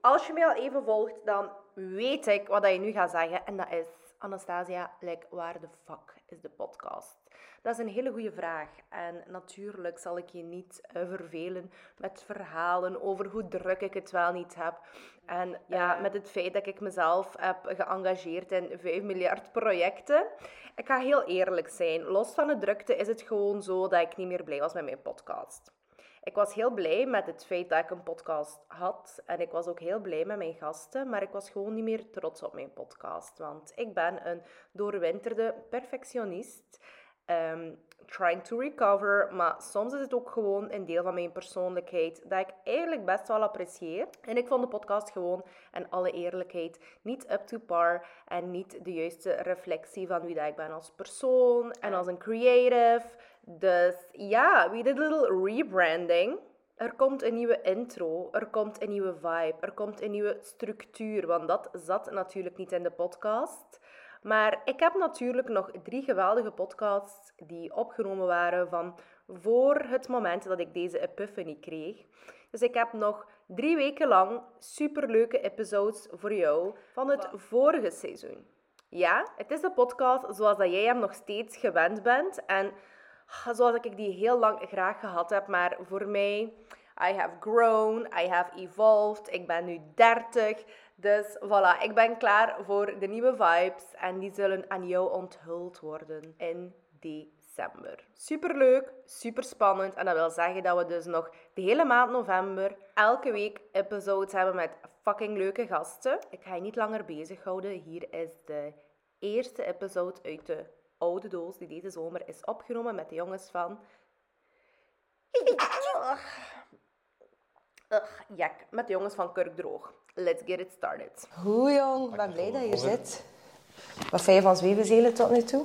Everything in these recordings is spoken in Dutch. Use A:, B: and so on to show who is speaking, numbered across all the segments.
A: als je mij al even volgt, dan weet ik wat dat je nu gaat zeggen. En dat is, Anastasia, like, waar de fuck is de podcast? Dat is een hele goede vraag. En natuurlijk zal ik je niet eh, vervelen met verhalen over hoe druk ik het wel niet heb. En ja, met het feit dat ik mezelf heb geëngageerd in 5 miljard projecten. Ik ga heel eerlijk zijn. Los van de drukte is het gewoon zo dat ik niet meer blij was met mijn podcast. Ik was heel blij met het feit dat ik een podcast had. En ik was ook heel blij met mijn gasten. Maar ik was gewoon niet meer trots op mijn podcast. Want ik ben een doorwinterde perfectionist. ehm, trying to recover. Maar soms is het ook gewoon een deel van mijn persoonlijkheid. Dat ik eigenlijk best wel apprecieer. En ik vond de podcast gewoon, in alle eerlijkheid, niet up to par. En niet de juiste reflectie van wie dat ik ben als persoon. En als een creative. Dus ja, we did a little rebranding. Er komt een nieuwe intro, er komt een nieuwe vibe, er komt een nieuwe structuur, want dat zat natuurlijk niet in de podcast. Maar ik heb natuurlijk nog drie geweldige podcasts die opgenomen waren van voor het moment dat ik deze epiphany kreeg. Dus ik heb nog drie weken lang superleuke episodes voor jou van het vorige seizoen. Ja, het is de podcast zoals dat jij hem nog steeds gewend bent. En ah, zoals ik die heel lang graag gehad heb. Maar voor mij, I have grown, I have evolved. Ik ben nu 30. Dus voilà, ik ben klaar voor de nieuwe vibes. En die zullen aan jou onthuld worden in december. Superleuk, superspannend. En dat wil zeggen dat we dus nog de hele maand november elke week episodes hebben met fucking leuke gasten. Ik ga je niet langer bezighouden. Hier is de eerste episode uit de oude doos die deze zomer is opgenomen met de jongens van... Ugh, Jack, met de jongens van Kurkdroog. Let's get it started.
B: Hoe jong, ik ben blij dat je hier zit. Wat vind je van Zwevenzelen tot nu toe?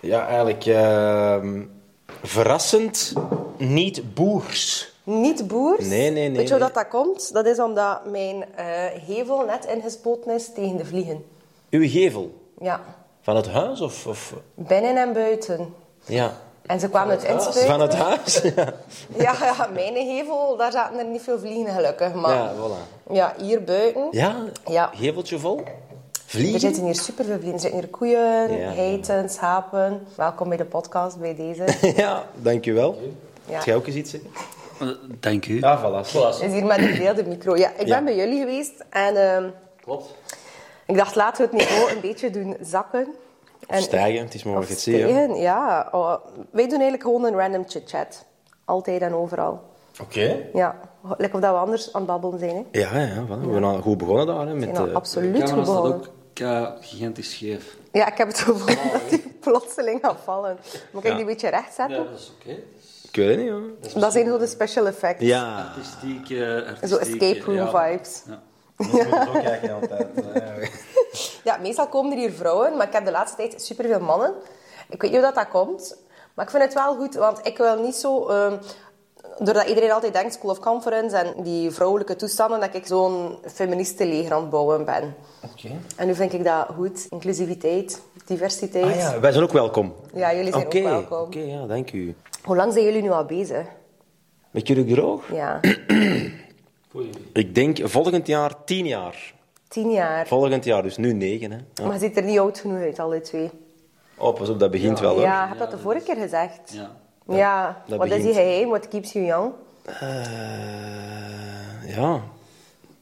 C: Ja, eigenlijk ehm, verrassend niet boers.
B: Niet boers.
C: Nee, nee, nee,
B: Weet je hoe
C: nee.
B: dat, dat komt? Dat is omdat mijn eh, hevel net ingespoten is tegen de vliegen.
C: Uw gevel
B: Ja,
C: van het huis of, of
B: binnen en buiten.
C: ja,
B: En ze kwamen
C: Ah,
B: het inspuiten.
C: van het huis? ja.
B: Ja, ja, mijn hevel, daar zaten er niet veel vliegen gelukkig. Maar
C: ja, voilà.
B: ja, hier buiten,
C: Ja,
B: Ah. Ja.
C: geveltje vol.
B: er
C: Vliegen.
B: zitten hier superveel vliegen. Er zitten hier koeien,
C: Ja.
B: heiten, schapen. Welkom bij de podcast, bij deze.
C: ja, dankjewel.
B: Ja.
C: Heb jij ook eens iets zeggen?
D: Eh, Dank u.
C: Ja, voilà.
B: Het is hier met een gedeelde micro. Ja, ik ben
C: Ja.
B: bij jullie geweest en... ehm,
C: Klopt.
B: Ik dacht, laten we het niveau een beetje doen zakken. En Oh,
C: Stijgen, het is maar wat je het ziet. hè.
B: stijgen, ja. Oh, wij doen eigenlijk gewoon een random chit-chat. Altijd en overal.
C: Oké.
B: Ja, lekker of dat we anders aan het babbelen zijn. Hè.
C: Ja, ja, voilà. we zijn al goed begonnen daar. Hè,
B: En
C: met,
B: dan
C: eh,
B: absoluut
D: camera
B: goed
D: staat
B: begonnen.
D: ook Ah, ka- gigantisch scheef.
B: Ja, ik heb het gevoel dat die plotseling gaat vallen. Moet ik die een beetje recht zetten?
D: dat is oké.
C: ik weet het niet, hoor.
B: Dat zijn zo de special effects.
C: Ja.
D: Artistiek, eh, artistiek,
B: Zo escape room
D: ja.
B: vibes.
D: Ja.
C: Zo kijk je altijd. eh,
B: Ja, meestal komen er hier vrouwen, maar ik heb de laatste tijd superveel mannen. Ik weet niet hoe dat, dat komt, maar ik vind het wel goed, want ik wil niet zo... ehm, doordat iedereen altijd denkt School of Conference en die vrouwelijke toestanden, dat ik zo'n feministenleger aan het bouwen ben.
C: Oké.
B: En nu vind ik dat goed. Inclusiviteit, diversiteit.
C: Ah ja, wij zijn ook welkom.
B: Ja, jullie zijn ook
C: Oké,
B: welkom.
C: Oké, ja, dank u.
B: Hoe lang zijn jullie nu al bezig?
C: Met jullie droog?
B: Ja,
C: Ik denk volgend jaar tien jaar.
B: tien jaar.
C: Volgend jaar, dus nu negen. Hè. Ja.
B: Maar je ziet er niet oud genoeg uit, alle twee.
C: Oh, pas op, dat begint wel. Hè.
B: Ja, heb dat de vorige keer gezegd?
D: Ja.
B: Ja,
C: dat
B: wat is die
C: begint.
B: geheim? What keeps you young?
C: Eh, ja.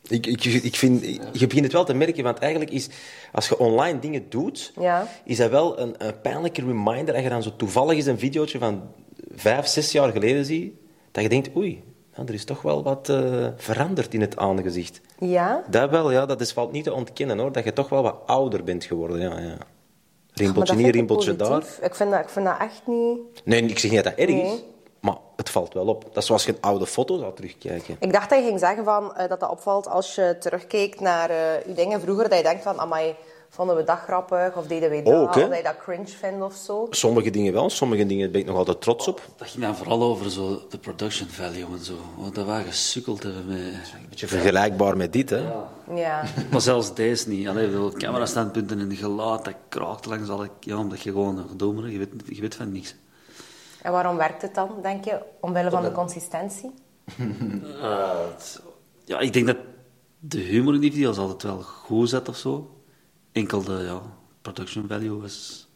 C: Ik, ik, ik vind, je begint het wel te merken, want eigenlijk is, als je online dingen doet,
B: Ja.
C: is dat wel een, een pijnlijke reminder als je dan zo toevallig eens een videootje van vijf, zes jaar geleden ziet, dat je denkt, oei, nou, er is toch wel wat eh, veranderd in het aangezicht.
B: Ja?
C: Dat wel, ja, dat is valt niet te ontkennen hoor, dat je toch wel wat ouder bent geworden, ja, ja. Rimpeltje
B: Maar
C: hier,
B: dat vind ik
C: rimpeltje daar.
B: positief. Ik vind, dat, ik vind dat echt niet...
C: Nee, ik zeg niet dat dat erg is,
B: Nee.
C: maar het valt wel op. Dat is zoals je een oude foto zou terugkijken.
B: Ik dacht dat je ging zeggen van, eh, dat dat opvalt als je terugkijkt naar eh, je dingen vroeger. Dat je denkt van, amai, vonden we dat grappig? Of deden we dat?
C: Ook, hè?
B: Of dat je dat cringe vindt of zo.
C: Sommige dingen wel, sommige dingen ben ik nog altijd trots op.
D: Dat ging dan vooral over zo de production value en zo. Want dat waren gesukkeld hebben met...
C: Een beetje vergelijkbaar met dit, hè.
B: Ja.
D: Maar zelfs deze niet. Allee, ik bedoel, camerastandpunten en geluid, dat kraakt langs alle... Ja, omdat je gewoon een gedoemere, je weet, je weet van niks.
B: En waarom werkt het dan, denk je? Omwille van de consistentie?
D: Eh, het- ja, ik denk dat de humor in die video's altijd wel goed zat of zo. Enkel de ja, production value was...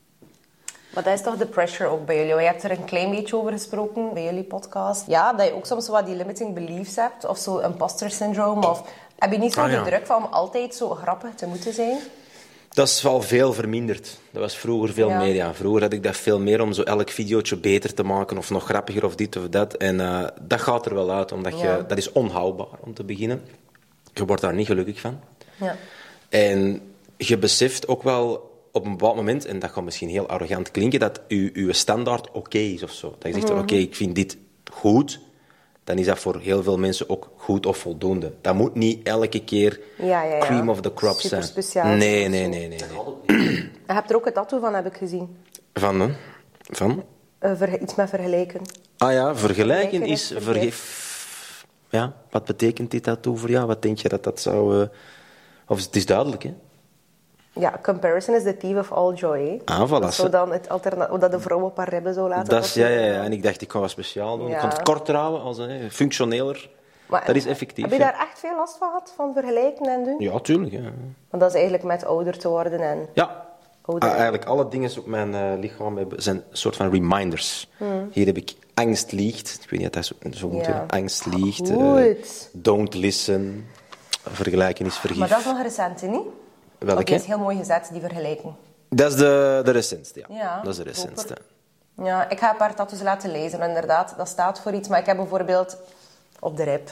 B: Maar dat is toch de pressure ook bij jullie? Je hebt er een klein beetje over gesproken bij jullie podcast. Ja, dat je ook soms zo wat die limiting beliefs hebt. Of zo imposter syndrome. Of heb je niet zo
C: Ah,
B: de
C: ja.
B: druk van om altijd zo grappig te moeten zijn?
C: Dat is wel veel verminderd. Dat was vroeger veel
B: Ja.
C: meer. Ja. Vroeger had ik dat veel meer om zo elk videootje beter te maken of nog grappiger of dit of dat. En eh, dat gaat er wel uit, omdat je,
B: Ja.
C: dat is onhoudbaar om te beginnen. Je wordt daar niet gelukkig van.
B: Ja.
C: En je beseft ook wel op een bepaald moment, en dat gaat misschien heel arrogant klinken, dat je, je standaard oké is of zo. Dat je zegt,
B: Mhm.
C: van, oké, ik vind dit goed, dan is dat voor heel veel mensen ook goed of voldoende. Dat moet niet elke keer
B: Ja, ja, ja.
C: cream of the crop zijn.
B: Superspeciaal.
C: Nee, nee, nee, nee. nee.
B: Je hebt er ook een tattoo van, heb ik gezien.
C: Van, hè? Van?
B: Eh, ver- iets met vergelijken.
C: Ah ja, vergelijken
B: Vergelijken is
C: is... Vergeef... Ja, wat betekent dit tattoo voor jou? Wat denk je dat dat zou... eh, Of het is duidelijk, hè?
B: Ja, comparison is the thief of all joy. hè.
C: Ah, voilà.
B: Dat zou dan het alternatief... Hoe dat de vrouw op haar ribben zou laten.
C: Dat is, ja,
B: tattooen.
C: ja, ja. En ik dacht, ik ga wat speciaal doen. Ik
B: Ja.
C: ga het kort houden, als, hè, functioneler.
B: Maar-
C: dat is effectief.
B: Heb je
C: ja.
B: daar echt veel last van gehad, van vergelijken en doen?
C: Ja, tuurlijk. Ja.
B: Want dat is eigenlijk met ouder te worden en...
C: ja.
B: Oh, dat-
C: Ah, eigenlijk alle dingen op mijn eh, lichaam hebben, zijn een soort van reminders. Hier heb ik angst liegt. Ik weet niet of dat zo, zo moet.
B: Hmm. Ja. Ah,
C: hè. Angst liegt. eh,
B: Goed. Ah,
C: don't listen. Vergelijken is vergif.
B: Maar dat is nog recent, hè, niet?
C: Welke?
B: Oké, is heel mooi gezet, die vergelijking.
C: Dat is de, de recentste, ja.
B: Ja,
C: Dat is de
B: proper.
C: recentste.
B: Ja, ik ga een paar tattoos laten lezen. En inderdaad, dat staat voor iets. Maar ik heb bijvoorbeeld op de rib...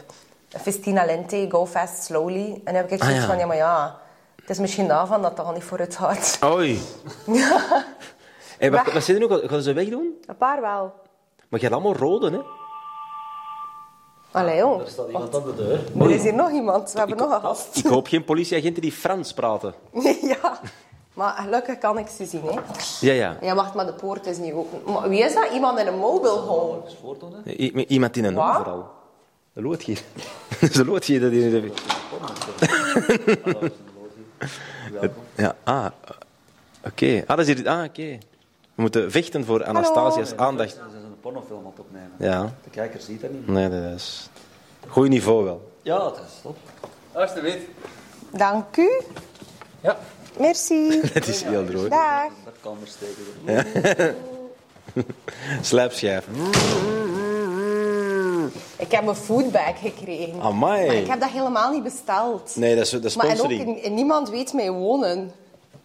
B: Festina Lente, Go Fast Slowly. En dan heb ik zoiets
C: Ah, ja.
B: van, ja, maar ja... Het is misschien daarvan dat dat al niet voor het gaat.
C: Oei. Hey, wat,
B: Maar-
C: wat zit er nu? Gaan- Gaan ze ze wegdoen?
B: Een paar wel.
C: Maar je hebt allemaal rode, hè?
B: Allee, jong.
D: aan de deur.
B: Er is hier nog iemand. We hebben nog een gast.
C: Ik hoop geen politieagenten die Frans praten.
B: ja. Maar gelukkig kan ik ze zien, hè.
C: Ja, ja.
B: Ja, wacht, maar de poort is niet open. Maar wie is dat? Iemand in een mobile home?
C: I- i- iemand in een
B: Wat?
C: overal. De loodgier. De loodgier dat hier... Ja, ah. Oké. Ah, dat is hier... Ah, oké. We moeten vechten voor Anastasia's aandacht.
D: Ze zijn een pornofilm aan het opnemen.
C: Ja.
D: De kijker ziet dat niet.
C: Nee, dat is... Goed niveau wel.
D: Ja, dat is top.
E: Alsjeblieft.
B: Dank u.
E: Ja.
B: Merci.
C: Het is heel droog.
B: Dag.
D: Dat kan er steken.
C: Slijpschijf.
B: Ik heb een foodbag gekregen.
C: Amai.
B: Maar ik heb dat helemaal niet besteld.
C: Nee, dat is, dat is
B: Maar en ook,
C: sponsoring.
B: in- in niemand weet mij wonen.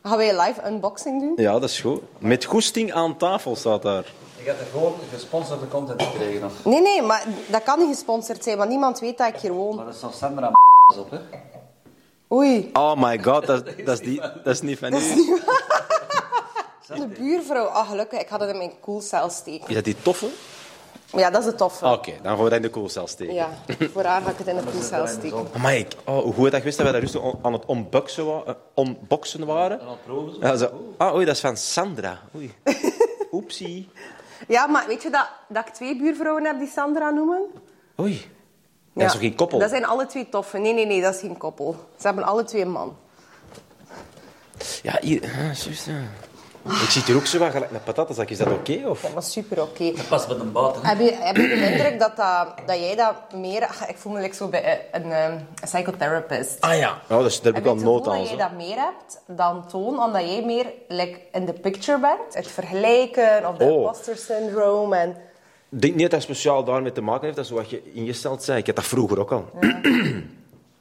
B: Gaan wij een live unboxing doen?
C: Ja, dat is goed. Met goesting aan tafel staat daar.
D: Ik heb er gewoon gesponsorde content gekregen. Of...
B: Nee, nee, maar dat kan niet gesponsord zijn, want niemand weet dat ik hier woon.
D: Maar dat is nog Sandra op, hè?
B: Oei,
C: Oh my god, dat, dat, is, die, dat is niet van u.
B: de buurvrouw. Ah, gelukkig, ik had het in mijn koelcel steken.
C: Is dat die toffe?
B: Maar ja, dat is het toffe.
C: Oké, dan gaan we dat in de koelcel steken.
B: Ja, voor haar ga ik het in de koelcel steken.
C: Amai, ik- oh, hoe goed dat wist dat wij daar juist on- aan het unboxen, wa- eh, unboxen waren.
D: aan het proeven zo.
C: Ja, zo. Ah, oei, dat is van Sandra. Oei. Oepsie.
B: Ja, maar weet je dat, dat ik twee buurvrouwen heb die Sandra noemen?
C: Oei. Dat is toch geen koppel?
B: Dat zijn alle twee toffe. Nee, nee, nee, dat is geen koppel. Ze hebben alle twee een man.
C: Ja, hier. ah, juist, ja. Ik zie hier ook zo wat gelijk een patatenzak. Is dat oké? of?
B: Ja, maar super oké.
D: Pas met een baten.
B: Heb je, heb je de indruk dat, dat, dat jij dat meer... Ach, Ik voel me like zo bij een, ehm, psychotherapist.
C: Ah ja. Oh, dus, daar heb ik
B: je het gevoel
C: wel nood aan.
B: dat jij
C: zo.
B: dat meer hebt dan Toon, omdat jij meer like, in de picture bent? Het vergelijken of de
C: Oh.
B: imposter syndrome en...
C: Ik denk niet dat dat speciaal daarmee te maken heeft. Dat is wat je ingesteld zei. Ik had dat vroeger ook al.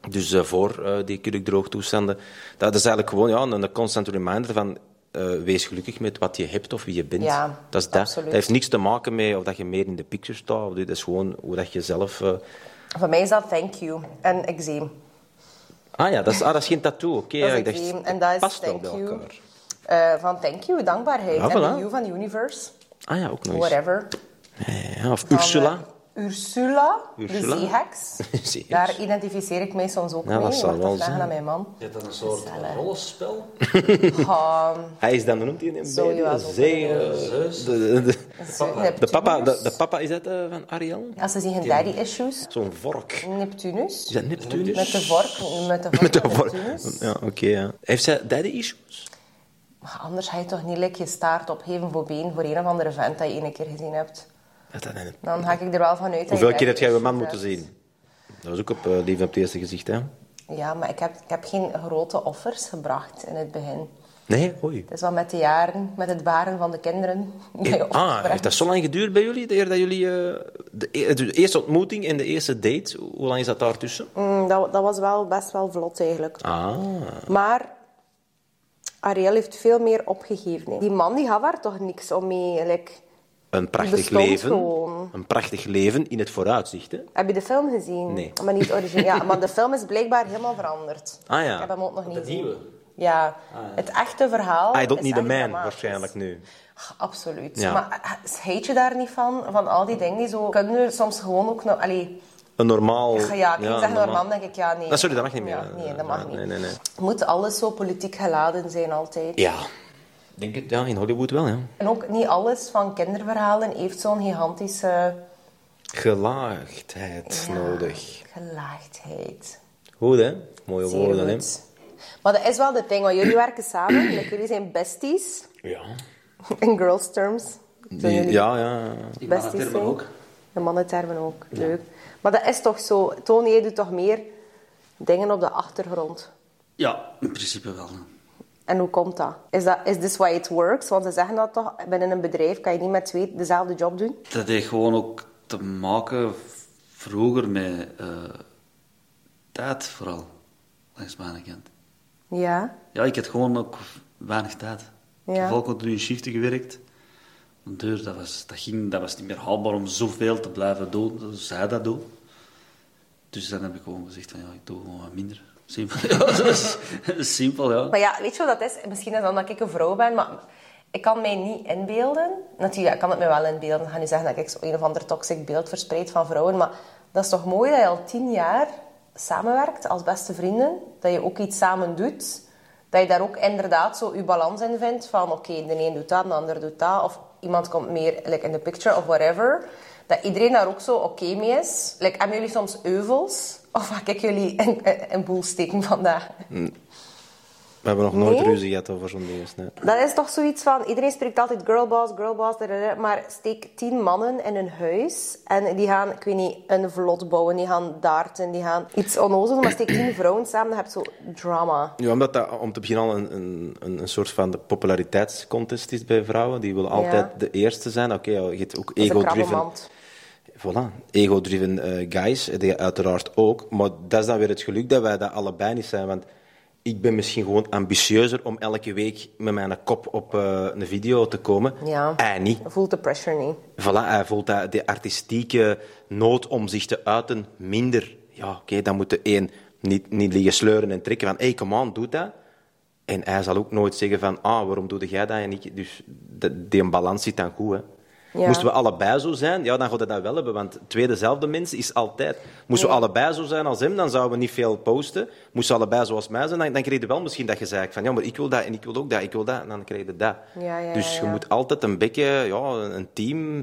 C: dus eh, voor eh, die kurkdroogtoestanden. Dat is eigenlijk gewoon ja, een, een constant reminder van... eh, wees gelukkig met wat je hebt of wie je bent.
B: Ja,
C: dat, is dat.
B: absoluut.
C: dat heeft niks te maken met of dat je meer in de picture staat. of dit. Dat is gewoon hoe dat je zelf... eh,
B: Voor mij is dat thank you en eczeem.
C: Ah ja, dat is, ah, dat is geen tattoo. Oké,
B: Dat
C: ja,
B: is
C: ik dacht,
B: eczeem en dat is
C: past wel
B: thank
C: bij
B: you.
C: elkaar.
B: Eh, van thank you, dankbaarheid.
C: Ja,
B: en
C: voilà.
B: de you van universe,
C: Ah ja, ook nog eens.
B: whatever.
C: Ja, of
B: Van,
C: Ursula.
B: eh, Ursula,
C: Ursula.
B: de zeeheks.
C: Zeeheks.
B: Daar identificeer ik mij soms ook
C: Ja,
B: mee.
C: dat
B: Ik
C: zal
B: mag
C: wel
B: dat vragen
C: zijn.
B: aan mijn man.
D: Is dat een soort rollenspel?
B: Goh,
C: Hij is dan, hoe noemt hij hem?
B: Zo, ja,
C: De
B: zo.
C: zee... eh,
D: Zeus.
C: de, de,
B: Neptunus.
C: de papa, de, de papa, is dat eh, van Ariel?
B: Als ze zien daddy issues.
C: Zo'n vork.
B: Neptunus.
C: Is dat Neptunus?
B: Met de vork. Met de vork.
C: dus. Met de
B: van
C: vork.
B: Neptunus.
C: Ja, oké. ja. Heeft zij daddy issues?
B: Maar Anders ga je toch niet like, je staart opheven voor been voor een of andere vent dat je één keer gezien hebt.
C: Dat dat niet.
B: Nou, Dan ga ik er wel van uit. dat je
C: Hoeveel keer
B: daddy
C: heb jij je
B: issues
C: man moeten
B: hebt.
C: zien? Dat was ook op eh, Liefde op het eerste gezicht, hè?
B: Ja, maar ik heb, ik heb geen grote offers gebracht in het begin.
C: Nee, oei.
B: Het is wel met de jaren, met het baren van de kinderen. dat je offers
C: Ah,
B: brengt.
C: heeft dat zo lang geduurd bij jullie? De eer dat jullie... eh, de, e- de eerste ontmoeting en de eerste date, hoe lang is dat daartussen?
B: Mm, dat, dat was wel best wel vlot eigenlijk.
C: Ah,
B: Maar Ariel heeft veel meer opgegeven. hè. Die man die gaf haar toch niks om mee. like,
C: een prachtig
B: Bestond
C: leven.
B: gewoon. Oh,
C: Een prachtig leven in het vooruitzicht, hè?
B: heb je de film gezien?
C: Nee.
B: Maar niet origineel. Ja, maar de film is blijkbaar helemaal veranderd.
C: Ah, ja.
B: Ik heb hem ook nog niet gezien.
C: nieuwe?
B: Ja. Het echte verhaal
C: I don't
B: is
C: need a
B: echt
C: man,
B: dramatisch.
C: waarschijnlijk nu.
B: Absoluut.
C: Ja.
B: Maar eh, heet je daar niet van? Van al die dingen die zo... Kunnen er soms gewoon ook... nog- Allee,
C: Een normaal...
B: ja, ja, ik zeg normaal,
C: normaal-
B: denk ik, ja, nee.
C: Ah, sorry, dat mag niet meer.
B: Ja, nee, dat mag
C: Ja,
B: niet.
C: nee, nee, nee.
B: Moet alles zo politiek geladen zijn altijd.
C: Ja. Ik Denk het, ja, in Hollywood wel, ja.
B: En ook niet alles van kinderverhalen heeft zo'n gigantische
C: Gelaagdheid nodig.
B: gelaagdheid.
C: Goed, hè? Mooie
B: Zeer
C: woorden, hè?
B: goed. Maar dat is wel het ding, want jullie werken samen. like, jullie zijn besties.
C: Ja.
B: In girls terms. Zijn
C: Die-
B: jullie
C: ja, ja.
D: Die
B: besties
D: mannentermen
B: zijn?
D: ook.
B: De mannentermen ook. Leuk. Maar dat is toch zo... Tony, jij doet toch meer dingen op de achtergrond.
D: Ja, in principe wel. hè.
B: En hoe komt dat? Is, dat? is this why it works? Want ze zeggen dat toch, binnen een bedrijf kan je niet met twee dezelfde job doen.
D: Dat heeft gewoon ook te maken v- vroeger met eh, tijd vooral, langs mijn kant.
B: Ja.
D: Ja, ik had gewoon ook weinig tijd. Ik
B: Ja.
D: heb al continu in shiften gewerkt. Een deur, dat was, dat, ging, dat was niet meer haalbaar om zoveel te blijven doen, zoals zij dat doet. Dus dan heb ik gewoon gezegd van ja, ik doe gewoon wat minder. Simpel, ja. dat is- dat is simpel, ja.
B: Maar ja, weet je wat dat is? Misschien is dat omdat ik een vrouw ben, maar ik kan mij niet inbeelden. Natuurlijk, ik kan het me wel inbeelden. Ik ga nu zeggen dat ik zo een of ander toxic beeld verspreid van vrouwen. Maar dat is toch mooi dat je al tien jaar samenwerkt als beste vrienden. Dat je ook iets samen doet. Dat je daar ook inderdaad zo je balans in vindt. Van oké, de een doet dat, de ander doet dat. Of iemand komt meer like, in de picture of whatever. Dat iedereen daar ook zo oké mee is. Like, hebben jullie soms euvels? Of ga ik jullie in, in, in boel steken vandaag?
C: We hebben nog nooit
B: Nee?
C: ruzie gehad over zo'n ding. Nee.
B: Dat is toch zoiets van, iedereen spreekt altijd girlboss, girlboss, dadada, maar steek tien mannen in een huis en die gaan, ik weet niet, een vlot bouwen, die gaan darten, die gaan iets onnozels, maar steek tien vrouwen samen, dan heb je zo drama.
C: Ja, omdat dat om te beginnen al een, een, een, een soort van de populariteitscontest is bij vrouwen. Die willen altijd de eerste zijn. Oké, ja, je hebt ook
B: Dat is een
C: ego-driven.
B: krabbelmand.
C: Voilà, ego-driven eh, guys, die uiteraard ook. Maar dat is dan weer het geluk dat wij dat allebei niet zijn. Want ik ben misschien gewoon ambitieuzer om elke week met mijn kop op eh, een video te komen.
B: Ja.
C: Hij Eh, niet.
B: Je voelt de pressure niet.
C: Voilà, hij voelt dat de artistieke nood om zich te uiten minder. Ja, oké, dan moet de een niet, niet liggen sleuren en trekken van hé, hey, come on, doe dat. En hij zal ook nooit zeggen van ah, waarom doe jij dat en ik... Dus de, die balans zit dan goed, hè.
B: Ja.
C: Moesten we allebei zo zijn, ja, dan gaat hij dat wel hebben, want twee dezelfde mensen is altijd... Moesten we allebei zo zijn als hem, dan zouden we niet veel posten. Moesten we allebei zoals mij zijn, dan, dan kreeg je wel misschien dat je zei van ja, maar ik wil dat en ik wil ook dat, ik wil dat, en dan kreeg je dat.
B: Ja, ja,
C: dus
B: ja,
C: je
B: ja.
C: moet altijd een beetje, ja, een team.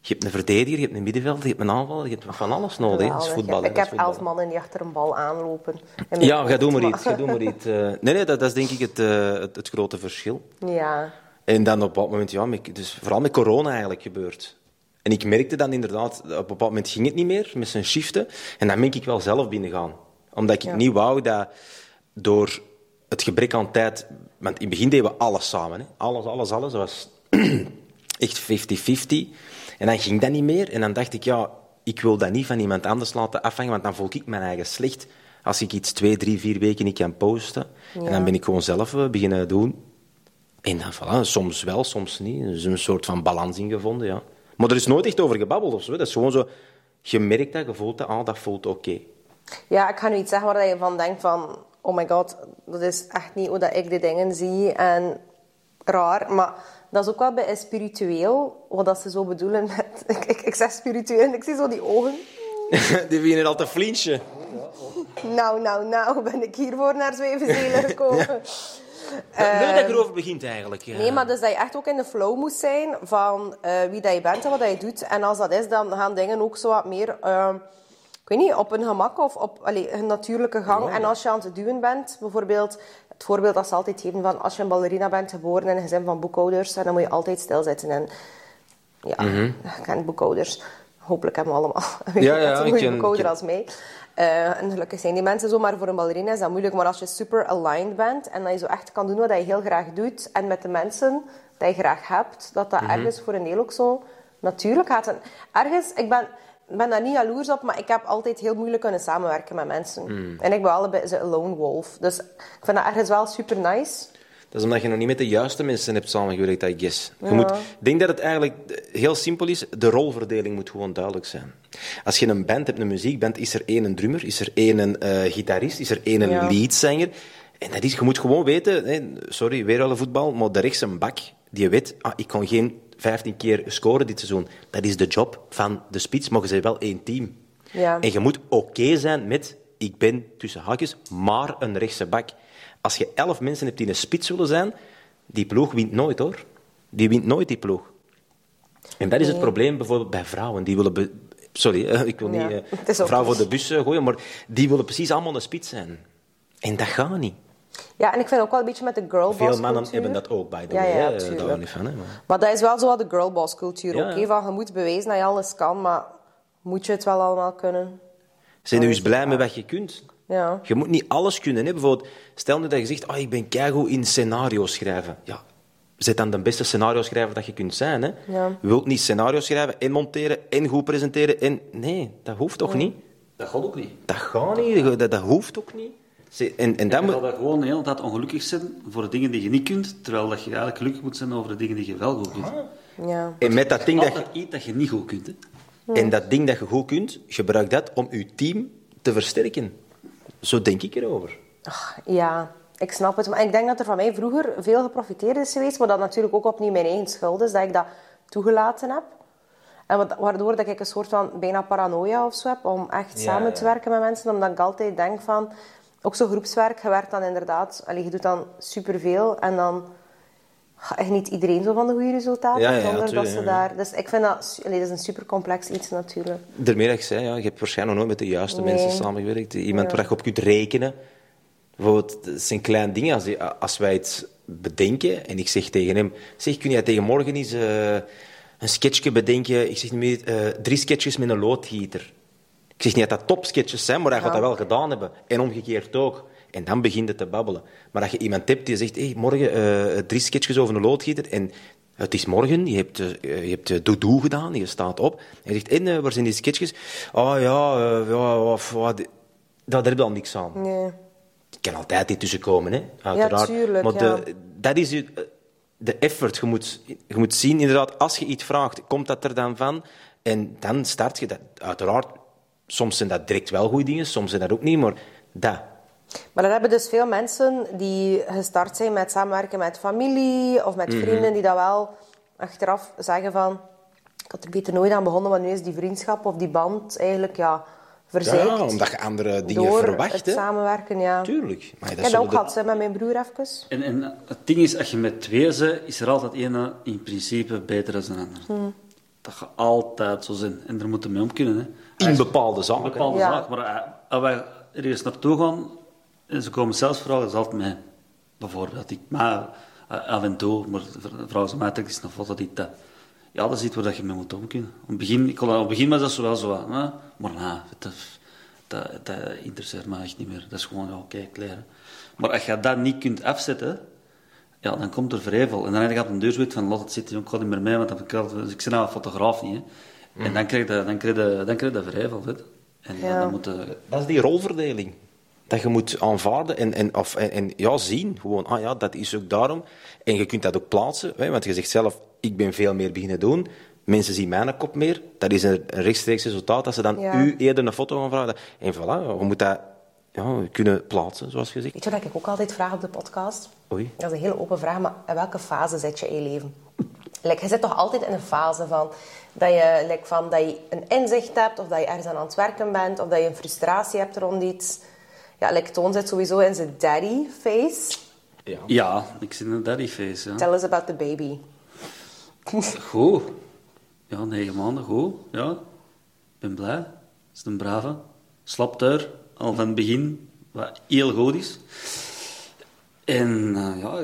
C: Je hebt een verdediger, je hebt een middenvelder, je hebt een aanvaller, je hebt van alles nodig. hè. Dat Oh, is
B: Geweldig.
C: voetbal. hè,
B: Ik
C: dat is
B: heb elf
C: voetbal.
B: mannen die achter een bal aanlopen. En met-
C: Ja, ga doen maar iets. Ga doen maar iets. eh. nee, nee, dat, dat is denk ik het, eh, het, het grote verschil.
B: Ja.
C: En dan op dat moment, ja, met- dus vooral met corona eigenlijk gebeurd. En ik merkte dan inderdaad, op een bepaald moment ging het niet meer met zijn shiften. En dan ben ik wel zelf binnengaan. Omdat ik niet wou dat door het gebrek aan tijd. Want in het begin deden we alles samen. Hè. Alles, alles, alles. Dat was echt 50-50. En dan ging dat niet meer. En dan dacht ik, ja, ik wil dat niet van iemand anders laten afhangen, want dan voel ik mijn eigen slecht. Als ik iets twee, drie, vier weken niet kan posten. En dan ben ik gewoon zelf eh, beginnen doen. En dan, voilà, soms wel, soms niet. Er is een soort van balans in gevonden, ja. Maar er is nooit echt over gebabbeld of zo. hè. Dat is gewoon zo, je merkt dat, je voelt dat, ah, dat voelt oké.
B: Ja, ik ga nu iets zeggen waar je van denkt van... Oh my god, dat is echt niet hoe dat ik de dingen zie. En raar, maar dat is ook wel bij spiritueel. Wat dat ze zo bedoelen met... Ik, ik, ik zeg spiritueel en ik zie zo die ogen.
C: Die beginnen al te flinchen.
B: Nou, nou, nou, ben ik hiervoor naar Zwevenzeelen gekomen.
C: Leuk dat je erover begint eigenlijk. ja.
B: Nee, maar dus dat je echt ook in de flow moest zijn van eh, wie dat je bent en wat dat je doet. En als dat is, dan gaan dingen ook zo wat meer, eh, ik weet niet, op een gemak of op allee, een natuurlijke gang. En als je aan het duwen bent, bijvoorbeeld, het voorbeeld dat ze altijd geven van als je een ballerina bent geboren in een gezin van boekhouders, en dan moet je altijd stilzitten. En ja, ik ken boekhouders. Hopelijk hebben we allemaal een
C: Mhm. Ja, ja,
B: een
C: ik
B: goede
C: ken-
B: boekhouder
C: ik ken-
B: als mij. Eh, en gelukkig zijn die mensen zo, maar voor een ballerina is dat moeilijk. Maar als je super aligned bent en dat je zo echt kan doen wat je heel graag doet en met de mensen die je graag hebt, dat
C: Mhm.
B: dat ergens voor een deel ook zo natuurlijk gaat. En ergens, ik ben, ik ben daar niet jaloers op, maar ik heb altijd heel moeilijk kunnen samenwerken met mensen.
C: Mm.
B: En ik ben wel een beetje een lone wolf. Dus ik vind dat ergens wel super nice.
C: Dat is omdat je nog niet met de juiste mensen hebt samengewerkt, I guess. Je moet, ik denk dat het eigenlijk heel simpel is. De rolverdeling moet gewoon duidelijk zijn. Als je een band hebt, een muziekband, is er één een drummer, is er één een eh, gitarist, is er één een
B: Ja.
C: leadzanger. En dat is, je moet gewoon weten, hè, sorry, weer alle voetbal, maar de rechts een bak, die weet, ah, ik kon geen 15 keer scoren dit seizoen. Dat is de job van de spits, maar je bent wel één team.
B: Ja.
C: En je moet oké zijn met, ik ben tussen haakjes, maar een rechtse bak. Als je elf mensen hebt die een spits willen zijn, die ploeg wint nooit hoor. Die wint nooit die ploeg. En dat is het probleem bijvoorbeeld bij vrouwen. Die willen. be- Sorry, eh, ik wil
B: Ja,
C: niet
B: het
C: eh
B: is ook
C: vrouw voor
B: niet.
C: de bus eh, gooien, maar die willen precies allemaal een spits zijn. En dat gaat niet.
B: Ja, en ik vind ook wel een beetje met de girlboss
C: Veel mannen
B: cultuur.
C: hebben dat ook, by the
B: Ja,
C: way.
B: ja,
C: hè. Daar
B: tuurlijk.
C: hou ik niet van. Hè, maar.
B: Maar dat is wel zo wat de girlboss cultuur
C: Ja,
B: ook.
C: ja.
B: hè, Van, je moet bewijzen dat je alles kan, maar moet je het wel allemaal kunnen?
C: Zijn nu eens blij met wat je kunt.
B: Ja.
C: Je moet niet alles kunnen. Hè? Bijvoorbeeld, stel nu dat je zegt, oh, ik ben keigoed in scenario schrijven. Ja, zet dan de beste scenario schrijver dat je kunt zijn. Hè?
B: Ja.
C: Je wilt niet scenario schrijven en monteren en goed presenteren. En... Nee, dat hoeft toch niet?
D: Dat gaat ook niet.
C: Dat gaat niet, dat, dat hoeft ook niet. Ze- En, en dat
D: Dan
C: moet...
D: moet je gewoon de hele tijd ongelukkig zijn voor de dingen die je niet kunt, terwijl dat je eigenlijk gelukkig moet zijn over de dingen die je wel goed kunt.
B: Ja.
C: En met dat ding dat, je,
D: Altijd iets dat je niet goed kunt. Hè.
C: en dat ding dat je goed kunt, gebruik dat om je team te versterken. Zo denk ik erover.
B: Ach, ja, ik snap het. Maar ik denk dat er van mij vroeger veel geprofiteerd is geweest, maar dat natuurlijk ook opnieuw mijn eigen schuld is dat ik dat toegelaten heb. En wat- waardoor dat ik een soort van bijna paranoia of zo heb om echt
C: Ja,
B: samen
C: ja.
B: te werken met mensen, omdat ik altijd denk van, ook zo'n groepswerk, je werkt dan inderdaad, allee, je doet dan superveel en dan ah, echt niet iedereen zo van de goede resultaten,
C: Ja, ja, ja,
B: zonder dat
C: tuurlijk,
B: ze
C: ja, ja.
B: daar. Dus ik vind dat, su- allee, dat is een super complex iets natuurlijk.
C: Daarmee dat ik zei, ja, je hebt waarschijnlijk nog nooit met de juiste
B: Nee.
C: mensen samengewerkt. Iemand waar je op kunt rekenen. Bijvoorbeeld, het zijn kleine dingen. Als, die- als wij het bedenken en ik zeg tegen hem... Zeg, kun jij tegen morgen eens eh, een sketchje bedenken? Ik zeg niet meer, eh, drie sketches met een loodgieter. Ik zeg niet dat dat topsketches zijn, maar hij gaat dat wel gedaan hebben. En omgekeerd ook. En dan begint het te babbelen. Maar als je iemand hebt die zegt, hey, morgen eh, drie sketches over een loodgieter en het is morgen, je hebt, eh, eh, je hebt eh, doedoe gedaan, je staat op. En je zegt, en eh, waar zijn die sketches? Oh ja, eh, ja of, wat die- dat heb je al niks aan.
B: Nee.
C: Je kan altijd dit tussenkomen, hè? uiteraard.
B: tuurlijk,
C: maar
B: ja.
C: de, dat is je- eh, de effort. Je moet, je moet zien, inderdaad, als je iets vraagt, komt dat er dan van? En dan start je dat. Uiteraard, soms zijn dat direct wel goede dingen, soms zijn dat ook niet, maar dat.
B: Maar dan hebben dus veel mensen die gestart zijn met samenwerken met familie of met
C: Mhm.
B: vrienden, die dat wel achteraf zeggen van... Ik had er beter nooit aan begonnen, want nu is die vriendschap of die band eigenlijk ja, verzeikt.
C: je andere
B: door het samenwerken, ja.
C: Tuurlijk. Maar
B: ik heb dat ook gehad hè, met mijn broer even.
D: En, en het ding is, als je met twee bent, is er altijd één eh, in principe beter dan een ander. Dat gaat altijd zo zijn. En daar moeten we mee om kunnen. Hè.
C: In bepaalde zaken.
D: Een bepaalde
B: Ja.
D: zaak, maar eh, als wij ergens naartoe gaan, en ze komen zelfs vragen, is altijd mij. Bijvoorbeeld, ik, maar eh, af en toe, maar v- vragen ze mij trekt is een foto dit, dat. eh, Ja, dat is iets waar dat je mee moet om kunnen. Op het begin, ik kon, dat- op het begin was dat zo wel zo, wat, hè. maar na, dat, dat, dat interesseert me echt niet meer. Dat is gewoon, ja, oké, kleren. Maar als je dat niet kunt afzetten, ja, dan komt er vrevel. En dan heb ik op een deur zoiets van, laat het zitten, jong, ik ga niet meer mee, want dan heb ik, altijd- ik ben nou een fotograaf niet. Hè. En dan krijg je, dan krijg je, dan krijg je vrevel. Weet. je. En dan-
B: Ja.
D: dan moet je...
C: Dat is die rolverdeling. Dat je moet aanvaarden en, en, of, en, en ja, zien. Gewoon, ah ja, dat is ook daarom. En je kunt dat ook plaatsen. Hè, want je zegt zelf, ik ben veel meer beginnen doen. Mensen zien mijn kop meer. Dat is een een rechtstreeks resultaat. Dat ze dan
B: Ja.
C: u eerder een foto gaan vragen. En voilà, we moeten dat ja, kunnen plaatsen, zoals gezegd.
B: Weet je wat ik ook altijd vraag op de podcast?
C: Oei.
B: Dat is een hele open vraag, maar in welke fase zit je in je leven? Like, je zit toch altijd in een fase van dat, je, like, van dat je een inzicht hebt, of dat je ergens aan aan het werken bent, of dat je een frustratie hebt rond iets. Ja, like, Toon zit sowieso in zijn daddy face.
D: Ja, ik zit in een daddyface. Ja.
B: Tell us about the baby.
D: Goed. Ja, negen maanden, goed. Ja, ik ben blij. Het is een brave. Slapt er, al van het begin, wat heel goed is. En eh, ja,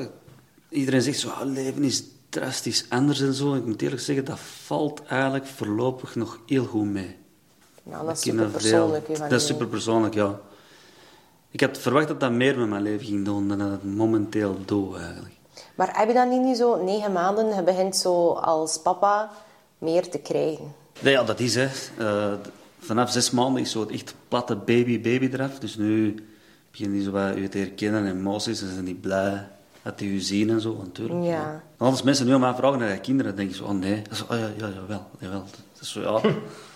D: iedereen zegt zo, "Ah, leven is drastisch anders en zo. Ik moet eerlijk zeggen, dat valt eigenlijk voorlopig nog heel goed mee.
B: Ja, dat is
D: Ik ken er
B: superpersoonlijk.
D: veel.
B: hè, van
D: Dat is
B: u.
D: superpersoonlijk, ja. Ik had verwacht dat dat meer met mijn leven ging doen dan dat het momenteel doe, eigenlijk.
B: Maar heb je dat niet nu zo negen maanden? Je begint zo als papa meer te krijgen.
D: Nee, ja, dat is hè. Eh, d- vanaf zes maanden is zo het echt platte baby-baby eraf. Dus nu begin je zo wat je te herkennen en emoties en zijn die blij dat die je zien en zo, natuurlijk.
B: Ja.
D: En Als mensen nu aan mij vragen naar die kinderen, dan denk ik zo, oh nee. Dat is, oh ja, ja, jawel, jawel. Dat is zo, ja.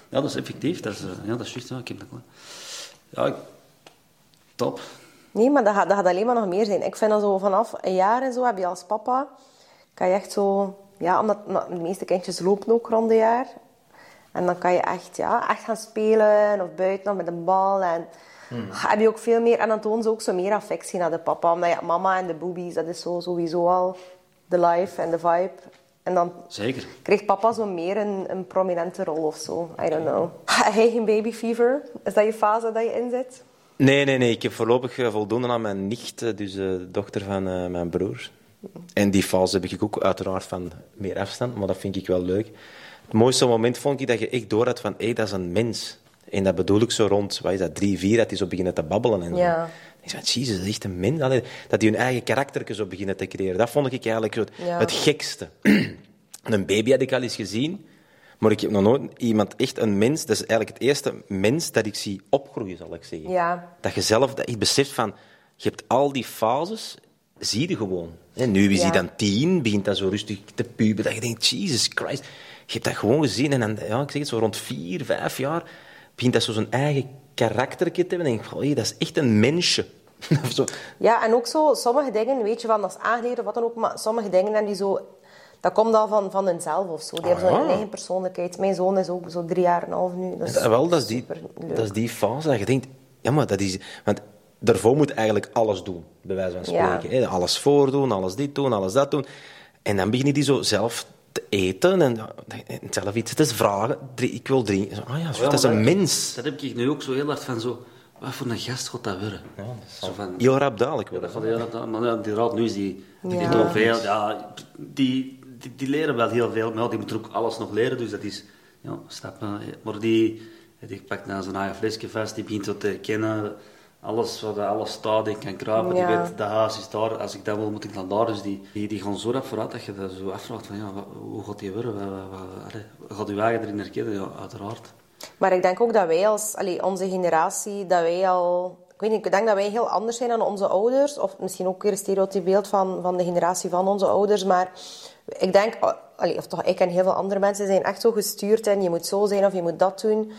D: ja, dat is effectief. Dat is, eh, ja, dat is juist, ja, ik heb dat klaar. Ja, ik- top.
B: Nee, maar dat gaat, dat gaat alleen maar nog meer zijn. Ik vind dat zo vanaf een jaar en zo heb je als papa... Kan je echt zo... Ja, omdat maar de meeste kindjes lopen ook rond een jaar. En dan kan je echt, ja, echt gaan spelen of buiten of met een bal. En heb je ook veel meer... En dan tonen ze ook zo meer affectie naar de papa. Omdat ja, mama en de boobies, dat is zo, sowieso al de life en de vibe. En dan
D: Zeker.
B: kreeg papa zo meer een, een prominente rol of zo. I don't know. Heb jij geen baby fever? Is dat je fase dat je in zit?
C: Nee, nee, nee. Ik heb voorlopig eh, voldoende aan mijn nicht, eh, dus eh, de dochter van eh, mijn broer. En die fase heb ik ook uiteraard van meer afstand, maar dat vind ik wel leuk. Het mooiste moment vond ik dat je echt door had van, hé, dat is een mens. En dat bedoel ik zo rond, wat is dat, drie, vier, dat die zo beginnen te babbelen en zo.
B: Ja.
C: Ik zei, jezus, dat is echt een mens. Allee, dat die hun eigen karakter zo beginnen te creëren. Dat vond ik eigenlijk zo het,
B: Ja.
C: het gekste. een baby had ik al eens gezien, maar ik heb nog nooit iemand, echt een mens, dat is eigenlijk het eerste mens dat ik zie opgroeien, zal ik zeggen.
B: Ja.
C: Dat je zelf dat je beseft van, je hebt al die fases, zie je gewoon. En nu is
B: Ja.
C: hij dan tien, begint dat zo rustig te puben, dat je denkt, Jesus Christ. Je hebt dat gewoon gezien en dan, ja, ik zeg het zo, rond vier, vijf jaar, begint dat zo zijn eigen karakter te hebben. En denk ik, oh, dat is echt een mensje. of zo.
B: Ja, en ook zo, sommige dingen, weet je, van dat is aangeleerd of wat dan ook, maar sommige dingen hebben die zo... Dat komt al van, van hunzelf of zo. Die hebben
C: Ah,
B: zo'n
C: ja.
B: eigen persoonlijkheid. Mijn zoon is ook zo drie jaar en een half nu. Dat is
C: Ja, wel, dat is, die,
B: superleuk.
C: dat is die fase dat je denkt, ja, maar dat is... Want daarvoor moet je eigenlijk alles doen, bij wijze van
B: Ja.
C: spreken. hè. Alles voordoen, alles dit doen, alles dat doen. En dan beginnen die zo zelf te eten en, en zelf iets te vragen. Drie- ik wil drinken. Zo, Ah ja, zo,
D: Ja,
C: dat is
D: maar
C: een mens.
D: Dat heb ik nu ook zo heel hard van zo... Wat voor een gast gaat dat worden? zo van,
C: Heel rap dadelijk
D: Ja,
C: worden.
D: dat valt heel erg aan. Maar ja, die raad nu is die, die
B: Ja.
D: doet wel veel. Ja, die, die, die leren wel heel veel, maar ja, die moeten ook alles nog leren. Dus dat is ja, stappen. Maar die, die pakt naar zijn eigen flesje vast, die begint dat te herkennen. Alles wat alles staat, die kan kruipen, die
B: Ja.
D: weet, de huis is daar. Als ik dat wil, moet ik dan daar. Dus die, die, die gaan zo rap vooruit dat je dat zo afvraagt van, ja, wat- hoe gaat die worden? Wat, wat, wat- allee, gaat uw eigen erin herkennen? Ja, uiteraard.
B: Maar ik denk ook dat wij als allee, onze generatie, dat wij al... Ik weet niet, ik denk dat wij heel anders zijn dan onze ouders. Of misschien ook weer een stereotypebeeld van, van de generatie van onze ouders. Maar ik denk, oh, allee, of toch ik en heel veel andere mensen zijn echt zo gestuurd in... Je moet zo zijn of je moet dat doen.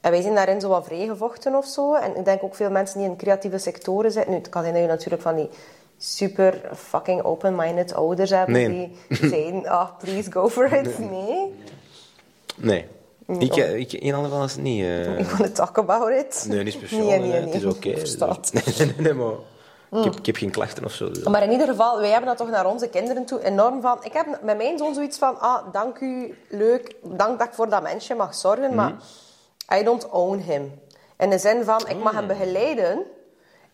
B: En wij zijn daarin zo wat vrijgevochten of zo. En ik denk ook veel mensen die in creatieve sectoren zitten... Nu, het kan zijn dat je natuurlijk van die super fucking open-minded ouders hebt...
C: Nee.
B: die zeiden, ah, please go for it. Nee,
C: Nee. Ik, eh, ik, in alle geval is het niet... eh,
B: ik wil talk about it.
C: nee, niet speciaal.
B: Nee,
C: hè.
B: nee, nee.
C: Het is oké.
B: Verstaat.
C: Nee, nee, nee, maar... Ik
B: Mm.
C: heb, ik heb geen klachten of zo. dus-
B: Maar in ieder geval, wij hebben dat toch naar onze kinderen toe enorm van... Ik heb met mijn zoon zoiets van, ah, dank u, leuk, dank dat ik voor dat mensje mag zorgen,
C: Mhm.
B: maar I don't own him. In de zin van, ik mag
C: Oh.
B: hem begeleiden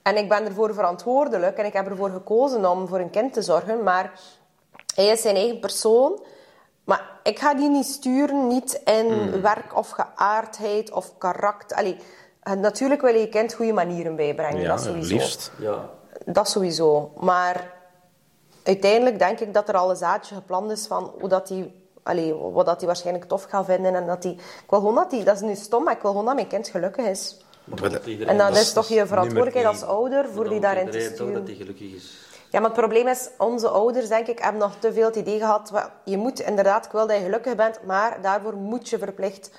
B: en ik ben ervoor verantwoordelijk en ik heb ervoor gekozen om voor een kind te zorgen, maar hij is zijn eigen persoon. Maar ik ga die niet sturen, niet in
C: Mhm.
B: werk of geaardheid of karakter. Allee, natuurlijk wil je je kind goede manieren bijbrengen,
C: ja,
B: dat sowieso.
C: liefst.
D: Ja,
B: Dat sowieso. Maar uiteindelijk denk ik dat er al een zaadje gepland is van hoe dat die, allee, wat dat die waarschijnlijk tof gaat vinden. En dat die, ik wil gewoon dat die, dat is nu stom, maar ik wil gewoon dat mijn kind gelukkig is.
C: Maar dat-
B: En dat is toch je
C: nummer
B: verantwoordelijkheid als
C: één.
B: ouder voor die daarin te
D: toch dat
B: sturen.
D: hij gelukkig is.
B: Ja, maar het probleem is, onze ouders, denk ik, hebben nog te veel het idee gehad. wa- Je moet inderdaad, ik wil dat je gelukkig bent, maar daarvoor moet je verplicht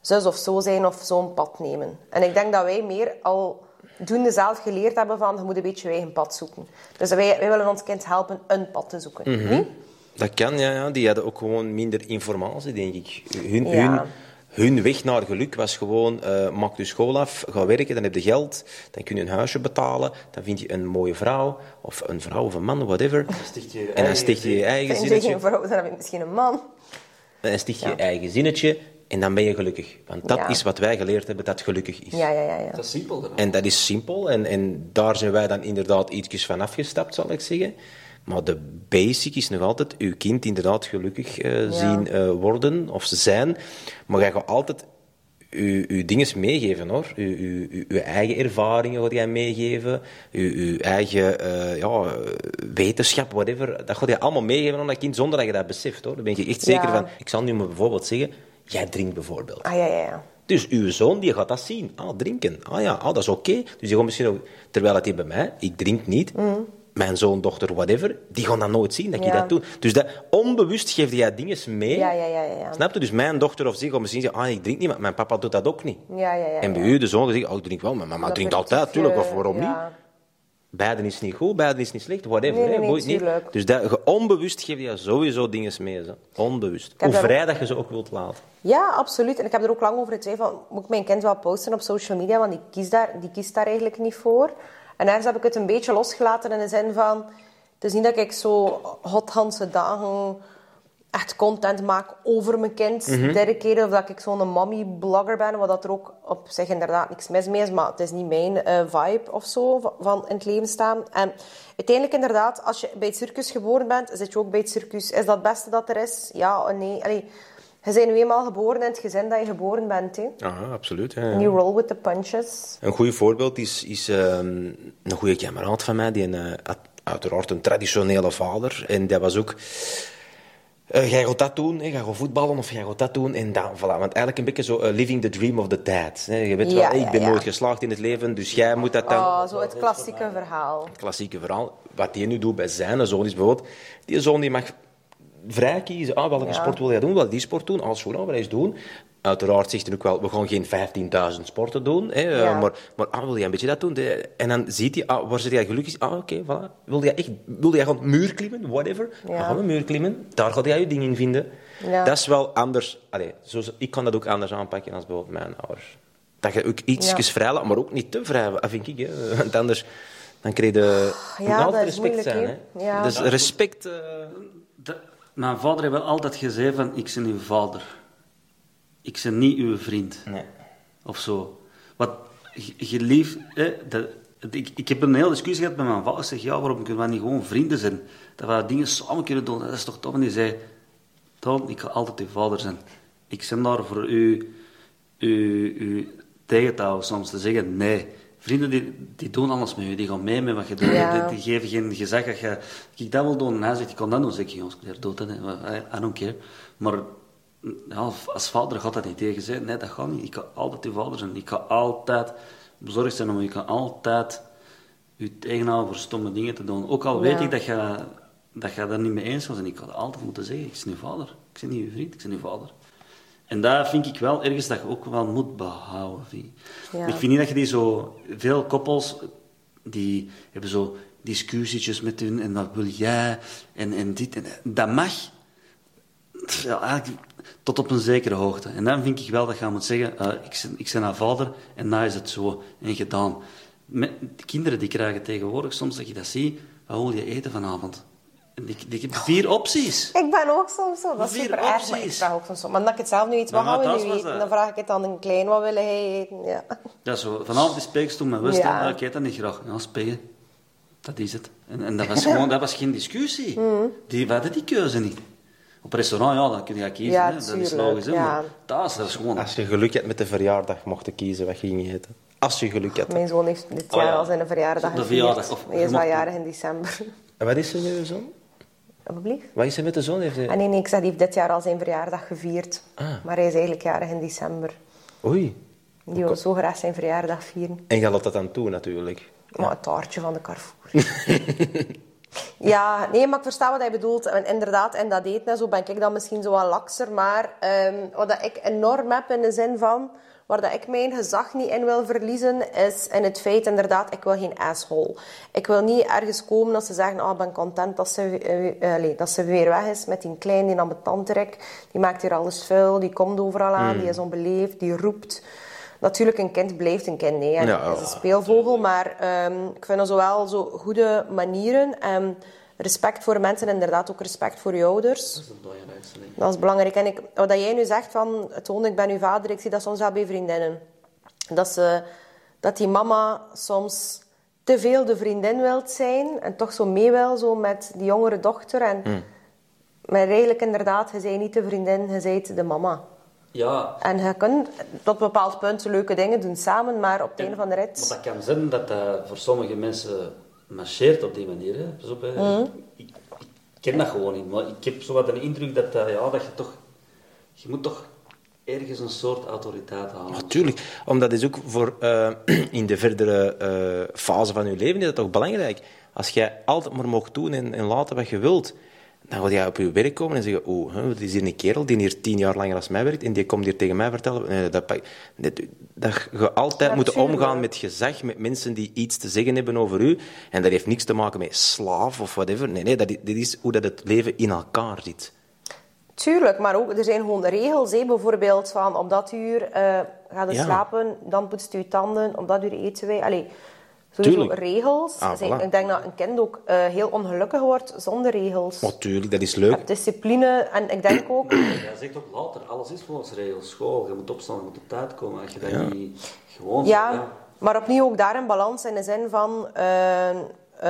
B: zus of zo zijn of zo'n pad nemen. En ik denk dat wij meer al doende zelf geleerd hebben van, je moet een beetje je eigen pad zoeken. Dus wij, wij willen ons kind helpen een pad te zoeken.
C: Mhm.
B: Niet?
C: Dat kan, ja, ja. Die hadden ook gewoon minder informatie, denk ik. Hun,
B: Ja.
C: hun, hun weg naar geluk was gewoon, eh, maak je school af, ga werken, dan heb je geld, dan kun je een huisje betalen, dan vind je een mooie vrouw, of een vrouw of een man, whatever.
D: sticht je je
C: en dan
D: eigen
C: sticht je je
D: gezin.
C: eigen
B: Vind je
C: zinnetje.
B: geen vrouw, dan heb je misschien een man.
C: En dan sticht je je eigen zinnetje, en dan ben je gelukkig. Want dat
B: Ja.
C: is wat wij geleerd hebben, dat gelukkig is.
B: Ja, ja, ja. ja.
D: Dat is simpel. dan.
C: En dat is simpel. En, en daar zijn wij dan inderdaad ietsjes van afgestapt, zal ik zeggen. Maar de basic is nog altijd uw kind inderdaad gelukkig eh, zien eh, worden of ze zijn. Maar je gaat altijd uw, uw dinges meegeven hoor. Uw, uw, uw- uw eigen ervaringen wat jij meegeven, uw, uw eigen eh, ja, eh, wetenschap, whatever. Dat gaat je allemaal meegeven aan dat kind zonder dat je dat beseft hoor. Daar ben je echt zeker
B: Ja.
C: van. Ik zal nu maar bijvoorbeeld zeggen, jij drinkt bijvoorbeeld.
B: Ah, ja, ja, ja.
C: Dus uw zoon die gaat dat zien. Ah, drinken. Ah ja, ah, dat is oké. Dus die gaat misschien ook... Terwijl het hier bij mij, ik drink niet. Mijn zoon, dochter, whatever, die gaan dat nooit zien dat ik
B: Ja.
C: dat doe. Dus dat, onbewust geef jij dingen mee.
B: Ja, ja, ja, ja, ja.
C: Snap je? Dus mijn dochter of zich gaat misschien zeggen, ah, ik drink niet, maar mijn papa doet dat ook niet.
B: Ja, ja, ja,
C: en bij
B: ja.
C: u, de zoon, zegt, oh, ik drink wel, maar mama drinkt altijd, tuurlijk,
B: eh,
C: of waarom niet? Beiden is niet goed, beiden is niet slecht, whatever.
B: Nee, nee,
C: hè,
B: nee,
C: boeit niet.
B: tuurlijk.
C: Dus dat, ge- onbewust geef je sowieso dingen mee. Zo. Onbewust.
B: heb
C: Hoe
B: daar ook-
C: vrij dat je ze ook wilt laten.
B: Ja, absoluut. En ik heb er ook lang over getwijfeld. Moet ik mijn kind wel posten op social media? Want die kiest daar, die kiest daar eigenlijk niet voor. En ergens heb ik het een beetje losgelaten in de zin van... Het is niet dat ik zo hothandse dagen echt content maak over mijn kind. Derde keer of dat ik zo'n mommy-blogger ben. Wat dat er ook op zich inderdaad niks mis mee is. Maar het is niet mijn eh, vibe of zo van, van in het leven staan. En uiteindelijk inderdaad, als je bij het circus geboren bent, zit je ook bij het circus. Is dat het beste dat er is? Ja, nee. Allee, je bent nu eenmaal geboren in het gezin dat je geboren bent. Hè.
C: Ja, absoluut.
B: You roll with the punches.
C: Een goed voorbeeld is, is ehm, een goede kameraad van mij. Die eh, had uiteraard een traditionele vader. En dat was ook... eh, jij gaat dat doen, hè, jij gaat voetballen of jij gaat dat doen. En dan, voilà. Want eigenlijk een beetje zo eh, living the dream of the dad. Hè. Je weet
B: Ja,
C: wel, hey, ik
B: ja,
C: ben
B: ja.
C: nooit geslaagd in het leven, dus jij moet dat dan...
B: Ah, zo het klassieke verhaal.
C: klassieke verhaal. Wat hij nu doet bij zijn zoon is bijvoorbeeld... Die zoon die mag vrij kiezen. Ah, welke
B: Ja.
C: sport wil jij doen? Wil je die sport doen? Als goed, ah, wat eens doen. Uiteraard zegt hij ook wel, we gaan geen 15.000 sporten doen. Hè, eh,
B: Ja.
C: Maar, maar ah, wil jij een beetje dat doen? De- en dan ziet hij, ah, waar zit jij gelukkig? Ah, oké, voilà. Wil jij, echt, wil jij gewoon muur klimmen? Whatever.
B: Ja.
C: Dan gaan we muur klimmen. Daar ga jij je ding in vinden.
B: Ja.
C: Dat is wel anders. Allee, zo, ik kan dat ook anders aanpakken dan bijvoorbeeld mijn ouders. Dat je ook iets
B: Ja.
C: vrij laat, maar ook niet te vrij. Dat vind ik, hè. Want anders dan krijg je... moet
B: Ah, dat
C: altijd
B: is
C: respect
B: moeilijk,
C: zijn,
B: hè.
C: hè.
B: Ja.
C: Dus respect... eh,
D: De- mijn vader heeft wel altijd gezegd van, ik ben uw vader. Ik ben niet uw vriend.
C: nee.
D: Of zo. Wat je- je lief... Hè, dat- het- ik, ik heb een hele discussie gehad met mijn vader. Ik zeg, ja, waarom kunnen we niet gewoon vrienden zijn? Dat we dingen samen kunnen doen. Dat is toch tof? En die zei, Tom, ik ga altijd uw vader zijn. Ik ben daar voor u, u, u tegen te houden soms. Te zeggen, nee. Vrienden, die, die doen alles met u. Die gaan mee met wat je doet.
B: Ja.
D: Die, die geven geen gezag. Dat je, ik dat wil doen. En hij zegt, ik kan dat doen. Dan zeg ik, jongens, ik dood. Hè. eh, I- I don't care. Maar ja, als vader gaat dat niet tegen zijn. Nee, dat gaat niet. Ik kan altijd uw vader zijn. Ik kan altijd bezorgd zijn om u. Ik kan altijd u tegenhouden voor stomme dingen te doen. Ook al weet
B: Ja.
D: ik dat je dat je daar niet mee eens was. En ik had altijd moeten zeggen, ik ben uw vader. Ik ben niet uw vriend, ik ben uw vader. En dat vind ik wel ergens dat je ook wel moet behouden. Vind ik.
B: Ja.
D: ik vind niet dat je die zo... Veel koppels, die hebben zo discussietjes met hun. En wat wil jij? En, en dit. En, dat mag. Pff, Ja, eigenlijk tot op een zekere hoogte. En dan vind ik wel dat je moet zeggen, eh, ik, ben, ik ben haar vader en daar is het zo en gedaan. Met, de kinderen die krijgen tegenwoordig soms dat je dat ziet, wat wil je eten vanavond? En die, die hebben vier opties.
B: Ik ben ook soms zo. Dat is
D: Vier
B: super erg, maar ik
D: opties.
B: vraag ook soms zo. Maar dan ik het zelf nu iets, wat
D: Ja,
B: gaan we
D: dat
B: nu
D: was
B: eten?
D: dat.
B: Dan vraag ik het aan een klein, wat willen hij eten? Ja.
D: Ja, zo, vanavond is speekstoel met West.
B: Ja.
D: Ja. Ik eet dat niet graag. Ja, spelen. Dat is het. En, en dat, was gewoon, dat was geen discussie.
B: Hmm.
D: Die, we hadden die keuze niet. Op restaurant, ja, dan kun je kiezen.
B: Ja,
D: hè. Dat is
B: tuurlijk,
D: logisch. hè,
B: ja.
D: Maar thuis, dat is gewoon...
C: Als je geluk hebt met de verjaardag, mocht je kiezen wat je ging eten. Als je geluk hebt.
B: Mijn zoon heeft dit
D: Oh,
B: jaar
D: ja.
B: al zijn verjaardag
D: De
B: gevierd.
D: verjaardag, of-
B: Hij is
D: je
B: wel
D: mag-
B: jarig in december.
C: En wat is er met je zoon?
B: Alsjeblieft.
C: Wat is er met de zoon? Heeft hij-
B: Ah nee, nee, ik zei, die heeft dit jaar al zijn verjaardag gevierd.
C: Ah.
B: Maar hij is eigenlijk jarig in december.
C: Oei.
B: Die wil zo graag zijn verjaardag vieren.
C: En je laat dat dan toe, natuurlijk.
B: Maar het taartje van de Carrefour. ja, nee, maar ik versta wat hij bedoelt. En inderdaad, en dat eten en zo ben ik dan misschien zo wat lakser. Maar ehm, wat dat ik enorm heb in de zin van... Waar dat ik mijn gezag niet in wil verliezen, is in het feit inderdaad, ik wil geen asshole. Ik wil niet ergens komen dat ze zeggen, ah, ik ben content dat ze, eh, eh, allee, dat ze weer weg is met die klein, die ambetantrek. Die maakt hier alles vuil, die komt overal aan, die is onbeleefd, die roept. Natuurlijk, een kind blijft een kind, nee. hè.
C: Ja,
B: Het is een speelvogel, maar ehm, ik vind dat zowel zo goede manieren. en respect voor mensen, inderdaad ook respect voor je ouders.
D: Dat is het belangrijkste, denk ik.
B: Dat is belangrijk. En ik, wat dat jij nu zegt van, Toon, ik ben uw vader, ik zie dat soms wel bij vriendinnen. Dat, ze, dat die mama soms te veel de vriendin wilt zijn en toch zo mee wil zo met die jongere
D: Hmm.
B: dochter. En, Maar eigenlijk inderdaad, je bent niet de vriendin, je bent de mama.
D: Ja,
B: En je kunt tot een bepaald punt leuke dingen doen samen, maar op het einde van de
D: maar
B: rit...
D: dat kan zijn dat dat voor sommige mensen marcheert op die manier. Hè. Pas op, hè. Ik, ik ken dat gewoon niet, maar ik heb zo wat een indruk dat, dat, ja, dat je toch... Je moet toch ergens een soort autoriteit halen.
C: Natuurlijk, omdat is ook voor eh, in de verdere eh, fase van je leven is dat toch belangrijk. Als jij altijd maar mocht doen en, en laten wat je wilt, dan wil jij op je werk komen en zeggen: Oh, hè, wat is hier een kerel die hier tien jaar langer als mij werkt en die komt hier tegen mij vertellen. Nee, dat, pak- dat, dat je altijd moet omgaan met gezag, met mensen die iets te zeggen hebben over u. En dat heeft niks te maken met slaaf of whatever. Nee, nee, dat, i- dit is hoe dat het leven in elkaar zit.
B: Tuurlijk, maar ook, er zijn gewoon regels, hè. bijvoorbeeld van om dat uur eh gaan we
C: Ja.
B: slapen, dan poetst u je tanden, om dat uur eten wij. Allee, sowieso
C: Tuurlijk.
B: regels.
C: Ah,
B: zijn-
C: voilà.
B: Ik denk dat een kind ook eh, heel ongelukkig wordt zonder regels.
C: Natuurlijk, dat is leuk.
B: Je hebt discipline en ik denk ook...
D: Jij zegt ook later, alles is volgens regels. School, je moet opstaan, je moet op tijd komen. Als je dat niet gewoon...
B: Ja, maar opnieuw ook daar een balans in de zin van, eh, eh,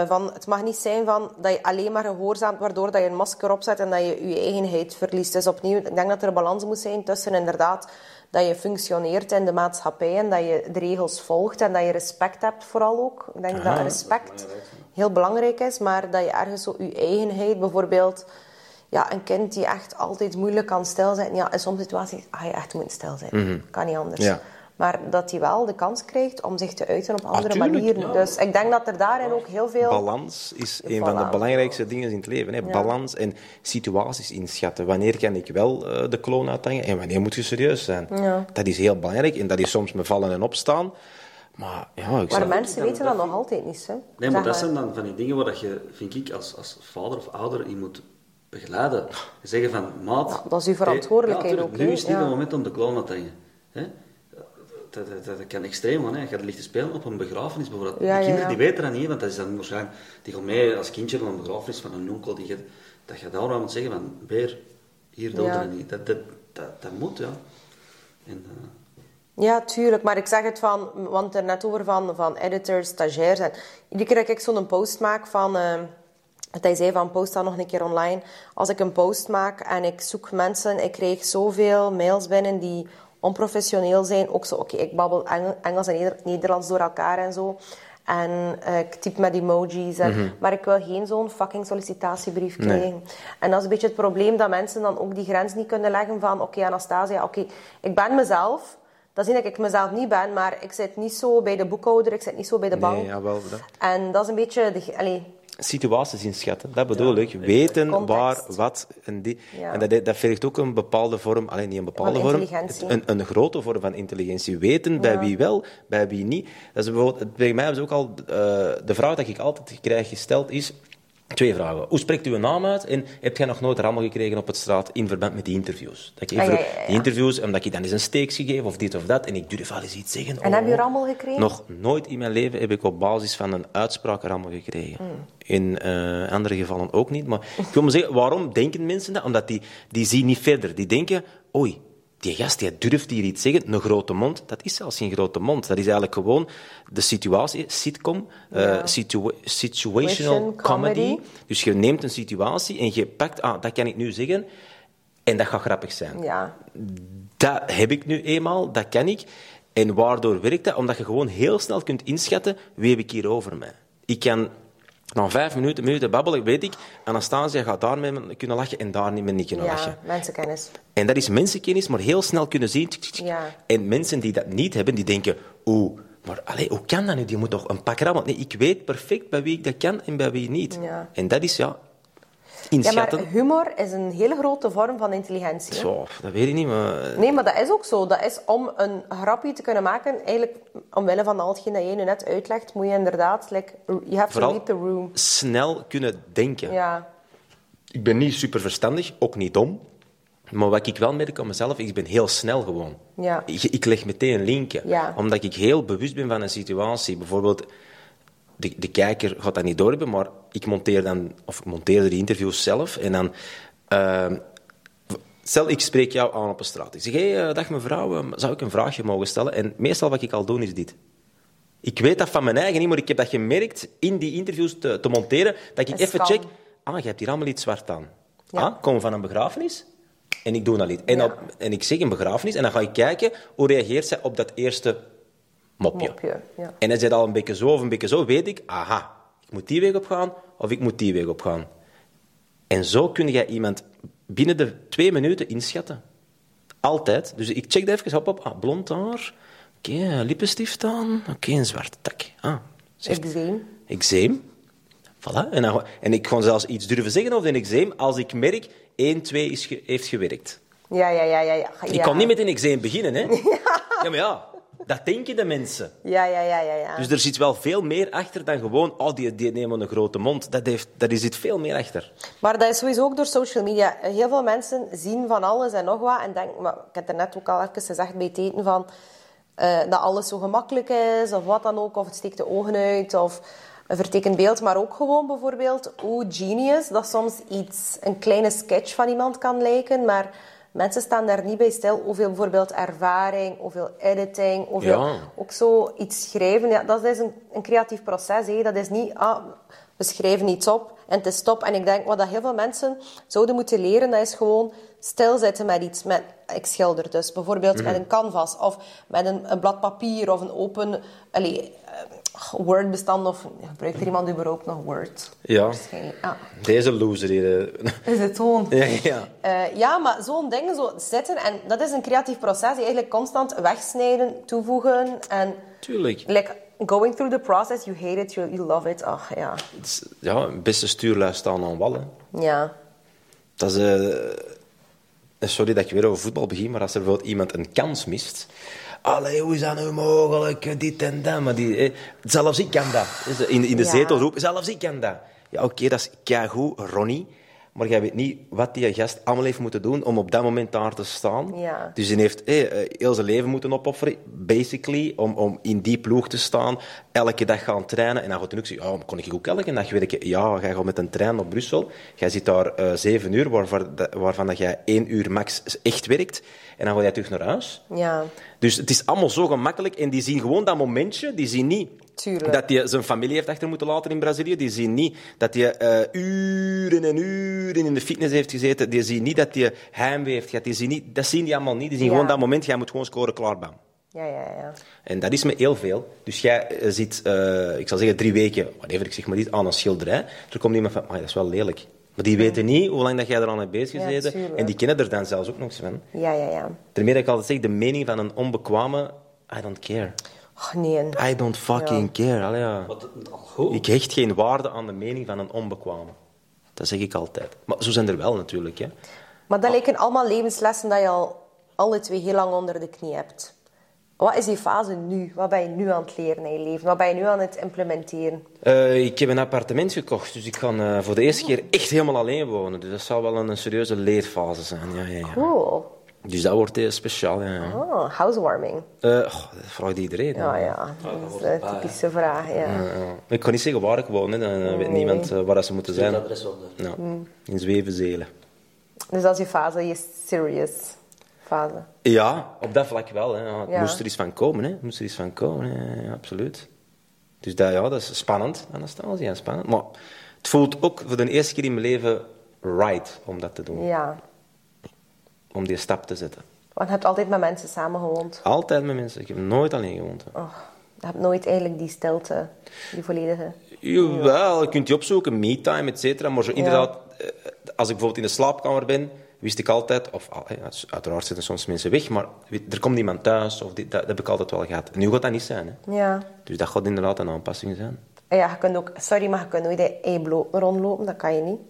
B: van... Het mag niet zijn van dat je alleen maar gehoorzaamt, waardoor dat je een masker opzet en dat je je eigenheid verliest. Dus opnieuw, ik denk dat er een balans moet zijn tussen inderdaad dat je functioneert in de maatschappij en dat je de regels volgt en dat je respect hebt vooral ook. Ik denk dat respect heel belangrijk is, maar dat je ergens zo je eigenheid bijvoorbeeld... Ja, een kind die echt altijd moeilijk kan stilzitten. Ja, in sommige situaties ga je echt moeten stilzitten. Kan niet anders.
C: Ja.
B: Maar dat hij wel de kans krijgt om zich te uiten op
D: Ah,
B: andere
C: tuurlijk,
B: manieren. Dus ik denk dat er daarin ook heel veel...
C: Balans is een van de
B: Voilà.
C: belangrijkste dingen in het leven. Hè. Balans en situaties inschatten. Wanneer kan ik wel eh, de kloon uithangen en wanneer moet je serieus zijn? Dat is heel belangrijk en dat is soms met vallen en opstaan. Maar ja, ik
B: maar
C: zou-
B: mensen
D: dat-
B: weten dat,
D: dat
B: nog altijd niet, hè.
D: Nee, maar
B: Zeg
D: dat zijn dan van die dingen waar dat je, vind ik, als, als vader of ouder je moet begeleiden. Je Zeggen van, maat...
B: Ja, dat is uw verantwoordelijkheid
D: tuurlijk,
B: ook,
D: Nu
B: hè?
D: is niet
B: Ja.
D: het moment om de clown te hangen. Hè? Dat, dat, dat kan extreem worden. hè. Je gaat licht spelen op een begrafenis bijvoorbeeld.
B: Ja, ja,
D: die kinderen
B: ja.
D: die weten dat niet, want dat is dan waarschijnlijk... Die gaan mee als kindje naar een begrafenis van een onkel. Die gaat, dat je daar wel moet zeggen van, beer, hier doden
B: Ja.
D: we niet. Dat, dat, dat, dat moet, ja. En, eh,
B: Ja, tuurlijk. Maar ik zeg het van, want er net over van, van editors, stagiairs. En iedere keer dat ik zo'n post maak van. eh, dat hij zei van post dat nog een keer online. Als ik een post maak en ik zoek mensen, ik kreeg zoveel mails binnen die onprofessioneel zijn. Ook zo, oké, ik babbel Engel- Engels en Neder- Nederlands door elkaar en zo. En eh, ik typ met emojis. En, Maar ik wil geen zo'n fucking sollicitatiebrief krijgen. En dat is een beetje het probleem dat mensen dan ook die grens niet kunnen leggen van... Oké, Anastasia, oké, ik ben mezelf. Dat is niet dat ik mezelf niet ben, maar ik zit niet zo bij de boekhouder, ik zit niet zo bij de bank.
C: Nee, jawel, dat-
B: En dat is een beetje... De, ge- allee,
C: situaties inschatten, dat bedoel ik. Weten
B: Context.
C: waar, wat en die.
B: Ja.
C: En dat, dat vergt ook een bepaalde vorm, alleen niet een bepaalde
B: Van
C: vorm,
B: intelligentie.
C: een, een grote vorm van intelligentie. Weten bij wie wel, bij wie niet. Dat is bijvoorbeeld, bij mij hebben ze ook al eh, de vraag die ik altijd krijg gesteld is. Twee vragen. Hoe spreekt u uw naam uit? En heb jij nog nooit rammel gekregen op het straat in verband met die interviews? Dat ik
B: Ah, ja,
C: voor-
B: ja, ja.
C: Die interviews, omdat ik dan eens een steeks gegeven of dit of dat. En ik durf wel eens iets zeggen.
B: En heb je rammel gekregen?
C: Nog nooit in mijn leven heb ik op basis van een uitspraak rammel gekregen.
B: Mm.
C: In eh, andere gevallen ook niet. Maar ik wil maar zeggen, waarom denken mensen dat? Omdat die, die zien niet verder. Die denken, oei, die gast die durft hier iets zeggen. Een grote mond, dat is zelfs geen grote mond. Dat is eigenlijk gewoon de situatie, sitcom, eh, situa- situational
B: Situation
C: comedy.
B: comedy.
C: Dus je neemt een situatie en je pakt, ah, dat kan ik nu zeggen... En dat gaat grappig zijn
B: ja.
C: dat heb ik nu eenmaal, dat ken ik. En waardoor werkt dat? Omdat je gewoon heel snel kunt inschatten wie heb ik hier over mij. Ik kan na vijf minuten, minuten babbelen, weet ik, Anastasia gaat daarmee kunnen lachen en daar niet mee niet kunnen
B: ja,
C: lachen.
B: mensenkennis.
C: En dat is mensenkennis, maar heel snel kunnen zien. tsk, tsk, tsk.
B: Ja.
C: En mensen die dat niet hebben, die denken, oeh, maar allee, hoe kan dat nu? Die moet toch een pak rammelen? Nee, ik weet perfect bij wie ik dat kan en bij wie niet.
B: Ja.
C: En dat is, ja,
B: Ja, maar
C: inschatten.
B: humor is een hele grote vorm van intelligentie. hè.
C: Zo, dat weet ik niet, maar
B: Nee, maar dat is ook zo. Dat is om een grapje te kunnen maken. Eigenlijk, omwille van al hetgeen dat jij nu net uitlegt, moet je inderdaad... Like, you have to
C: vooral
B: read the room.
C: snel kunnen denken.
B: Ja.
C: ik ben niet super verstandig, ook niet dom. Maar wat ik wel merk aan mezelf, ik ben heel snel gewoon.
B: Ja.
C: Ik, ik leg meteen linken.
B: Ja.
C: Omdat ik heel bewust ben van een situatie. Bijvoorbeeld, de, de kijker gaat dat niet doorhebben, maar ik monteer dan, of ik monteerde die interviews zelf. En dan, eh, stel ik spreek jou aan op een straat. Ik zeg, hé, hey, eh, dag mevrouw, eh, zou ik een vraagje mogen stellen? En meestal wat ik al doe is dit. Ik weet dat van mijn eigen niet, maar ik heb dat gemerkt in die interviews te, te monteren, dat ik
B: Een
C: even
B: scan.
C: check, ah, je hebt hier allemaal iets zwart aan.
B: Ja.
C: Ah, komen we van een begrafenis? En ik doe dat niet. En, dan- en ik zeg een begrafenis en dan ga ik kijken hoe reageert zij op dat eerste mopje.
B: Mopje, ja.
C: En hij zit al een beetje zo of een beetje zo, weet ik, aha, ik moet die weg op gaan of ik moet die weg op gaan. En zo kun jij iemand binnen de twee minuten inschatten. Altijd. Dus ik check dat even, hop, hop, ah, blond haar, oké, lippenstift aan, oké, een zwarte tak. Ah, ze heeft
B: Eczeem.
C: eczeem. Voilà. En, dan, en ik kon zelfs iets durven zeggen over een eczeem als ik merk 1, 2 is ge- heeft gewerkt.
B: Ja, ja, ja, ja. ja.
C: Ik kan niet met een eczeem beginnen, hè? Ja, maar ja, dat denken de mensen.
B: Ja, ja, ja, ja. ja.
C: Dus er zit wel veel meer achter dan gewoon, oh, die, die nemen een grote mond. Dat heeft, daar zit veel meer achter.
B: Maar dat is sowieso ook door social media. Heel veel mensen zien van alles en nog wat. En denken, maar ik heb er net ook al even gezegd bij het eten van... eh, dat alles zo gemakkelijk is, of wat dan ook. Of het steekt de ogen uit, of een vertekend beeld. Maar ook gewoon bijvoorbeeld hoe genius dat soms iets... Een kleine sketch van iemand kan lijken, maar... Mensen staan daar niet bij stil hoeveel bijvoorbeeld ervaring, hoeveel editing, hoeveel
C: Ja.
B: ook zo iets schrijven, ja, dat is dus een, een creatief proces. Hè. Dat is niet, ah, we schrijven iets op en het is top. En ik denk, wat dat heel veel mensen zouden moeten leren, dat is gewoon stilzitten met iets. Met, ik schilder dus, bijvoorbeeld
C: Mhm.
B: met een canvas of met een, een blad papier of een open allee, eh, Word-bestand. Of gebruikt er iemand überhaupt nog Word?
C: Ja.
B: Waarschijnlijk, ah. ja.
C: Deze loser hier. eh.
B: Is het gewoon...
C: Ja, ja.
B: Eh, ja, maar zo'n ding, zo zitten, en dat is een creatief proces. die Eigenlijk constant wegsnijden, toevoegen en...
C: Tuurlijk.
B: Like going through the process, you hate it, you, you love it. Ach ja.
C: Het is- Ja, beste stuurlui staan aan wallen.
B: Ja.
C: Dat is, eh, sorry dat ik weer over voetbal begin, maar als er bijvoorbeeld iemand een kans mist... Allee, hoe is dat nu mogelijk? Dit en dat. Maar die, eh, zelfs ik kan dat. Is de- In, in de
B: Ja.
C: zetel roepen, zelfs ik kan dat. Ja, oké, dat is keigoed, Ronnie. Maar jij weet niet wat die gast allemaal heeft moeten doen om op dat moment daar te staan.
B: Ja.
C: Dus die heeft eh, eh, heel zijn leven moeten opofferen, basically, om, om in die ploeg te staan. Elke dag gaan trainen. En dan gaat hij ook zeggen, oh, kon ik ook elke dag werken? Ja, jij gaat met een trein naar Brussel. Jij zit daar eh, zeven uur, waarvan, dat- waarvan dat jij één uur max echt werkt. En dan ga jij terug naar huis.
B: Ja.
C: Dus het is allemaal zo gemakkelijk. En die zien gewoon dat momentje. Die zien niet
B: Tuurlijk.
C: dat hij zijn familie heeft achter moeten laten in Brazilië. Die zien niet dat hij eh, uren en uren in de fitness heeft gezeten. Die zien niet dat hij heimwee heeft gehad. Die zien niet, dat zien die allemaal niet. Die zien
B: Ja.
C: gewoon dat moment. Jij moet gewoon scoren, klaar, bam.
B: Ja, ja, ja.
C: En dat is me heel veel. Dus jij eh, zit, eh, ik zal zeggen, drie weken, whatever, ik zeg maar niet, aan een schilderij. Toen komt iemand van, "Amai, dat is wel lelijk. Maar die weten niet hoe lang dat jij eraan hebt bezig
B: Ja,
C: gezeten.
B: tuurlijk.
C: en die kennen er dan zelfs ook nog eens van.
B: Ja, ja, ja.
C: Daarmee dat ik altijd zeg, de mening van een onbekwame, I don't care.
B: Och nee.
C: I don't fucking care. Allee, ja.
D: Wat, al goed.
C: Ik hecht geen waarde aan de mening van een onbekwame. Dat zeg ik altijd. Maar zo zijn er wel natuurlijk. Hè.
B: Maar dat lijken allemaal levenslessen dat je al alle twee heel lang onder de knie hebt. Wat is die fase nu? Wat ben je nu aan het leren in je leven? Wat ben je nu aan het implementeren?
C: Eh, ik heb een appartement gekocht, dus ik ga eh, voor de eerste keer echt helemaal alleen wonen. Dus dat zal wel een, een serieuze leerfase zijn. Ja, ja, ja.
B: Cool.
C: Dus dat wordt eh, speciaal. Ja. ja.
B: Oh, housewarming.
C: Eh, goh, dat vraagt iedereen. hè.
B: Ja, ja. Dat is de typische vraag, ja.
C: Ja. Ik kan niet zeggen waar ik woon, hè. dan eh, weet niemand eh, waar dat ze moeten
D: Zet
C: zijn.
D: het adres op. daar.
C: Ja. In Zwevenzelen.
B: Dus dat is je fase, je serious fase.
C: Ja, op dat vlak wel. Hè. Ja, het
B: Ja.
C: moest er iets van komen, hè. Het moest er iets van komen, hè. Ja, absoluut. Dus dat, ja, dat is spannend, Anastasia, spannend. Maar het voelt ook voor de eerste keer in mijn leven right om dat te doen.
B: Ja.
C: Om die stap te zetten.
B: Want je hebt altijd met mensen samengewoond.
C: Altijd met mensen. Ik heb nooit alleen gewoond. hè.
B: Oh, je hebt nooit eigenlijk die stilte, die volledige.
C: Jawel, je kunt die opzoeken, me-time, et cetera. Maar zo inderdaad, eh, als ik bijvoorbeeld in de slaapkamer ben, wist ik altijd... Of, ah, eh, uiteraard zitten soms mensen weg, maar weet- er komt niemand thuis. Of dit, dat, dat heb ik altijd wel gehad. Nu gaat dat niet zijn, hè.
B: Ja.
C: Dus dat gaat inderdaad een aanpassing zijn.
B: En ja, je kunt ook, sorry, maar je kunt nooit in één bloot rondlopen, dat kan je niet.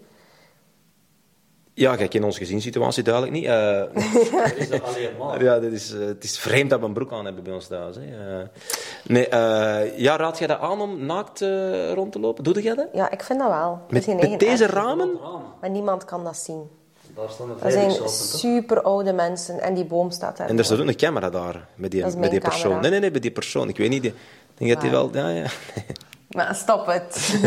C: Ja, kijk, in onze gezinssituatie duidelijk niet. Eh,
D: Is dat alleen maar?
C: ja, dit is, eh, het is vreemd dat we een broek aan hebben bij ons thuis. Hè. Eh, nee, eh, ja, raad jij dat aan om naakt eh, rond te lopen? Doe jij dat?
B: Ja, ik vind dat wel. Dat
C: Met,
B: is een
C: met
B: eigen
C: deze
B: aard.
C: ramen?
B: Maar niemand kan dat zien.
D: Daar staan de
B: Dat zijn
D: vrijwilligers op.
B: super oude mensen en die boom staat daar.
C: En er staat ook een camera daar, met die,
B: Dat is
C: met
B: mijn
C: die persoon.
B: camera.
C: Nee, nee, nee, met die persoon. Ik weet niet, die- ik denk dat die wel... Ja, ja.
B: Maar stop het.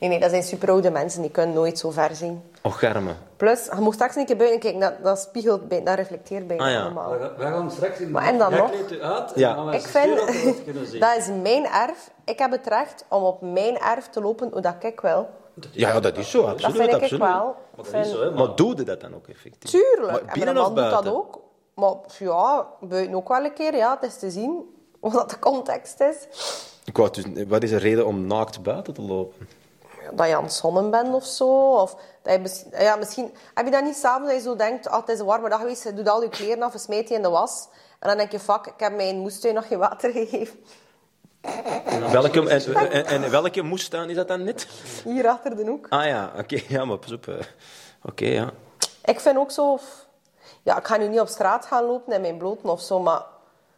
B: Nee, nee, dat zijn superoude mensen. Die kunnen nooit zo ver zien.
C: Och, garme.
B: Plus, je moet straks een keer buiten kijken. Dat, dat spiegelt bij, dat reflecteert bijna
C: Ah, ja.
B: allemaal.
D: Wij gaan- wij gaan straks in
B: Maar en dan
D: Jij
B: nog?
D: kleedt u uit en
C: Ja.
D: dan gaan wij
B: Ik
D: eens sturen
B: vind,
D: of we dat kunnen zien.
B: dat is mijn erf. Ik heb het recht om op mijn erf te lopen hoe dat ik wil.
C: Ja, ja, dat is zo, absoluut.
B: Dat vind ik
C: absoluut.
B: wel.
D: Maar
B: Ik
D: dat is
B: vind-
D: zo, hè,
C: Maar doe je dat dan ook effectief?
B: Tuurlijk.
C: Maar
B: En
C: binnen
B: mijn man
C: of
B: doet dat
C: buiten?
B: ook. Maar ja, buiten ook wel een keer. Ja, het is te zien wat dat de context is.
C: Ik wou dus, wat is de reden om naakt buiten te lopen?
B: Dat je aan het zonnen bent of zo. Of dat je mis- ja, misschien heb je dat niet samen dat je zo denkt: ah, het is een warme dag geweest, je doet al je kleren af en smijt die in de was. En dan denk je: fuck, ik heb mijn moestuin nog geen water gegeven.
C: Welke, en, en, en welke moestuin is dat dan net?
B: Hier achter de hoek.
C: Ah ja, oké, ja, maar pas op. eh. Oké, ja.
B: Ik vind ook zo... f- Ja, ik ga nu niet op straat gaan lopen in mijn bloten of zo, maar...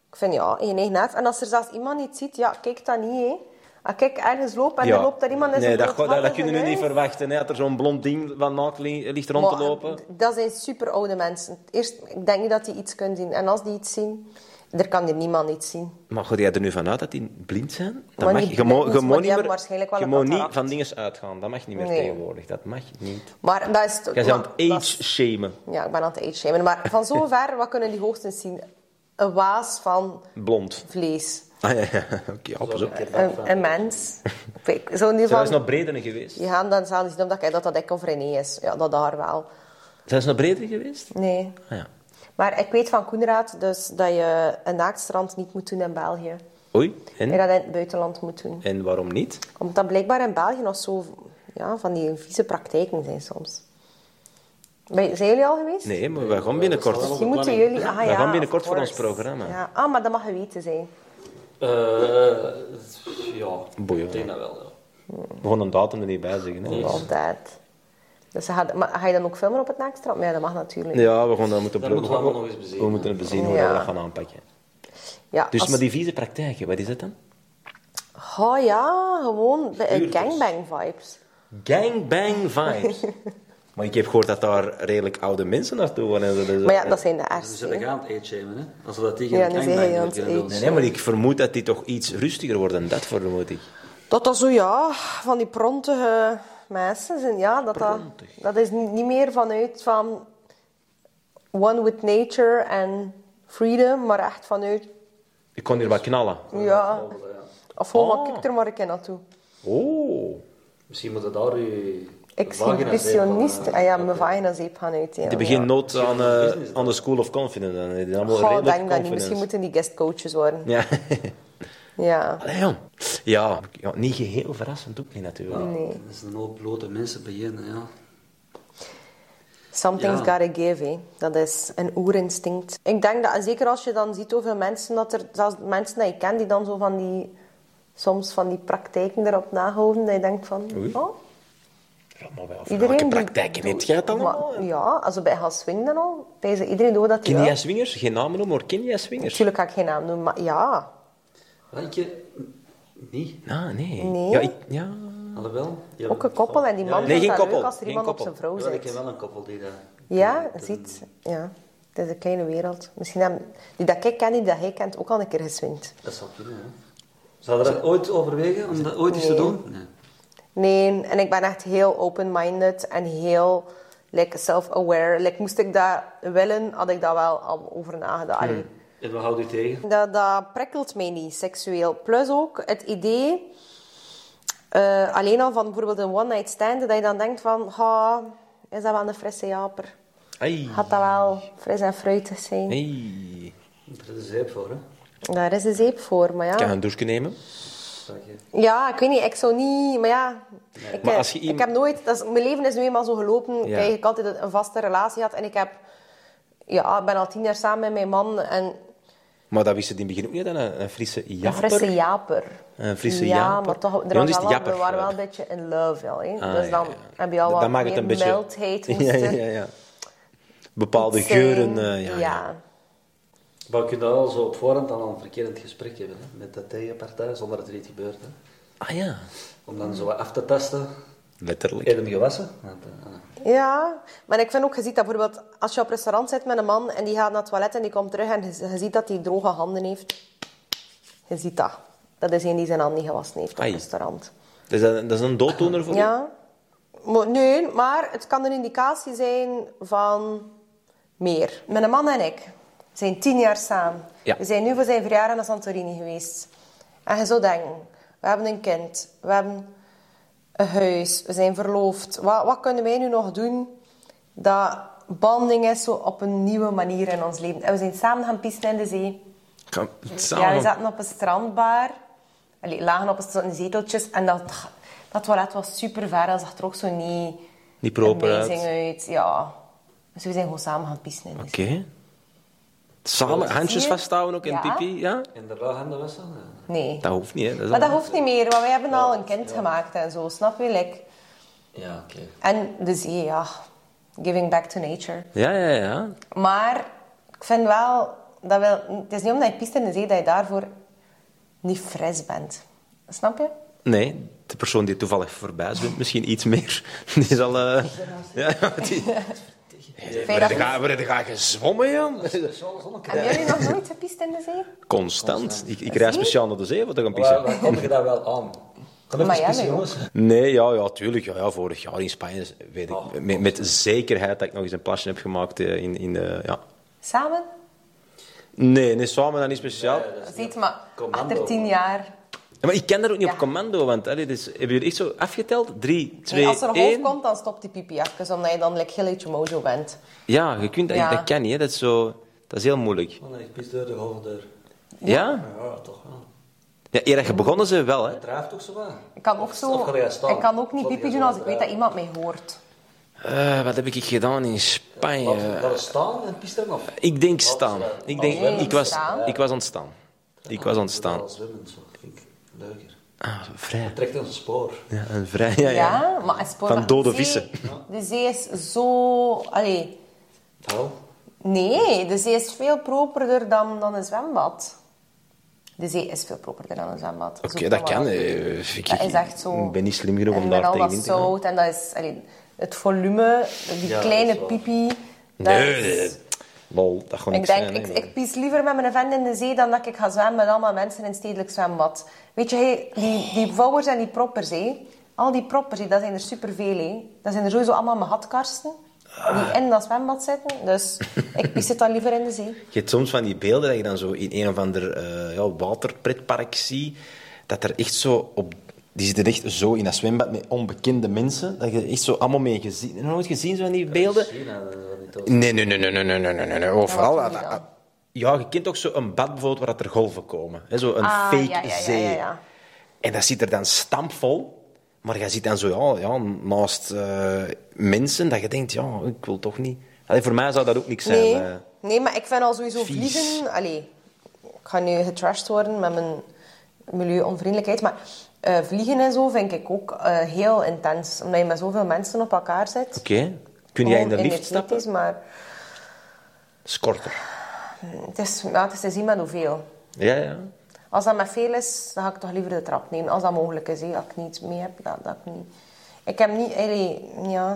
B: Ik vind, ja, in je eigen huis. En als er zelfs iemand niet ziet, ja, kijk dat niet, hè. Als ik ergens loop en
C: ja.
B: er loopt daar iemand in
C: Nee,
B: zijn
C: dat,
B: bloot
C: go- dat, dat
B: handen
C: kunnen we
B: in
C: niet
B: huis.
C: verwachten, hè, dat er zo'n blond ding van naakt li- ligt rond te
B: Maar,
C: lopen.
B: d- dat zijn super oude mensen. Eerst, ik denk niet dat die iets kunnen zien. En als die iets zien, er kan hier niemand iets zien.
C: Maar ga jij er nu vanuit dat die blind zijn? Dat
B: Maar
C: mag.
B: niet
C: Je mo-
B: blind,
C: je
B: maar
C: mo
B: die
C: niet
B: hebben
C: meer-
B: waarschijnlijk wel
C: je
B: een
C: mo niet
B: cataract.
C: van dingen uitgaan. Dat mag niet meer
B: Nee.
C: tegenwoordig. Dat mag niet.
B: Maar dat is... toch-
C: Jij bent aan
B: maar-
C: het
B: dat is-
C: age-shamen.
B: Ja, ik ben aan het age-shamen. Maar van zover, wat kunnen die hoogstens zien? Een waas van
C: Blond.
B: vlees.
C: Ah ja, ja. oké. ja, pas op.
B: Een, een mens. Ik zo in ieder
C: Zij
B: geval...
C: is nog breder geweest.
B: Die gaan dan zelfs niet omdat ik dat dat ik of René is. Ja, dat daar wel.
C: Zij is nog breder geweest?
B: Nee.
C: Ah, ja.
B: Maar ik weet van Koenraad dus dat je een naaktstrand niet moet doen in België.
C: Oei.
B: En
C: En?
B: dat je in het buitenland moet doen.
C: en waarom niet?
B: Omdat blijkbaar in België nog zo ja, van die vieze praktijken zijn soms. Ben- Zijn jullie al geweest?
C: Nee, maar we gaan binnenkort.
B: Misschien moeten jullie... Ah,
C: We
B: ja,
C: gaan
B: of
C: binnenkort voor
B: course.
C: ons programma.
B: Ja. Ah, maar dat mag geweten zijn.
D: Eh, ja,
C: Boeien.
D: ik denk dat wel. Ja.
C: We gaan een datum er niet bij zeggen. Hè?
B: Love that. Dus ga, maar ga je dan ook filmen op het naaktstrand? Maar Ja, dat mag natuurlijk.
C: Ja, we gaan dat moeten
D: Dat
C: pro-
D: moeten we allemaal nog eens bezien.
C: We moeten het bezien hoe
B: Ja.
C: we dat gaan aanpakken.
B: Ja,
C: Dus
B: als-
C: maar die vieze praktijken, wat is dat dan?
B: Oh ja, gewoon de- eh,
D: Huurders.
B: gangbang vibes.
C: Gangbang vibes. maar ik heb gehoord dat daar redelijk oude mensen naartoe gaan. en zo, dus-
B: Maar ja, dat zijn de
D: Dus we
B: ergste.
D: zitten
B: hè.
D: gaan het shamen hè? Als we dat
B: Ja,
D: tegen de
B: dan
D: gangbang
B: zeg je
D: doen,
B: aan het
D: kunnen doen.
B: age.
C: Nee, nee, maar ik vermoed dat die toch iets rustiger worden. dan Dat vermoed ik.
B: Dat dat zo, ja, van die prontige mensen zijn. Ja, dat, dat,
C: Prontig.
B: dat is niet niet meer vanuit van one with nature en freedom, maar echt vanuit,
C: Ik kon hier wat knallen.
B: ja. Of gewoon,
C: Ah.
B: maar kijk er maar een keer naartoe.
C: Oh.
D: Misschien moeten daar je...
B: Ik zie een visionist. Ah
D: eh,
B: ja, mijn vaginazeep gaan uitdelen.
C: eh, Die
B: ja.
C: begint nood aan, eh, aan de School of Confidence. Dan die allemaal
B: Goh,
C: redelijk
B: denk dat niet. Misschien
C: confidence.
B: moeten die guestcoaches worden.
C: Ja.
B: Ja.
C: Allee, jong. Ja. ja, niet geheel verrassend ook niet natuurlijk.
D: Nee. Dat is een hoop blote mensen beginnen, ja.
B: Something's
D: Ja.
B: gotta give, hè. Dat is een oerinstinct. Ik denk dat, zeker als je dan ziet hoeveel mensen dat er... Zelfs mensen dat je kent, die dan zo van die... Soms van die praktijken erop nahouden. Dat je denkt van...
C: Oei.
B: Oh,
C: Ja, maar wel, van
B: iedereen...
C: welke
B: die-
C: praktijken heb jij het allemaal?
B: Maar- ja, als we bij gaan swingen dan al. Bij ze iedereen doet dat...
C: Ken
B: ja.
C: jij swingers? Geen namen noemen, maar ken jij swingers?
B: Natuurlijk ga ik geen naam noemen, maar ja.
D: Weet je, niet.
C: Ah, nee.
B: Nee.
C: Ja, ik, ja.
D: Alhoewel. ja,
B: Ook een koppel en die man
C: nee,
B: vindt
C: geen
B: dat
C: koppel.
B: leuk als er
C: Geen
B: iemand
C: koppel.
B: op zijn vrouw
D: Ja, ik
B: zit.
D: ken wel een koppel die dat...
B: Ja, ziet. Ja. Het is een kleine wereld. Misschien hebben die dat ik ken, die dat hij kent, ook al een keer geswingd.
D: Dat zou kunnen, hè. Zou je dat ooit overwegen, om dat ooit eens te
B: Nee.
D: doen? Nee.
B: Nee, en ik ben echt heel open-minded en heel like, self-aware. Like, moest ik dat willen, had ik daar wel al over nagedacht. Allee,
D: En we houden je tegen?
B: Dat, dat prikkelt mij niet, seksueel. Plus ook het idee, eh, alleen al van bijvoorbeeld een one-night stand, dat je dan denkt van, ha, is dat wel een frisse japer?
C: Ai.
B: Gaat dat wel fris en fruitig zijn?
C: Hey.
D: Daar is de zeep voor, hè.
B: Daar is de zeep voor, maar ja.
C: Kan je een douche nemen?
D: Zeg je.
B: Ja, ik weet niet, ik zou niet, maar ja. Ik,
C: Maar
B: eh,
C: als je
B: ik
C: iemand-
B: heb nooit, dat is, mijn leven is nu eenmaal zo gelopen. Ik
C: Ja.
B: heb eigenlijk altijd een- een vaste relatie gehad en ik heb, ja, ik ben al tien jaar samen met mijn man en
C: Maar dat wist je in het begin ook niet, dan een, een frisse
B: een
C: japer.
B: frisse japer.
C: Een frisse
B: ja,
C: japer.
B: maar toch,
C: Ja,
B: er
C: dan
B: was
C: is het
B: wel,
C: japper,
B: we waren wel
C: eh.
B: een beetje in love al, hè.
C: Ah,
B: dus dan
C: ja, ja.
B: heb je al
C: Dat
B: wat
C: maakt het
B: meer
C: een beetje-
B: mildheid. moest
C: Ja, ja,
B: er
C: ja, ja. Bepaalde
B: zijn.
C: geuren. eh, ja, ja.
D: Maar je kunt dat wel zo op voorhand al een verkeerd gesprek hebben, hè, met de tegenpartij, zonder dat er iets gebeurt, hè.
C: Ah ja,
D: Om dan zo wat af te tasten.
C: letterlijk.
D: Heb je hem gewassen? Want, eh, ah.
B: Ja, maar ik vind ook, je ziet dat bijvoorbeeld als je op restaurant zit met een man en die gaat naar het toilet en die komt terug en je, je ziet dat hij droge handen heeft. Je ziet dat. Dat is een die zijn hand niet gewassen heeft op
C: Ai.
B: het restaurant.
C: Dus dat, dat is een dooddoener voor
B: Ja. Maar, nee, maar het kan een indicatie zijn van meer. Mijn man en ik zijn tien jaar samen.
C: Ja.
B: We zijn nu voor zijn verjaardag naar Santorini geweest. En je zou denken, we hebben een kind, we hebben een huis, we zijn verloofd. Wat, wat kunnen wij nu nog doen dat banding is zo op een nieuwe manier in ons leven? En we zijn samen gaan pissen in de zee.
C: Ik ga het samen-
B: Ja, we zaten op een strandbar. Allee, lagen op een strand in zeteltjes. En dat, dat toilet was super ver. Dat zag er ook zo niet...
C: Niet proper uit.
B: amazing eh. uit. Ja. Dus we zijn gewoon samen gaan pissen. in de
C: Oké. Samen handjes
B: Zie je?
C: vasthouden ook in
B: Ja.
C: pipi, ja?
D: En de handen wassen?
B: zee. Nee.
C: Dat hoeft niet, hè. Dat is
B: maar dat
C: allemaal-
B: hoeft niet meer, want wij hebben al een kind gemaakt en zo. Snap je? Like.
D: Ja, oké.
B: En de zee, ja. Giving back to nature.
C: Ja, ja, ja.
B: Maar ik vind wel... Dat wel het is niet omdat je pist in de zee dat je daarvoor niet fris bent. Snap je?
C: Nee, de persoon die toevallig voorbij zwemt, misschien iets meer. Die is al... eh, Ja, die...
B: Vind je dat goed?
C: ga, ga je zwommen, joh?
B: Hebben jullie nog nooit gepist in de zee?
C: Constant. Ik, ik reis speciaal naar de zee, wat ik een pissen.
E: Waar kom je daar wel aan? Gelukkig
B: Miami,
E: is het jongens.
C: Nee, ja, ja, tuurlijk. Ja, ja, vorig jaar in Spanje weet ik met, met zekerheid dat ik nog eens een plasje heb gemaakt eh, in... in eh, ja.
B: Samen?
C: Nee, nee, samen dan niet speciaal.
B: Ziet, maar
E: commando.
B: achter tien jaar.
C: Ja, maar ik ken dat ook niet
B: Ja.
C: op commando, want allee, dus, hebben jullie echt zo afgeteld? Drie, twee,
B: Nee, als er een hoofd
C: één.
B: komt, dan stopt die pipi even, omdat je dan like, heel uit je mojo bent.
C: Ja, je kunt dat,
B: Ja.
C: dat kan niet, hè. Dat is, zo, dat is heel moeilijk.
E: Oh, nee, Ik pis door de hoofddeur.
C: Ja?
E: Ja, toch wel.
C: Ja, eer dat je begonnen ze wel, hè?
E: Het drijft toch zo wat?
B: Ik kan ook,
E: Of
B: zo,
E: ga je staan?
B: ik kan ook niet
E: Of ga je
B: pipi
E: zo
B: doen als ik
E: draaien?
B: weet dat iemand mij hoort.
C: Eh, wat heb ik gedaan in Spanje?
E: Laat- Laat het staan en pis er nog.
C: Ik denk staan. Ik, denk,
B: Nee,
C: ik, was,
B: Oh, staan.
C: ik was ontstaan. Ik was ontstaan.
E: Als zwemmen, zo. Vind ik leuker.
C: Ah, vrij.
E: Trekt ons een spoor.
C: Ja, een vrij. Ja, ja.
B: Ja, maar een spoor
C: Van
B: de
C: dode
B: zee-
C: vissen.
B: De zee is zo... Allee,
E: Hou.
B: nee, de zee is veel properder dan, dan een zwembad. De zee is veel properder dan een zwembad.
C: Oké,
B: Zoek
C: dat
B: maar
C: kan.
B: op.
C: eh, ik,
B: Dat is echt zo.
C: ik ben niet slim genoeg
B: En
C: om daar
B: met al
C: tegenin
B: dat
C: te gaan.
B: zout en dat is... allee, het volume, die
E: Ja,
B: kleine
E: dat is waar.
B: pipi... dat
C: Nee,
B: is-
C: eh, lol, dat gewoon
B: Ik
C: niks
B: denk,
C: zijn, hè.
B: ik, ik pies liever met mijn vent in de zee dan dat ik ga zwemmen met allemaal mensen in het stedelijk zwembad. Weet je, hey, die, die vouwers en die proppers, hé. Al die proppers, hé, dat zijn er superveel, hé. Dat zijn er sowieso allemaal mijn hatkarsten die in dat zwembad zitten. Dus ik pies het dan liever in de zee.
C: Je hebt soms van die beelden dat je dan zo in een of ander eh, ja, waterpretpark ziet, dat er echt zo op... Die zitten echt zo in dat zwembad met onbekende mensen, dat je echt zo allemaal mee gezien... Heb je nooit gezien zo van die beelden?
E: China, dat is wel eh, niet tof.
C: Nee, nee, nee, nee, nee, nee, nee, nee, nee, nee. Overal.
B: Ja, wat
C: Ja,
B: doen die dan?
C: ja, je kent ook zo'n bad bijvoorbeeld waar dat er golven komen. Hè, zo een
B: Ah,
C: fake
B: ja, ja, ja,
C: zee.
B: ja, ja.
C: En dat zit er dan stampvol. Maar je ziet dan zo, ja, ja naast eh, mensen, dat je denkt, ja, ik wil toch niet... Allee, voor mij zou dat ook niks zijn.
B: Nee,
C: eh.
B: nee maar ik vind al sowieso
C: vies.
B: vliegen... Allee, ik ga nu getrashed worden met mijn milieuonvriendelijkheid, maar... eh, vliegen en zo vind ik ook eh, heel intens, omdat je met zoveel mensen op elkaar zit.
C: Oké. Kun jij in de
B: Gewoon Oh,
C: lift
B: het
C: stappen?
B: niets, maar
C: Dat is korter.
B: Het is, ja, het is te zien met hoeveel.
C: Ja, ja.
B: Als dat met veel is, dan ga ik toch liever de trap nemen. Als dat mogelijk is, hè. als ik niet mee heb, dat, dat ik niet. Ik heb niet... allee, ja.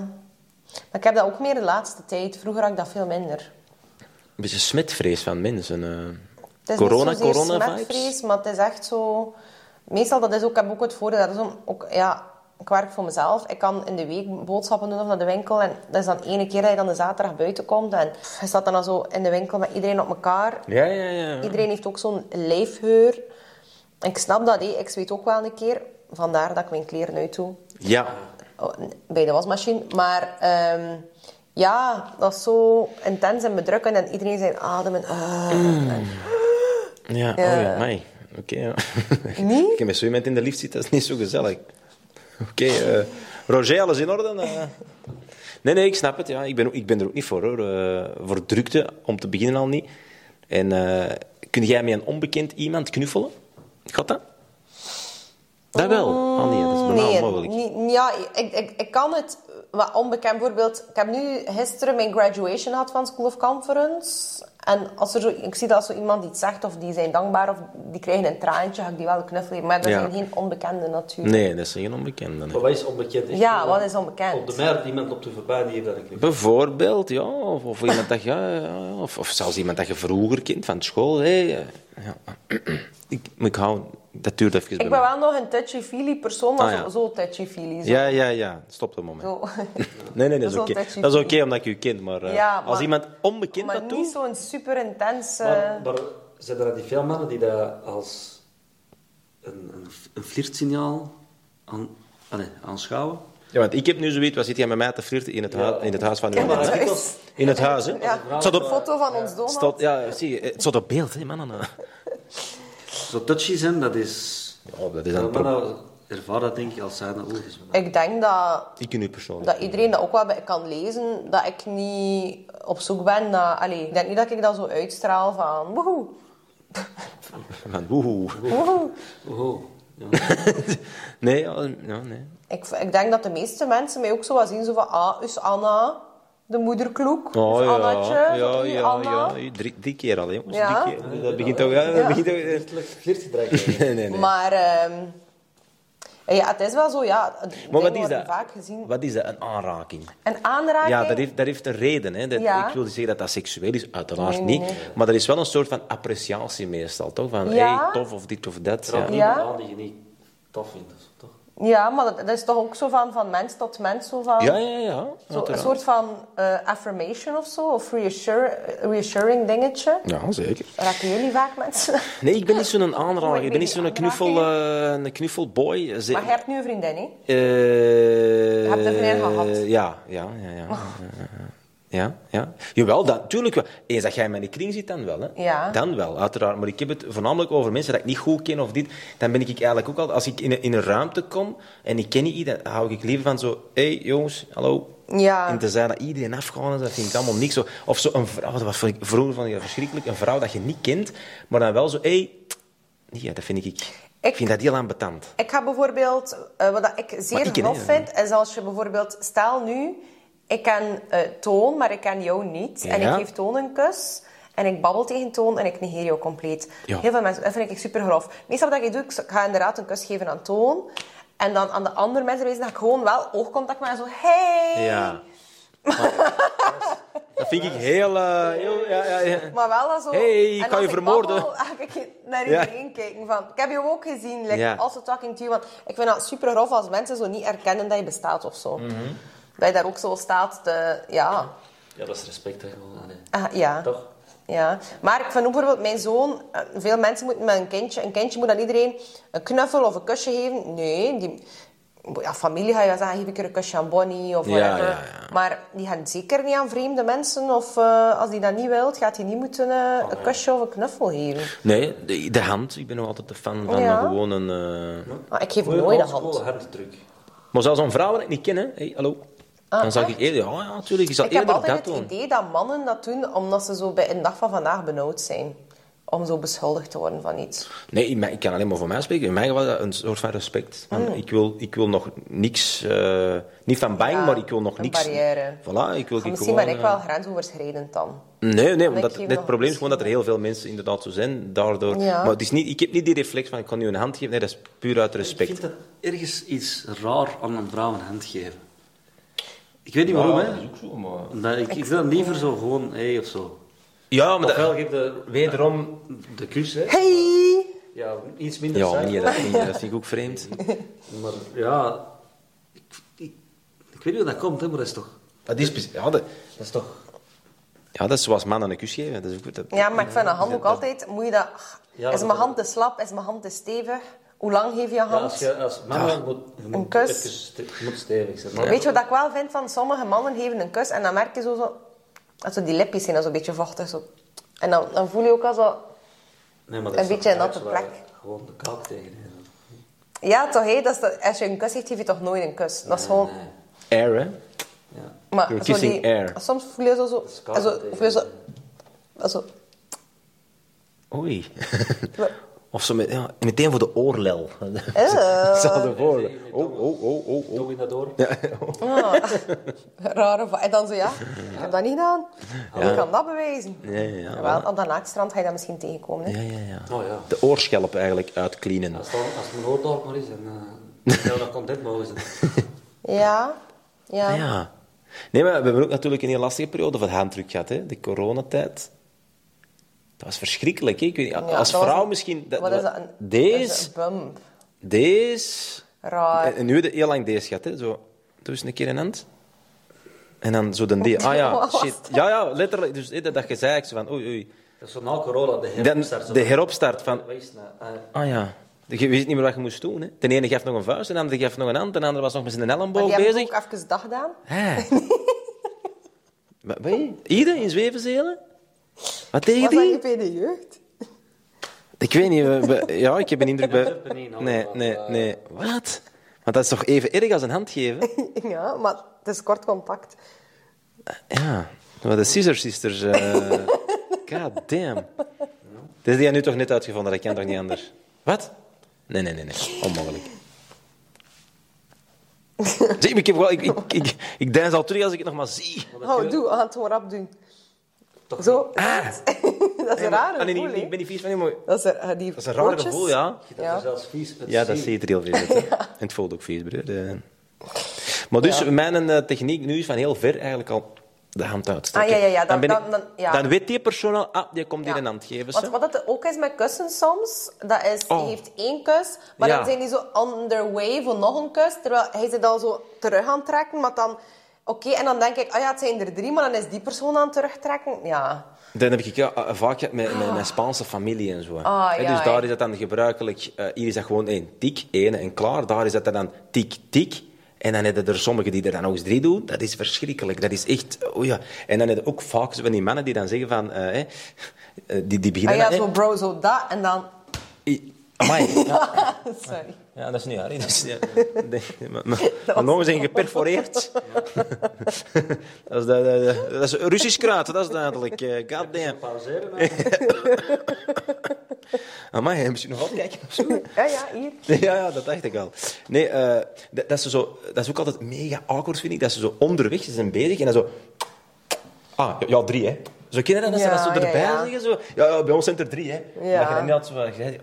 B: Maar ik heb dat ook meer de laatste tijd. Vroeger had ik dat veel minder.
C: Een beetje smetvrees van mensen. eh.
B: Het is
C: corona,
B: niet zozeer
C: corona
B: smetvrees,
C: vibes.
B: maar het is echt zo... Meestal, dat is ook, ik heb ook het voordeel, dat is om- ook, ja, ik werk voor mezelf. Ik kan in de week boodschappen doen of naar de winkel. En dat is dan ene keer dat je dan de zaterdag buiten komt. En je staat dan al zo in de winkel met iedereen op elkaar.
C: Ja, ja, ja.
B: Iedereen heeft ook zo'n lijfheur. Ik snap dat, hé. ik zweet ook wel een keer. Vandaar dat ik mijn kleren uit doe
C: Ja.
B: Oh, bij de wasmachine. Maar ehm, ja, dat is zo intens en bedrukkend. En iedereen zijn adem en... ah, en-
C: Ja, oh
B: Ja.
C: ja, amai. Oké, ja.
B: Nee?
C: Ik heb met zo iemand in de lift zitten, dat is niet zo gezellig. Oké, eh, Roger, alles in orde? Eh, Nee, nee, ik snap het. Ja. Ik, ben, ook- ik ben er ook niet voor, hoor. Eh, voor drukte, om te beginnen al niet. En eh, kun jij met een onbekend iemand knuffelen? Gaat dat? Dat wel. Oh nee, dat is bijna
B: Mm, Nee,
C: onmogelijk.
B: niet- ja, ik, ik, ik kan het wat onbekend. Bijvoorbeeld, ik heb nu gisteren mijn graduation gehad van School of Conference. En als er zo, ik zie dat als zo iemand iets zegt of die zijn dankbaar of die krijgen een traantje, ga ik die wel knuffelen. Maar dat
C: Ja.
B: zijn geen onbekenden natuurlijk.
C: Nee, dat is geen onbekende. nee.
E: Maar wat is onbekend? Echt,
B: Ja,
E: eh,
B: wat is onbekend?
E: Op de markt iemand op de voorbij die heeft dat een keer.
C: Bijvoorbeeld, ja. Of, of, iemand dat je, ja, ja, ja, of, of zelfs iemand dat je vroeger kent van school. Hey, eh, ja. ik, maar ik hou Dat duurt even
B: Ik
C: bij
B: ben
C: mij.
B: wel nog een touchy-feely persoon, maar
C: Ah,
B: zo,
C: ja.
B: zo touchy-feely. Zo.
C: Ja, ja, ja. Stop een moment.
B: Zo.
C: Nee,
B: Dat
C: nee, dat
B: is
C: is
B: wel
C: oké.
B: touchy-feely.
C: Dat is oké, omdat ik je kent. Maar, eh,
B: Ja,
C: als
B: maar-
C: iemand onbekend
B: maar
C: dat doet...
B: niet zo'n super intense...
E: Maar, maar zijn er dan niet veel mannen die dat als een, een, een flirtsignaal aan, allee, aanschouwen?
C: Ja, want ik heb nu zoiets, wat zit jij met mij te flirten in het, hui- in het huis van uw
E: maar
C: man?
E: dat-
C: hè?
E: Als-
C: In het huis, hè?
B: Ja,
C: Het staat
B: een
C: op,
B: foto van ons Donald.
C: staat, ja, zie je, het staat op beeld, hè, mannen.
E: Zo touchy zijn, dat is...
C: Oh, dat is
E: Ja,
C: een probleem.
E: mannen ervaren dat denk ik als zijnde oog is.
B: Ik denk dat,
C: Ik nu persoonlijk.
B: dat iedereen dat ook wel bij- kan lezen, dat ik niet op zoek ben naar... Allee, ik denk niet dat ik dat zo uitstraal van... Woehoe.
C: Van, woehoe.
B: woehoe.
E: Oh, ja.
C: Nee, ja, ja, nee.
B: Ik, ik denk dat de meeste mensen mij ook zo wel zien, zo van... Ah, is Anna de moederkloek?
C: Oh,
B: Dus is
C: ja.
B: Annatje?
C: ja,
B: u,
C: ja,
B: Anna?
C: ja. Drie, drie keer al, hè, jongens.
B: Ja?
C: Drie keer. Dat begint ook... Ja, dat
B: Ja.
C: begint ook... eh.
E: Flirtelijk- Flirtgedrag. eigenlijk.
C: Nee, nee, nee.
B: Maar ehm, ja, het is wel zo, ja. het-
C: Maar
B: dingen
C: wat is
B: worden
C: dat?
B: vaak gezien.
C: Wat is dat? Een aanraking.
B: Een aanraking.
C: Ja, dat heeft, dat heeft een reden. Hè. Dat,
B: Ja.
C: Ik wil niet zeggen dat dat seksueel is, uiteraard
B: Nee, nee,
C: niet. Maar er is wel een soort van appreciatie meestal, toch? Van,
B: Ja.
C: hey, tof of dit of dat.
E: Er
C: Ja.
E: had
B: Ja.
E: niemand aan die je niet tof vindt, of zo, toch?
B: Ja, maar dat, dat is toch ook zo van, van mens tot mens, zo van...
C: Ja, ja, ja.
B: zo, een
C: uiteraard.
B: soort van eh, affirmation of zo, of reassure, reassuring dingetje.
C: Ja, zeker.
B: Raken jullie vaak mensen?
C: Nee, ik ben niet zo'n aanrager. Ik
B: weet
C: ben niet
B: Oh, niet,
C: zo'n
B: aanraking.
C: knuffel, eh, een knuffelboy. eh, Ze-
B: maar je hebt nu een vriendin, hè?
C: Eh,
B: hebt er veel gehad. Oh.
C: Ja, ja, ja. ja. Ja, ja. Jawel, dat, tuurlijk wel. Eens dat jij in mijn kring zit, dan wel. Hè?
B: Ja.
C: Dan wel, uiteraard. Maar ik heb het voornamelijk over mensen dat ik niet goed ken of dit. Dan ben ik eigenlijk ook al... Als ik in een, in een ruimte kom en ik ken niet iedereen, dan hou ik liever van zo... Hé, hey, jongens, hallo.
B: Ja.
C: En te zijn dat iedereen afgegaan is, dat vind ik allemaal niks. Zo- Of zo een vrouw, dat was vond ik- vroeger vond ik dat verschrikkelijk. Een vrouw dat je niet kent, maar dan wel zo... Hé, hey, ja, dat vind ik... Ik
B: Ik-
C: vind dat heel aanbetand.
B: Ik ga bijvoorbeeld, eh, wat dat ik
C: Maar
B: zeer
C: ik ken
B: grof
C: hem.
B: vind, is als je bijvoorbeeld, stel nu, ik ken eh, Toon, maar ik ken jou niet. En
C: Ja.
B: ik geef Toon een kus. En ik babbel tegen Toon en ik negeer jou compleet.
C: Ja.
B: Heel veel mensen, dat vind ik super grof. Meestal wat ik doe, ik ga inderdaad een kus geven aan Toon. En dan aan de andere mensen wijzen, dat ik gewoon wel oogcontact maak en zo, hey!
C: Ja. dat vind ik heel... eh, heel ja, ja, ja.
B: Maar wel dan zo...
C: Hey, ik
B: en
C: kan
B: als
C: je vermoorden.
B: babbel, ga ik naar
C: Ja.
B: iedereen kijken van... Ik heb je ook gezien, like,
C: Ja.
B: also talking to you. Want ik vind dat super grof als mensen zo niet erkennen dat je bestaat of zo.
C: Mhm.
B: Dat je daar ook zo staat te... Ja.
E: Ja, dat is respect, hè, gewoon. Allee.
B: Ah, ja.
E: Toch?
B: Ja. Maar ik vind ook bijvoorbeeld mijn zoon... eh, Veel mensen moeten met een kindje... Een kindje moet aan iedereen een knuffel of een kusje geven. Nee, die... Ja, familie ga je wel zeggen, "Ah, geef ik er een kusje aan Bonnie of
C: Ja,
B: whatever.
C: ja, ja.
B: Maar die gaan zeker niet aan vreemde mensen. Of eh, als die dat niet wilt, gaat hij niet moeten eh,
C: Oh,
B: een kusje of een knuffel geven.
C: Nee, de, de hand. Ik ben nog altijd de fan van
B: Ja.
C: eh, gewoon een... eh,
B: Maar ik geef nooit een hand.
E: Oldschool handdruk.
C: Maar zelfs een vrouw dat ik niet ken, hè. Hey, hallo. dan zag ik eerder... Ja, ja, natuurlijk. Ik zal
B: Ah, Ik heb
C: eerder
B: altijd
C: dat
B: het
C: doen.
B: idee dat mannen dat doen omdat ze zo bij een dag van vandaag benauwd zijn. Om zo beschuldigd te worden van iets.
C: Nee, in mijn- ik kan alleen maar voor mij spreken. In mij was dat een soort van respect. Van,
B: Ah.
C: ik, wil, ik wil nog niks... eh, niet van bang,
B: Ja,
C: maar ik wil nog
B: een
C: niks...
B: barrière.
C: Voilà, ik wil
B: Maar
C: ik
B: misschien
C: gewoon...
B: ben ik
C: eh,
B: wel grensoverschrijdend dan.
C: Nee, nee,
B: ik
C: omdat
B: geef
C: het,
B: nog
C: het probleem is
B: een
C: gewoon dat er heel veel mensen inderdaad zo zijn. Daardoor,
B: Ja.
C: Maar het is niet, ik heb niet die reflex van ik kan nu een hand geven. Nee, dat is puur uit
E: Ik
C: respect.
E: vind dat ergens iets raar aan een vrouw een hand geven. Ik weet niet
C: Ja,
E: waarom,
C: dat
E: hè.
C: is ook zo, maar-
E: Omdat ik, ik wil liever zo gewoon, hé, hey, of zo.
C: Ja, maar
E: Ofwel
C: dat...
E: geef de,
C: Wederom...
E: de kus, hè.
B: Hey!
E: Ja, iets minder
C: Ja,
E: saai,
C: nee, dat vind, ik- dat vind ik ook vreemd.
E: Maar ja, ik, ik, ik weet niet hoe dat komt, hè, maar dat is toch...
C: Dat is... precies- Ja, dat,
E: Dat is toch...
C: ja, dat is zoals mannen een kus geven. Dat is ook goed. Dat-
B: Ja, maar ik vind een hand ook altijd... Moet je dat...
E: Ja,
B: is
E: dat-
B: mijn hand te slap? Is mijn hand te stevig? Hoe lang geef je een
E: Ja,
B: hand?
E: als je als mama moet, je moet,
B: kus.
E: even ste- je moet stevig zijn.
B: Weet je wat ik wel vind van sommige mannen geven een kus en dan merk je zo, zo dat zo die lipjes zijn, dat zo een beetje vochtig. Zo. En dan, dan voel je ook al zo...
E: Nee, maar dat
B: Een
E: is toch
B: beetje een
E: raar,
B: natte
E: zo dat
B: plek.
E: je Gewoon de kaak tegen. hè.
B: Ja, toch, hè? Dat is de- als je een kus geeft, geef je toch nooit een kus. Dat is gewoon...
E: Nee,
C: Air, hè?
E: ja.
B: Maar
C: You're
B: zo
C: kissing
B: die,
C: air.
B: Soms voel je zo... zo,
E: koud
B: zo,
E: tegen-
B: voel je zo, dat zo
C: Oei. Of zo met, ja, meteen voor de oorlel. Zo de voor. Oh, oh, oh, oh, oh.
E: Doe je dat door?
B: rare... va- En dan zo, ja, ik heb dat niet gedaan. Hoe kan dat bewijzen?
C: Ja, ja, ja.
B: Wel, op dat naaktstrand ga je dat misschien tegenkomen. Hè?
C: Ja, ja, ja.
E: Oh ja.
C: De oorschelp eigenlijk uitcleanen.
E: Als, dan, als mijn oordorp maar is, en, eh, dan zou dat content mogen zijn.
B: Ja. Ja.
C: Ah, ja. Nee, maar we hebben ook natuurlijk een heel lastige periode van handdruk gehad, hè? de coronatijd. Dat was verschrikkelijk. hè. Ik weet niet,
B: Ja,
C: als
B: dat was
C: vrouw
B: een-
C: misschien... dat-
B: Wat is dat? Een, is
C: Deze, Eh,
B: dat een bump.
C: deze...
B: Raar.
C: En, en nu heb je heel lang deze gehad, hè. Zo, doe eens een keer een hand. En dan zo de die. Ah ja,
B: Wat was
C: shit. Ja, ja, letterlijk. Dus hè, dat, dat je zei, ik zo van oei, oei.
E: Dat is zo na corona, de
C: Dan,
E: heropstart. zo.
C: de heropstart van...
E: Wat is het nou? Ah,
C: Ah ja. Je wist niet meer wat je moest doen. Hè. De ene gaf nog een vuist, de andere gaf nog een hand, de andere was nog met zijn
B: Maar
C: elleboog
B: die hebben
C: bezig.
B: ook even dag gedaan.
C: Hé. Wat ben je? Ieder in Zwevenzelen? Wat tegen
B: Was dat
C: die?
B: niet bij de jeugd?
C: Ik weet niet. we- we- Ja, ik heb een eh. indruk bij...
E: durven niet, hoor.
C: Nee, nee, nee. Wat? Maar dat is toch even erg als een hand geven?
B: ja, maar het is kort contact.
C: Ja. Maar de Scissor Sisters... eh, God damn. Dit is die nu toch net uitgevonden, dat kan toch niet anders? Wat? Nee, nee, nee, nee. Onmogelijk. Zie, maar ik, heb wel, ik, ik, ik, ik deins al terug als ik het nog maar zie.
B: Oh, doe. We gaan het gewoon rap doen.
E: Toch
B: Zo. dat is een rare
C: Ah, nee,
B: gevoel,
C: niet- ik
B: hè?
C: ben niet vies van je, maar...
B: Dat is, een- eh, die
C: Dat is een raar
B: pootjes.
C: gevoel, ja.
E: Dat
B: Ja.
E: is zelfs vies. het
C: Ja, dat
E: zien.
C: zie je er heel veel uit, hè. En het voelt ook vies, broer. Eh. Maar dus, mijn eh, techniek nu is van heel ver eigenlijk al de hand uitsteken.
B: Ah, ja, ja, ja.
C: Dan,
B: Dan-
C: ben ik-
B: dan- dan- ja.
C: dan weet die persoon al, ah, die komt hier
B: Ja.
C: een hand geven.
B: Want
C: zo.
B: wat het ook is met kussen soms, dat is,
C: Oh.
B: hij heeft één kus, maar
C: Ja.
B: dan zijn die zo underway voor nog een kus, terwijl hij ze dan zo terug aan het trekken, maar dan... Oké, en dan denk ik, ah ja, het zijn er drie, maar dan is die persoon aan het terugtrekken. Ja.
C: Dan heb ik ja, eh, vaak met, met mijn Spaanse familie en zo.
B: Ah,
C: Hè,
B: ja,
C: dus daar
B: hè.
C: is dat dan gebruikelijk. eh, hier is dat gewoon één tik, één en klaar. Daar is dat dan tik, tik. En dan hebben er sommigen die er dan ook eens drie doen. Dat is verschrikkelijk. Dat is echt... Oh ja. En dan heb je ook vaak zo van die mannen die dan zeggen van... eh, hè, eh, die, die
B: Ah
C: beginnen...
B: ja,
C: dan,
B: zo
C: hè,
B: bro, zo dat, en dan...
C: i- Amai, ja.
B: Sorry.
C: Ja, dat is niet waar. hè. Dat is, ja. Nee, maar- maar- Mijn longen zijn geperforeerd. dat, is, dat, dat, dat is Russisch kruid, dat is duidelijk. eh, God damn.
E: Pauzeren, hè.
C: Amai, heb je nog opkijken of zo?
B: Ja, ja, hier.
C: Ja, ja, dat dacht ik al. Nee, eh, dat, dat, ze zo, dat is ook altijd mega awkward, vind ik. Dat ze zo onderweg ze zijn bezig en dan zo... Ah, ja, drie, hè. Zo kinderen, dat ze
B: Ja,
C: dat zo
B: ja,
C: erbij
B: ja.
C: zeggen. Zo. Ja, ja, bij ons zijn het er drie, hè.
B: Ja. Dus-
C: Maar je dan niet altijd zo... van, je-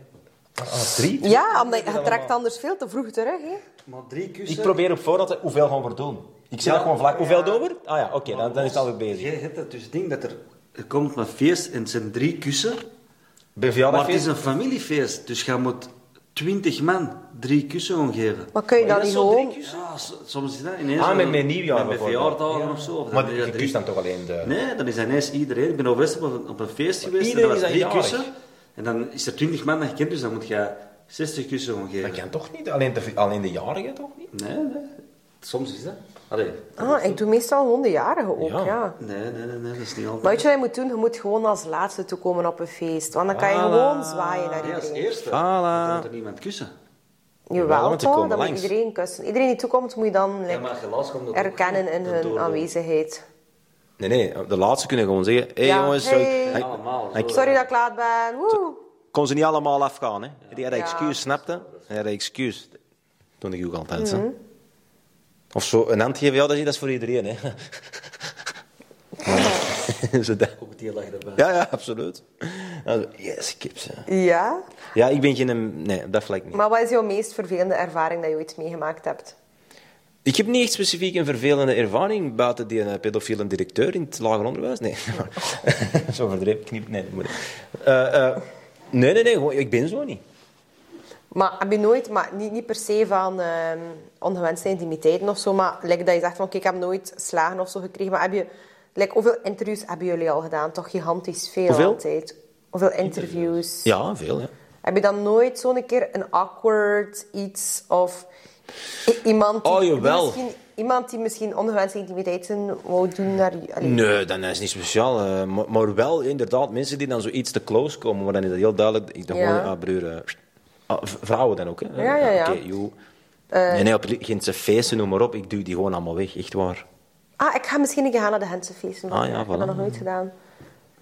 C: Ah, drie?
B: Ja, omdat je je trekt anders veel te vroeg terug, hè.
E: Maar drie kussen.
C: Ik probeer op voorhand te- hoeveel gaan we doen. Ik zeg
E: Ja.
C: dat gewoon vlak. Hoeveel doen we? er? Ah ja, oké, dan, dan is het alweer bezig.
E: Jij hebt dat dus ding dat er... Er komt maar feest en het zijn drie kussen.
C: Bij
E: Maar het is
C: verjaardagfeest?
E: een familiefeest. Dus je moet twintig man drie kussen omgeven.
B: Maar kun je
C: Maar
B: dat
C: is
B: niet
C: dat zo'n
B: gewoon...
C: drie kussen?
E: Ja, s- soms is dat ineens...
C: Ah,
E: wel-
C: met mijn nieuwjaar
E: Met mijn
C: bijvoorbeeld.
E: verjaardagen of zo. Of
C: Maar
E: dan-
C: je
E: ja, drie-
C: kust dan toch alleen de...
E: Nee, dan is dat ineens iedereen. Ik ben overigens op een, op een feest geweest en
C: iedereen
E: dat was
C: is
E: drie
C: dan jarig.
E: kussen. En dan is er twintig man dat je kent, dus dan moet je 60 kussen omgeven.
C: Dat kan toch niet? Alleen de, alleen de jarigen toch niet?
E: Nee, nee. Soms is dat. Allee.
B: Ah, ik doe meestal gewoon de jarigen ook,
C: Ja.
B: ja.
E: Nee, nee, nee, nee, dat is niet
B: Maar
E: altijd.
B: weet je wat je moet doen? Je moet gewoon als laatste toekomen op een feest. Want dan kan je
C: Voilà.
B: gewoon zwaaien naar
E: Nee, als
B: iedereen.
E: eerste.
C: Voilà.
E: Want Dan moet er niemand kussen.
C: Jawel,
B: Jawel,
C: want die
B: toch?
C: komen
B: Dan moet
C: langs.
B: iedereen kussen. Iedereen die toekomt, moet je dan like,
E: Ja, maar helaas komt dat ook
B: erkennen in
E: door
B: hun
E: de-
B: aanwezigheid.
C: Nee, nee. De laatste kunnen gewoon zeggen... Hé hey,
B: Ja,
C: jongens,
B: hey. Oh,
C: dan-
E: Allemaal,
C: dan
E: zo.
B: Sorry dat ik laat ben. Woe.
C: kon ze niet allemaal afgaan, hè? Die hadden
B: Ja.
C: excuus, snapte? Die hadden excuus. Toen ik ook altijd,
B: Mhm.
C: hè. Of zo, een hand geven, ja, dat is, dat is voor iedereen, hè. Zo dat.
E: Ook die lag erbij.
C: Ja, ja, absoluut. Dan zo, Yes, kips, ja.
B: Ja?
C: Ja, ik ben geen... Nee, op dat vlak niet.
B: Maar wat is jouw meest vervelende ervaring dat je ooit meegemaakt hebt?
C: Ik heb niet echt specifiek een vervelende ervaring buiten die eh, pedofiele directeur in het lager onderwijs. Nee, maar- zo verdreven knip. Nee, dat moet niet. Eh, eh, nee, nee, nee gewoon, ik ben zo niet.
B: Maar heb je nooit, maar niet, niet per se van ehm, ongewenste intimiteiten of zo, maar like dat je zegt van kijk, ik heb nooit slagen of zo gekregen. Maar heb je, like, hoeveel interviews hebben jullie al gedaan? Toch gigantisch veel
C: Hoeveel?
B: altijd. Hoeveel interviews?
C: Ja, veel, ja.
B: Heb je dan nooit zo'n keer een awkward iets of i- iemand die,
C: Oh, jawel.
B: die misschien, iemand die misschien ongewenste intimiteiten wou doen naar je? Allee.
C: Nee, dan is het niet speciaal. eh, maar, maar wel inderdaad mensen die dan zoiets te close komen, maar dan is dat heel duidelijk. Ik dacht
B: Ja.
C: gewoon, ah, broer, eh, ah, v- vrouwen dan ook, hè?
B: Ja, ja, Eh. ja.
C: Oké, joh. nee, nee, op Gentse feesten, noem maar op. Ik duw die gewoon allemaal weg, echt waar.
B: Ah, ik ga misschien een keer gaan naar de Hensenfeesten.
C: Ah, ja,
B: ik heb
C: voilà.
B: dat nog nooit gedaan.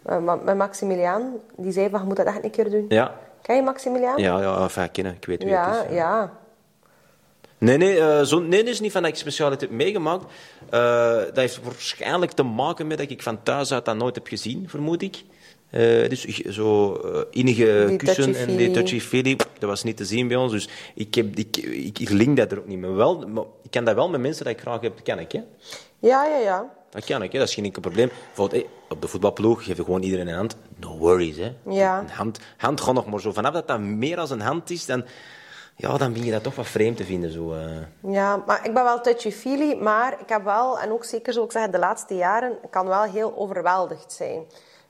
B: Eh, maar met Maximiliaan, die zei van, je moet dat echt een keer doen.
C: Ja,
B: Ken je Maximiliaan?
C: ja, ja, enfin, kennen, ik weet wie het is.
B: ja.
C: ja.
B: ja.
C: Nee, nee, eh, zo, nee, dat is niet van dat ik specialiteit heb meegemaakt. Eh, dat heeft waarschijnlijk te maken met dat ik van thuis uit dat nooit heb gezien, vermoed ik. Eh, dus ik- zo eh, innige
B: Die
C: kussen en die
B: touchy-feely.
C: touchy-feely, pff, dat was niet te zien bij ons. Dus ik, heb, ik, ik, ik link dat er ook niet mee. Wel, maar ik kan dat wel met mensen dat ik graag heb, ken ik. Hè?
B: Ja, ja, ja.
C: dat kan ik, hè. dat is geen enkel probleem. Bijvoorbeeld, hé, op de voetbalploeg geef je gewoon iedereen een hand. No worries, hè.
B: Ja.
C: Een hand, hand gaat nog maar zo. Vanaf dat dat meer als een hand is, dan, ja, dan begin je dat toch wat vreemd te vinden. Zo, eh.
B: Ja, maar ik ben wel touchy-feely, maar ik heb wel, en ook zeker zoals ik zeg, de laatste jaren, ik kan wel heel overweldigd zijn.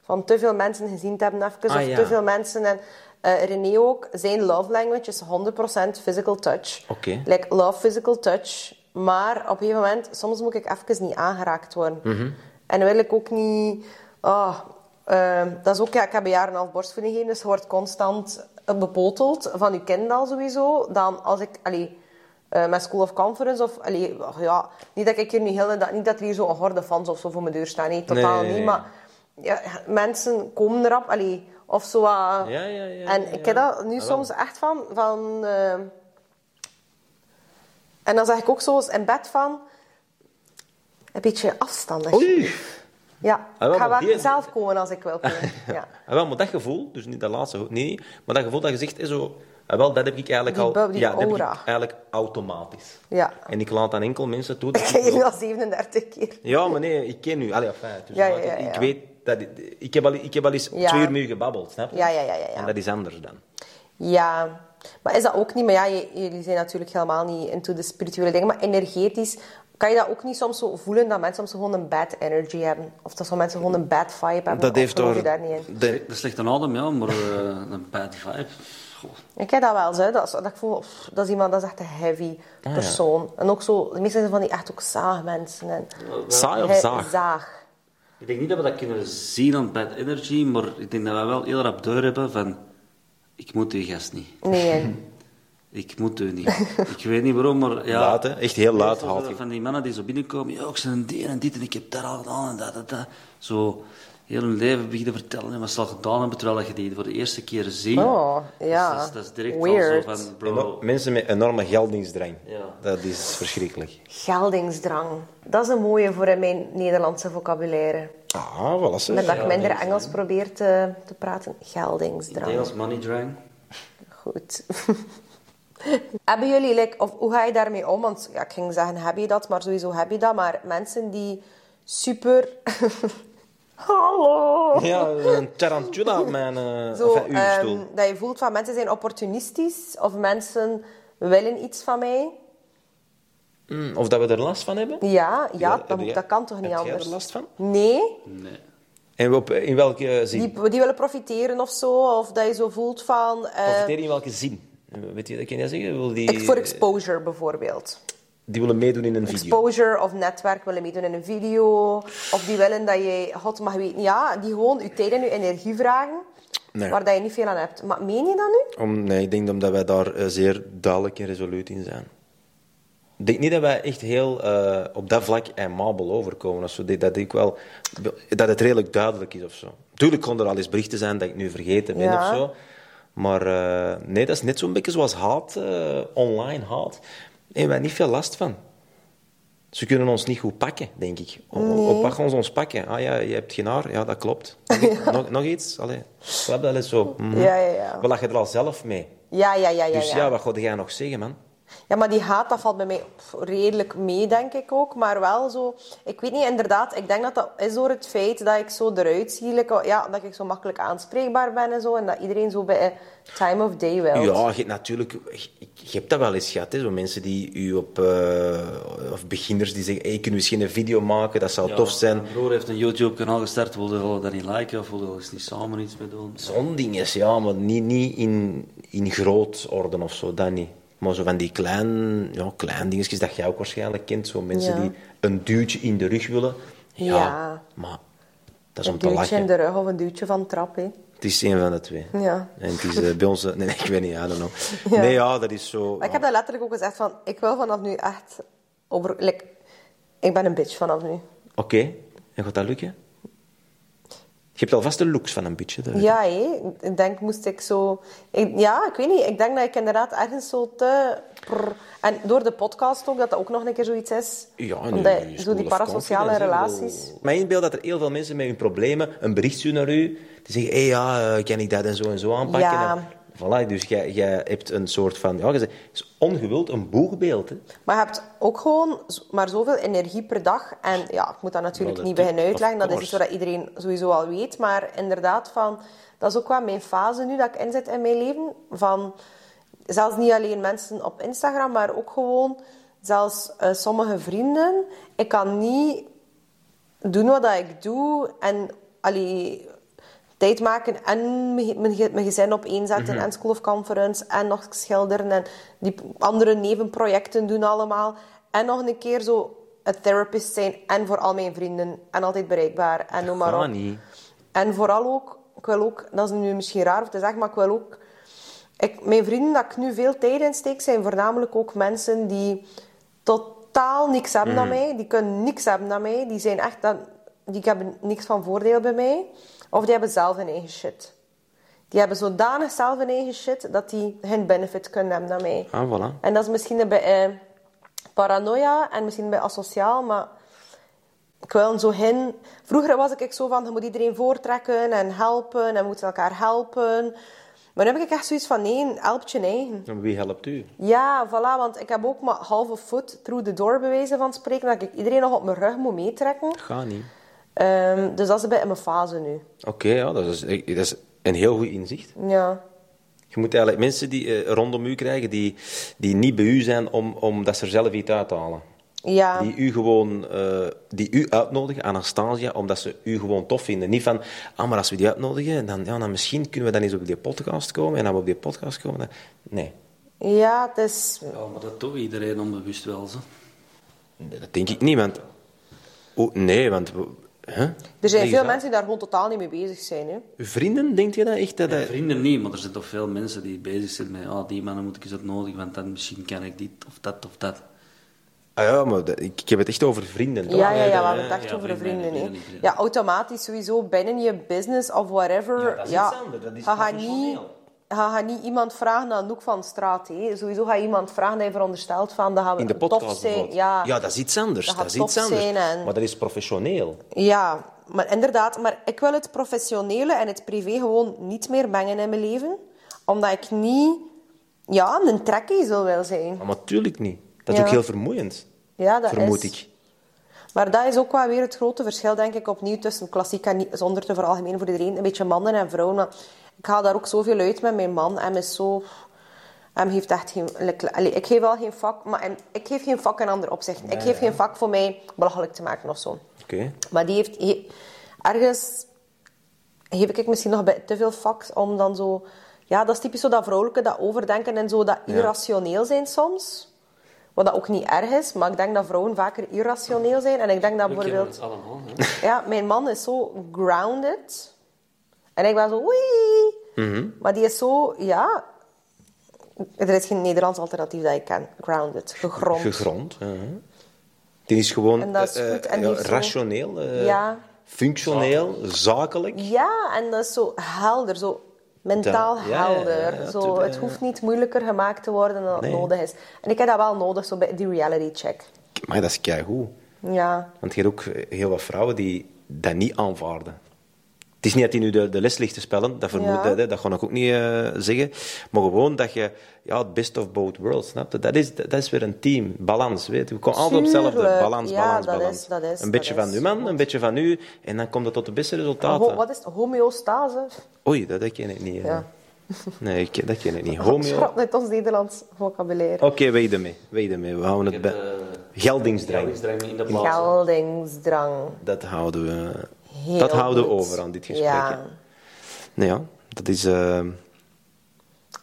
B: Van te veel mensen gezien te hebben even,
C: Ah,
B: of
C: ja.
B: te veel mensen. En eh, René ook, zijn love language is 100% physical touch.
C: Oké.
B: Like, love physical touch. Maar op een gegeven moment, soms moet ik even niet aangeraakt worden. En dan wil ik ook niet... ah, eh, dat is ook, ja, ik heb een jaar en een half borstvoeding gegeven, dus je wordt constant eh, bepoteld van je kind al sowieso. Dan als ik... Allee, eh, met School of Conference. Of, allee, ach ja, niet dat ik hier nu heel... Dat, niet dat er hier zo'n horde fans of zo voor mijn deur staan. Nee, totaal
C: Nee, nee,
B: niet.
C: nee.
B: Maar ja, mensen komen erop. Allee, of zo... wat.
C: Ja, ja, ja,
B: en
C: ja,
B: ik
C: ja.
B: heb dat nu
C: Ah, wel.
B: soms echt van... van eh, en dan zeg ik ook zo eens in bed van... Een beetje afstand.
C: Oei!
B: Ja,
C: Ah, wel,
B: ik ga wel
C: maar die-
B: zelf komen als ik wil komen. eh, Ja.
C: Ah, wel, maar dat gevoel, dus niet dat laatste, nee, nee, maar dat gevoel dat je zegt, eh, zo, ah, wel, dat heb ik eigenlijk
B: Die
C: al...
B: bub- die
C: ja, dat heb ik
B: aura.
C: eigenlijk automatisch.
B: Ja.
C: En ik laat aan enkel mensen toe...
B: Ik
C: Dat
B: ken je al 37 keer.
C: Ja, maar nee, ik ken u. Allee, enfin, dus
B: Ja,
C: maar
B: ja, ja,
C: ik- Ik
B: ja.
C: weet dat... Ik, ik heb, al, ik heb al eens
B: Ja.
C: twee uur met u gebabbeld, snap je?
B: Ja, ja, ja, ja, ja.
C: En dat is anders dan.
B: Ja, maar is dat ook niet... Maar ja, j- jullie zijn natuurlijk helemaal niet into de spirituele dingen. Maar energetisch, kan je dat ook niet soms zo voelen dat mensen soms gewoon een bad energy hebben? Of dat soms mensen gewoon een bad vibe hebben?
C: dat
B: Of
C: heeft
B: geloof
C: door...
B: je daar niet in?
C: de-
D: Dat is slecht een adem, ja, maar eh, een bad vibe. Goh.
B: Ik heb dat wel eens, hè. Dat, is- dat ik voel, pff, dat is iemand, dat is echt een heavy
C: Ah,
B: persoon. En ook zo, meestal zijn van die echt ook zaagmensen. En,
C: Saai of
B: Hij-
C: zaag?
B: Zaag.
E: Ik denk niet dat we dat kunnen zien.
D: Zien aan bad energy, maar ik denk dat wij wel heel rap door hebben van... Ik moet die gast niet.
B: Nee.
D: Ik moet u niet. ik weet niet waarom, maar ja...
C: Laat, hè. Echt heel laat
D: Meestal zijn
C: haalt
D: dat
C: hij.
D: Van die mannen die zo binnenkomen, ja, ik ben een dier en dit en ik heb daar al gedaan en dat en dat. Zo heel hun leven beginnen vertellen en wat ze al gedaan hebben, terwijl je die voor de eerste keer ziet.
B: Oh,
D: Dus
B: ja.
D: dat, is, dat is direct
B: Weird.
D: al zo van,
C: Eno-
D: bro...
C: mensen met enorme geldingsdrang.
D: Ja.
C: Dat is verschrikkelijk.
B: Geldingsdrang. Dat is een mooie voor in mijn Nederlandse vocabulaire.
C: Ah, voilà. ze.
B: Met dat ik minder Engels probeer te, te praten. Geldingsdrang.
E: Engels money drang.
B: Goed. hebben jullie, like, of hoe ga je daarmee om? Want ja, ik ging zeggen, heb je dat? Maar sowieso heb je dat. Maar mensen die super... Hallo!
C: Ja, een tarantula op mijn eh
B: Zo,
C: enfin, uw stoel.
B: ehm, dat je voelt van mensen zijn opportunistisch. Of mensen willen iets van mij.
C: Mm, Of dat we er last van hebben?
B: Ja, ja,
C: heb
B: dat,
C: jij-
B: dat kan toch niet
C: heb jij
B: anders?
C: er last van?
B: Nee,
D: Nee.
C: En we op- in welke eh, zin?
B: die, die willen profiteren of zo. Of dat je zo voelt van... eh,
C: Profiteren in welke zin? Weet je, dat kan je dat zeggen? Wil die,
B: ik voor exposure bijvoorbeeld.
C: die willen meedoen in een video.
B: exposure of netwerk willen meedoen in een video. Of die willen dat jij, god mag weten, ja, die gewoon je tijd en je energie vragen.
C: Nee.
B: Waar dat je niet veel aan hebt. Maar meen je dat nu?
C: Om, nee, ik denk omdat wij daar eh, zeer duidelijk en resoluut in zijn. Ik denk niet dat wij echt heel eh, op dat vlak aimabel overkomen. Als we dit, dat, denk ik wel, dat het redelijk duidelijk is of zo. Tuurlijk kon er al eens berichten zijn dat ik nu vergeten ben
B: Ja.
C: of zo. Maar eh, nee, dat is net zo'n beetje zoals haat, eh, online haat. En wij niet veel last van. Ze kunnen ons niet goed pakken, denk ik. Hoe pak ons ons pakken? Ah ja, je hebt geen haar. Ja, dat klopt. Nog, iets- nog, nog iets? Allee, we hebben dat is zo. Mhm.
B: Ja, ja, ja.
C: We lachen er al zelf mee.
B: Ja, ja, ja, ja.
C: Dus ja,
B: ja.
C: wat god jij nog zeggen, man?
B: Ja, maar die haat, dat valt bij mij pff, redelijk mee, denk ik ook. Maar wel zo... Ik weet niet, inderdaad. Ik denk dat dat is door het feit dat ik zo eruit zie. like, oh, ja, dat ik zo makkelijk aanspreekbaar ben en zo. En dat iedereen zo bij eh, time of day wil.
C: Ja, je, hebt natuurlijk, je, je hebt dat wel eens gehad. Hè? Zo mensen die u op... eh, of beginners die zeggen, hey, kunnen we misschien een video maken? Dat zou
D: Ja,
C: tof zijn.
D: Mijn broer heeft een YouTube-kanaal gestart, wilde wel dat niet liken of wilde wel eens niet samen iets mee doen.
C: Zo'n ding is, ja, maar niet, niet in, in groot orden of zo, dat niet. Maar zo van die klein, ja, klein dingetjes dat jij ook waarschijnlijk kent. Zo mensen
B: Ja.
C: die een duwtje in de rug willen. Ja,
B: Ja.
C: maar dat is om
B: Een
C: te
B: duwtje in
C: lachen.
B: de rug of een duwtje van trap, hè.
C: Het is een van de twee.
B: Ja.
C: En het is eh, bij ons... eh, Nee, ik weet niet, I don't know.
B: Ja.
C: Nee, ja, dat is zo...
B: Maar ik
C: ja.
B: heb dat letterlijk ook gezegd van, ik wil vanaf nu echt over... like, ik ben een bitch vanaf nu.
C: Oké, en gaat dat lukken? Je hebt alvast de looks van een beetje. daar.
B: Ja, hé. Ik denk, moest ik zo... ik- ja, ik weet niet. Ik denk dat ik inderdaad ergens zo te... prr- en door de podcast ook, dat dat ook nog een keer zoiets is.
C: Ja, en
B: Omdat
C: nu is
B: zo
C: School
B: die
C: of
B: parasociale
C: Confidence, hè,
B: relaties...
C: bedoel, Mijn inbeeld dat er heel veel mensen met hun problemen een bericht sturen naar u. Die zeggen, hé ja, eh, kan ik dat en zo en zo aanpakken?
B: Ja.
C: En Voilà, dus jij, jij hebt een soort van... Ja, je zegt, het is ongewild een boegbeeld. Hè.
B: Maar je hebt ook gewoon z- maar zoveel energie per dag. En ja, ik moet dat natuurlijk
C: Wel, dat
B: niet
C: doet-
B: beginnen uitleggen.
C: of
B: Dat is iets
C: course.
B: wat iedereen sowieso al weet. Maar inderdaad, van, dat is ook wel mijn fase nu dat ik inzit in mijn leven. Van, zelfs niet alleen mensen op Instagram, maar ook gewoon zelfs eh, sommige vrienden. Ik kan niet doen wat dat ik doe en allee, tijd maken en mijn, mijn, ge- mijn gezin op één zetten en School of Conference en nog schilderen en die p- andere nevenprojecten doen allemaal. En nog een keer zo een therapist zijn en voor al mijn vrienden en altijd bereikbaar en noem maar
C: gaat
B: op.
C: niet.
B: En vooral ook, ik wil ook, dat is nu misschien raar om te zeggen, maar ik wil ook... Ik, mijn vrienden dat ik nu veel tijd in steek, zijn voornamelijk ook mensen die totaal niks hebben
C: Mhm.
B: dan mij. Die kunnen niks hebben dan mij. Die zijn echt... Dan, die hebben niks van voordeel bij mij. Of die hebben zelf hun eigen shit. Die hebben zodanig zelf hun eigen shit, dat die geen benefit kunnen hebben dan mij.
C: Ah, voilà.
B: En dat is misschien een beetje eh, paranoia en misschien een beetje asociaal, maar ik wil zo hen... Vroeger was ik zo van, je moet iedereen voortrekken en helpen en we moeten elkaar helpen. Maar nu heb ik echt zoiets van, nee, help je eigen.
C: En Wie helpt u?
B: Ja, voilà, want ik heb ook maar halve foot through the door bewezen van spreken, dat ik iedereen nog op mijn rug moet meetrekken.
C: Gaat niet.
B: Ehm, dus dat is een beetje mijn fase nu.
C: Oké, ja, dat is, dat is een heel goed inzicht.
B: Ja.
C: Je moet eigenlijk mensen die eh, rondom u krijgen, die, die niet bij u zijn om, omdat ze er zelf iets uithalen.
B: Ja.
C: Die u gewoon, eh, die u uitnodigen, Anastasia, omdat ze u gewoon tof vinden. Niet van, ah, maar als we die uitnodigen, dan, ja, dan misschien kunnen we dan eens op die podcast komen. En dan we op die podcast komen, dan... Nee,
B: Ja, het is...
D: Ja, maar dat doet iedereen onbewust wel, zo.
C: Nee, dat denk ik niet, want... Oh, nee, want... we- Hè?
B: Er zijn
C: Zeg
B: veel
C: eens
B: mensen die daar gewoon totaal niet mee bezig zijn, hè.
C: aan. Vrienden, denk je dat echt? Dat,
E: Eh,
C: dat-
D: Vrienden niet, maar er zijn toch veel mensen die bezig zijn met ah, die mannen moet ik eens nodig, want dan misschien kan ik dit of dat of dat.
C: Ah, ja, maar dat- ik, ik heb het echt over vrienden, toch? Eh,
B: Ja, ja, ja, we
C: Dat-
B: hebben het echt
D: ja,
B: over de
D: vrienden,
B: vrienden. hè.
D: vrienden, vrienden.
B: Ja, automatisch sowieso binnen je business of whatever.
C: Ja, dat is iets anders, dat is
B: je gaat
C: professioneel.
B: niet, je gaat niet iemand vragen naar een hoek van de straat. Hè. Sowieso ga je iemand vragen dat je veronderstelt van dat gaan we
C: eh, In de
B: tof
C: podcast
B: zijn.
C: bijvoorbeeld.
B: Ja, ja.
C: dat is iets anders.
B: Dat
C: Dat,
B: gaat
C: is iets
B: tof
C: anders.
B: zijn en-
C: Maar dat is professioneel.
B: maar inderdaad. Maar ik wil het professionele en het privé gewoon niet meer mengen in mijn leven. Omdat ik niet ja, een trekkezel wil zijn.
C: Maar natuurlijk niet. Dat is
B: Ja.
C: ook heel vermoeiend.
B: Ja, dat
C: vermoed
B: is-
C: ik.
B: Maar dat is ook wel weer het grote verschil, denk ik, opnieuw tussen klassiek en niet, zonder te veralgemenen voor iedereen. Een beetje mannen en vrouwen. Want ik haal daar ook zoveel uit met mijn man. Hem is zo... Hem heeft echt geen... like, allee, ik geef wel geen vak, maar hem- ik geef geen vak in ander opzicht. ik geef geen vak voor mij belachelijk te maken of zo.
C: Oké.
B: Maar die heeft... he- ergens geef ik misschien nog bij te veel fucks om dan zo... Ja, dat is typisch zo dat vrouwelijke, dat overdenken en zo, dat irrationeel zijn soms. Wat dat ook niet erg is, maar ik denk dat vrouwen vaker irrationeel zijn. En ik denk dat bijvoorbeeld...
E: allemaal, hè.
B: Ja, mijn man is zo grounded. En ik ben zo, oei. Maar die is zo, ja... Er is geen Nederlands alternatief dat ik ken. Grounded, gegrond.
C: Gegrond. ja. Die is gewoon
B: En dat is
C: eh, eh,
B: goed en
C: ja,
B: die heeft zo-
C: rationeel, eh,
B: Ja.
C: functioneel, zakelijk.
B: Ja, en dat is zo helder, zo mentaal
C: Dat- ja, ja, ja,
B: helder.
C: ja,
B: zo,
C: tuurlijk,
B: het
C: ja.
B: hoeft niet moeilijker gemaakt te worden dan het
C: Nee.
B: nodig is. En ik heb dat wel nodig, zo bij die reality check.
C: Maar dat is keigoed.
B: Ja.
C: Want je hebt ook heel wat vrouwen die dat niet aanvaarden. Het is niet dat hij nu de, de les ligt te spellen, dat vermoed
B: Ja.
C: dat, dat ga ik ook niet eh, zeggen. Maar gewoon dat je ja, het best of both worlds, snap je? Dat is, dat is weer een team, balans, weet je. We komen altijd op hetzelfde,
B: Tuurlijk.
C: balans,
B: Ja,
C: balans,
B: dat
C: balans.
B: is- dat is-
C: een beetje
B: dat
C: van
B: is.
C: uw man, een beetje van u, en dan komt het tot de beste resultaten.
B: Ho- wat is het? Homeostase?
C: Oei, dat, dat ken ik niet. eh.
B: Ja.
C: Nee, ik, dat ken ik niet. Homeo...
B: Schrap uit ons Nederlands vocabulaire.
C: Oké, weet ermee, weet ermee. We houden het bij...
D: eh,
E: Eh,
C: Geldingsdrang.
E: Geldingsdrang in de
C: Oh,
E: plaats.
B: Geldingsdrang.
C: Dat houden we,
B: Heel
C: dat houden we
B: goed.
C: over aan dit gesprek.
B: Ja.
C: hè. Nou ja, dat is eh,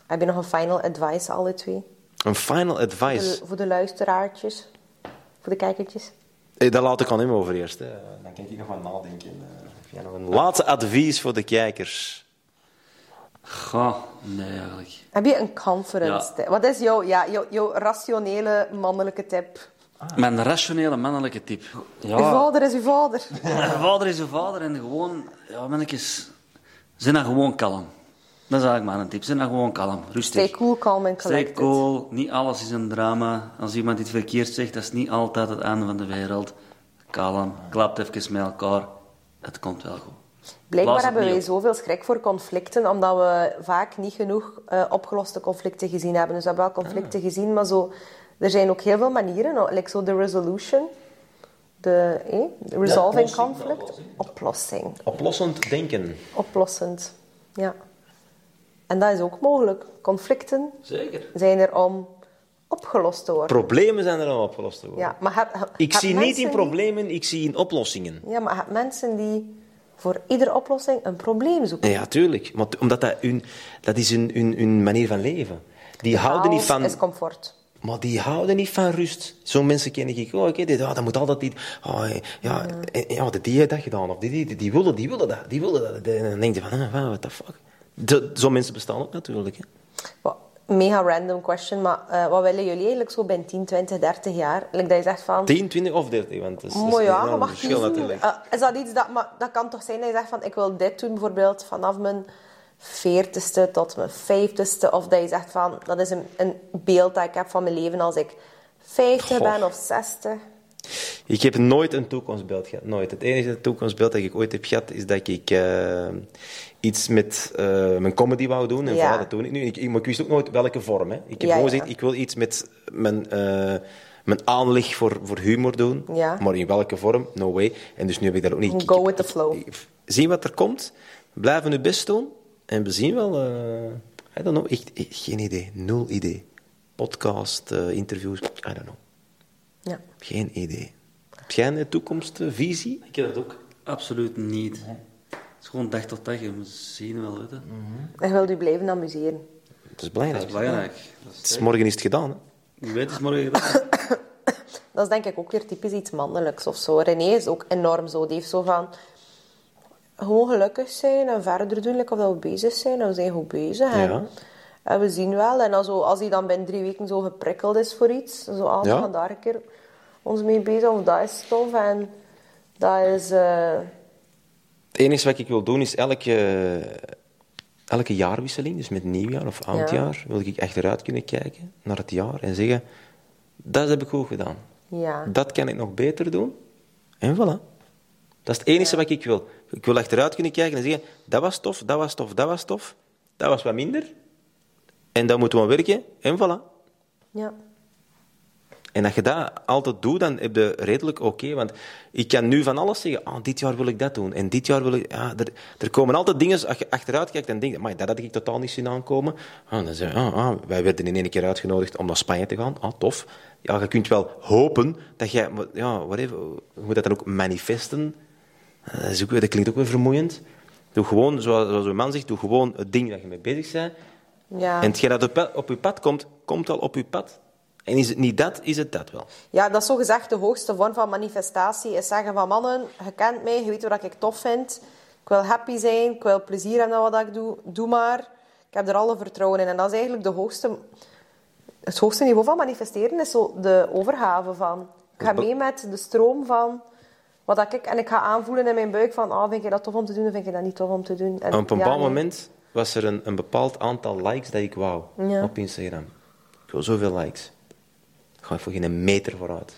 B: Heb je nog een final advice, alle twee?
C: een final
B: Voor
C: advice.
B: de, voor de luisteraartjes? Voor de kijkertjes?
C: Eh, Daar laat ik aan hem over eerst. Hè. Dan kan ik nog wat nadenken. eh. Heb jij nog een laatste advies voor de kijkers?
D: Ga, nee eigenlijk.
B: Heb je een conference
D: Ja.
B: tip? Wat is jouw, ja, jouw, jouw rationele mannelijke tip?
E: Ah.
D: Mijn rationele mannelijke tip.
B: Uw
C: Ah.
D: Ja,
B: vader is uw vader.
D: Mijn vader is uw vader en gewoon, ja, mannetjes, zijn dan gewoon kalm. Dat is eigenlijk maar een tip. Zijn dan gewoon kalm, rustig.
B: Stay cool, calm en
D: Stay
B: collected.
D: cool, niet alles is een drama. Als iemand iets verkeerd zegt, dat is niet altijd het einde van de wereld. Kalm, klapt even met elkaar, het komt wel goed.
B: Blijkbaar
D: Blaas het
B: hebben
D: niet
B: wij
D: op.
B: zoveel schrik voor conflicten, omdat we vaak niet genoeg eh, opgeloste conflicten gezien hebben. Dus we hebben wel conflicten gezien, maar zo, er zijn ook heel veel manieren. nou, Like zo de resolution, de, eh, de resolving
C: oplossing,
B: conflict.
C: de
B: Oplossing.
C: Oplossend denken.
B: Oplossend, ja. En dat is ook mogelijk. Conflicten
E: Zeker.
B: zijn er om opgelost te worden.
C: Problemen zijn er al opgelost te worden.
B: Ja, maar heb- heb-
C: Ik
B: heb
C: zie niet
B: mensen
C: in
B: die-
C: problemen, ik zie in oplossingen.
B: Ja, maar heb mensen die voor iedere oplossing een probleem zoeken.
C: Ja, tuurlijk. Want, omdat dat, hun, dat is hun, hun, hun manier van leven. Die houden niet
B: Chaos
C: van...
B: is comfort.
C: Maar die houden niet van rust. Zo'n mensen ken ik. Oh, oké, dit, ah, dat moet altijd dit. Oh, eh, ja, eh, ja, dat die heeft dat gedaan. Of die, die, die, die willen, die willen dat. Die willen dat. En dan denk je van, ah, wow, what the fuck. De- Zo'n mensen bestaan ook natuurlijk. Hè.
B: Wat- Mega random question, maar eh, wat willen jullie eigenlijk zo bij 10, 20, 30 jaar? Like dat je zegt van...
C: 10, 20 of 30. Want dat is, dat is
B: mooi
C: een
B: Oh ja,
C: enorm
B: je mag
C: verschil
B: kiezen.
C: natuurlijk.
B: Eh, is dat iets dat... Maar dat kan toch zijn dat je zegt van... Ik wil dit doen bijvoorbeeld vanaf mijn 40ste tot mijn 50ste. Of dat je zegt van... Dat is een, een beeld dat ik heb van mijn leven als ik 50
C: Goh.
B: ben of 60.
C: Ik heb nooit een toekomstbeeld gehad. Nooit. Het enige toekomstbeeld dat ik ooit heb gehad is dat ik eh, iets met eh, mijn comedy wou doen. En
B: Ja.
C: vooral dat doe ik nu. Ik, ik- maar ik wist ook nooit welke vorm. Hè. Ik heb
B: Ja,
C: gewoon
B: ja.
C: gezegd, ik wil iets met mijn, eh, mijn aanleg voor, voor humor doen.
B: Ja.
C: Maar in welke vorm? No way. En dus nu heb ik daar ook niet...
B: Go
C: ik-
B: with the
C: ik-
B: flow.
C: ik- zien wat er komt. Blijven we best doen. En we zien wel... eh I don't know. Echt, echt geen idee. Nul idee. Podcast, eh, interviews. I don't know.
B: Ja.
C: Geen idee. Heb jij een toekomstvisie?
E: Ik heb dat ook.
D: Absoluut niet.
E: Het is gewoon dag tot dag, je moet zien wel weten.
B: En wil u blijven amuseren.
C: Dat is
E: Dat
C: belangrijk.
E: is belangrijk. Dat
C: Het is morgen is het gedaan. Hè?
E: is- Je weet, het is morgen gedaan.
B: Dat is denk ik ook weer typisch iets mannelijks of zo. René is ook enorm zo. Die heeft zo van... Gewoon gelukkig zijn en verder doen, like of dat we bezig zijn. En we zijn goed bezig. En,
C: Ja.
B: en we zien wel. En dan zo, als hij dan binnen drie weken zo geprikkeld is voor iets... Zo, ah, we
C: Ja.
B: gaan daar een keer ons mee bezig. Of dat is tof. En dat is... eh,
C: Het enige wat ik wil doen is elke, elke jaarwisseling, dus met nieuwjaar of oudjaar, wil ik achteruit kunnen kijken naar het jaar en zeggen: dat heb ik goed gedaan.
B: ja.
C: Dat kan ik nog beter doen. En voilà. Dat is het enige wat ik wil. Ik wil achteruit kunnen kijken en zeggen: dat was tof, dat was tof, dat was tof. Dat was wat minder. En dan moeten we aan werken. En voilà.
B: ja.
C: En als je dat altijd doet, dan heb je redelijk oké. want ik kan nu van alles zeggen. Ah, dit jaar wil ik dat doen. En dit jaar wil ik... Ja, er, er komen altijd dingen, als je achteruit kijkt en denkt... "Amai, dat had ik totaal niet zien aankomen. Ah, dan zeg je, ah, ah, wij werden in één keer uitgenodigd om naar Spanje te gaan. Ah, tof. Ja, je kunt wel hopen dat jij... maar Ja, whatever, je moet dat dan ook manifesten. Eh, Dat, is ook weer, dat klinkt ook weer vermoeiend. Doe gewoon, zoals, zoals uw man zegt, doe gewoon het ding dat je mee bezig bent.
B: Ja.
C: En hetgeen dat op, pa- op uw pad komt, komt wel op uw pad. En is het niet dat, is het dat wel.
B: Ja, dat is zogezegd de hoogste vorm van manifestatie. Is zeggen van mannen, je kent mij, je weet wat ik tof vind. Ik wil happy zijn, ik wil plezier hebben aan wat ik doe. Doe maar. Ik heb er alle vertrouwen in. En dat is eigenlijk de hoogste, het hoogste niveau van manifesteren, is zo de overgave van. Ik ga
C: Dat is
B: mee met de stroom van wat dat ik... En ik ga aanvoelen in mijn buik van, ah, vind je dat tof om te doen of vind je dat niet tof om te doen? En
C: En op een
B: ja,
C: bepaald
B: nee.
C: moment was er een, een bepaald aantal likes dat ik wou
B: Ja.
C: op Instagram. Ik wil zoveel likes. Ik ga voor geen meter vooruit.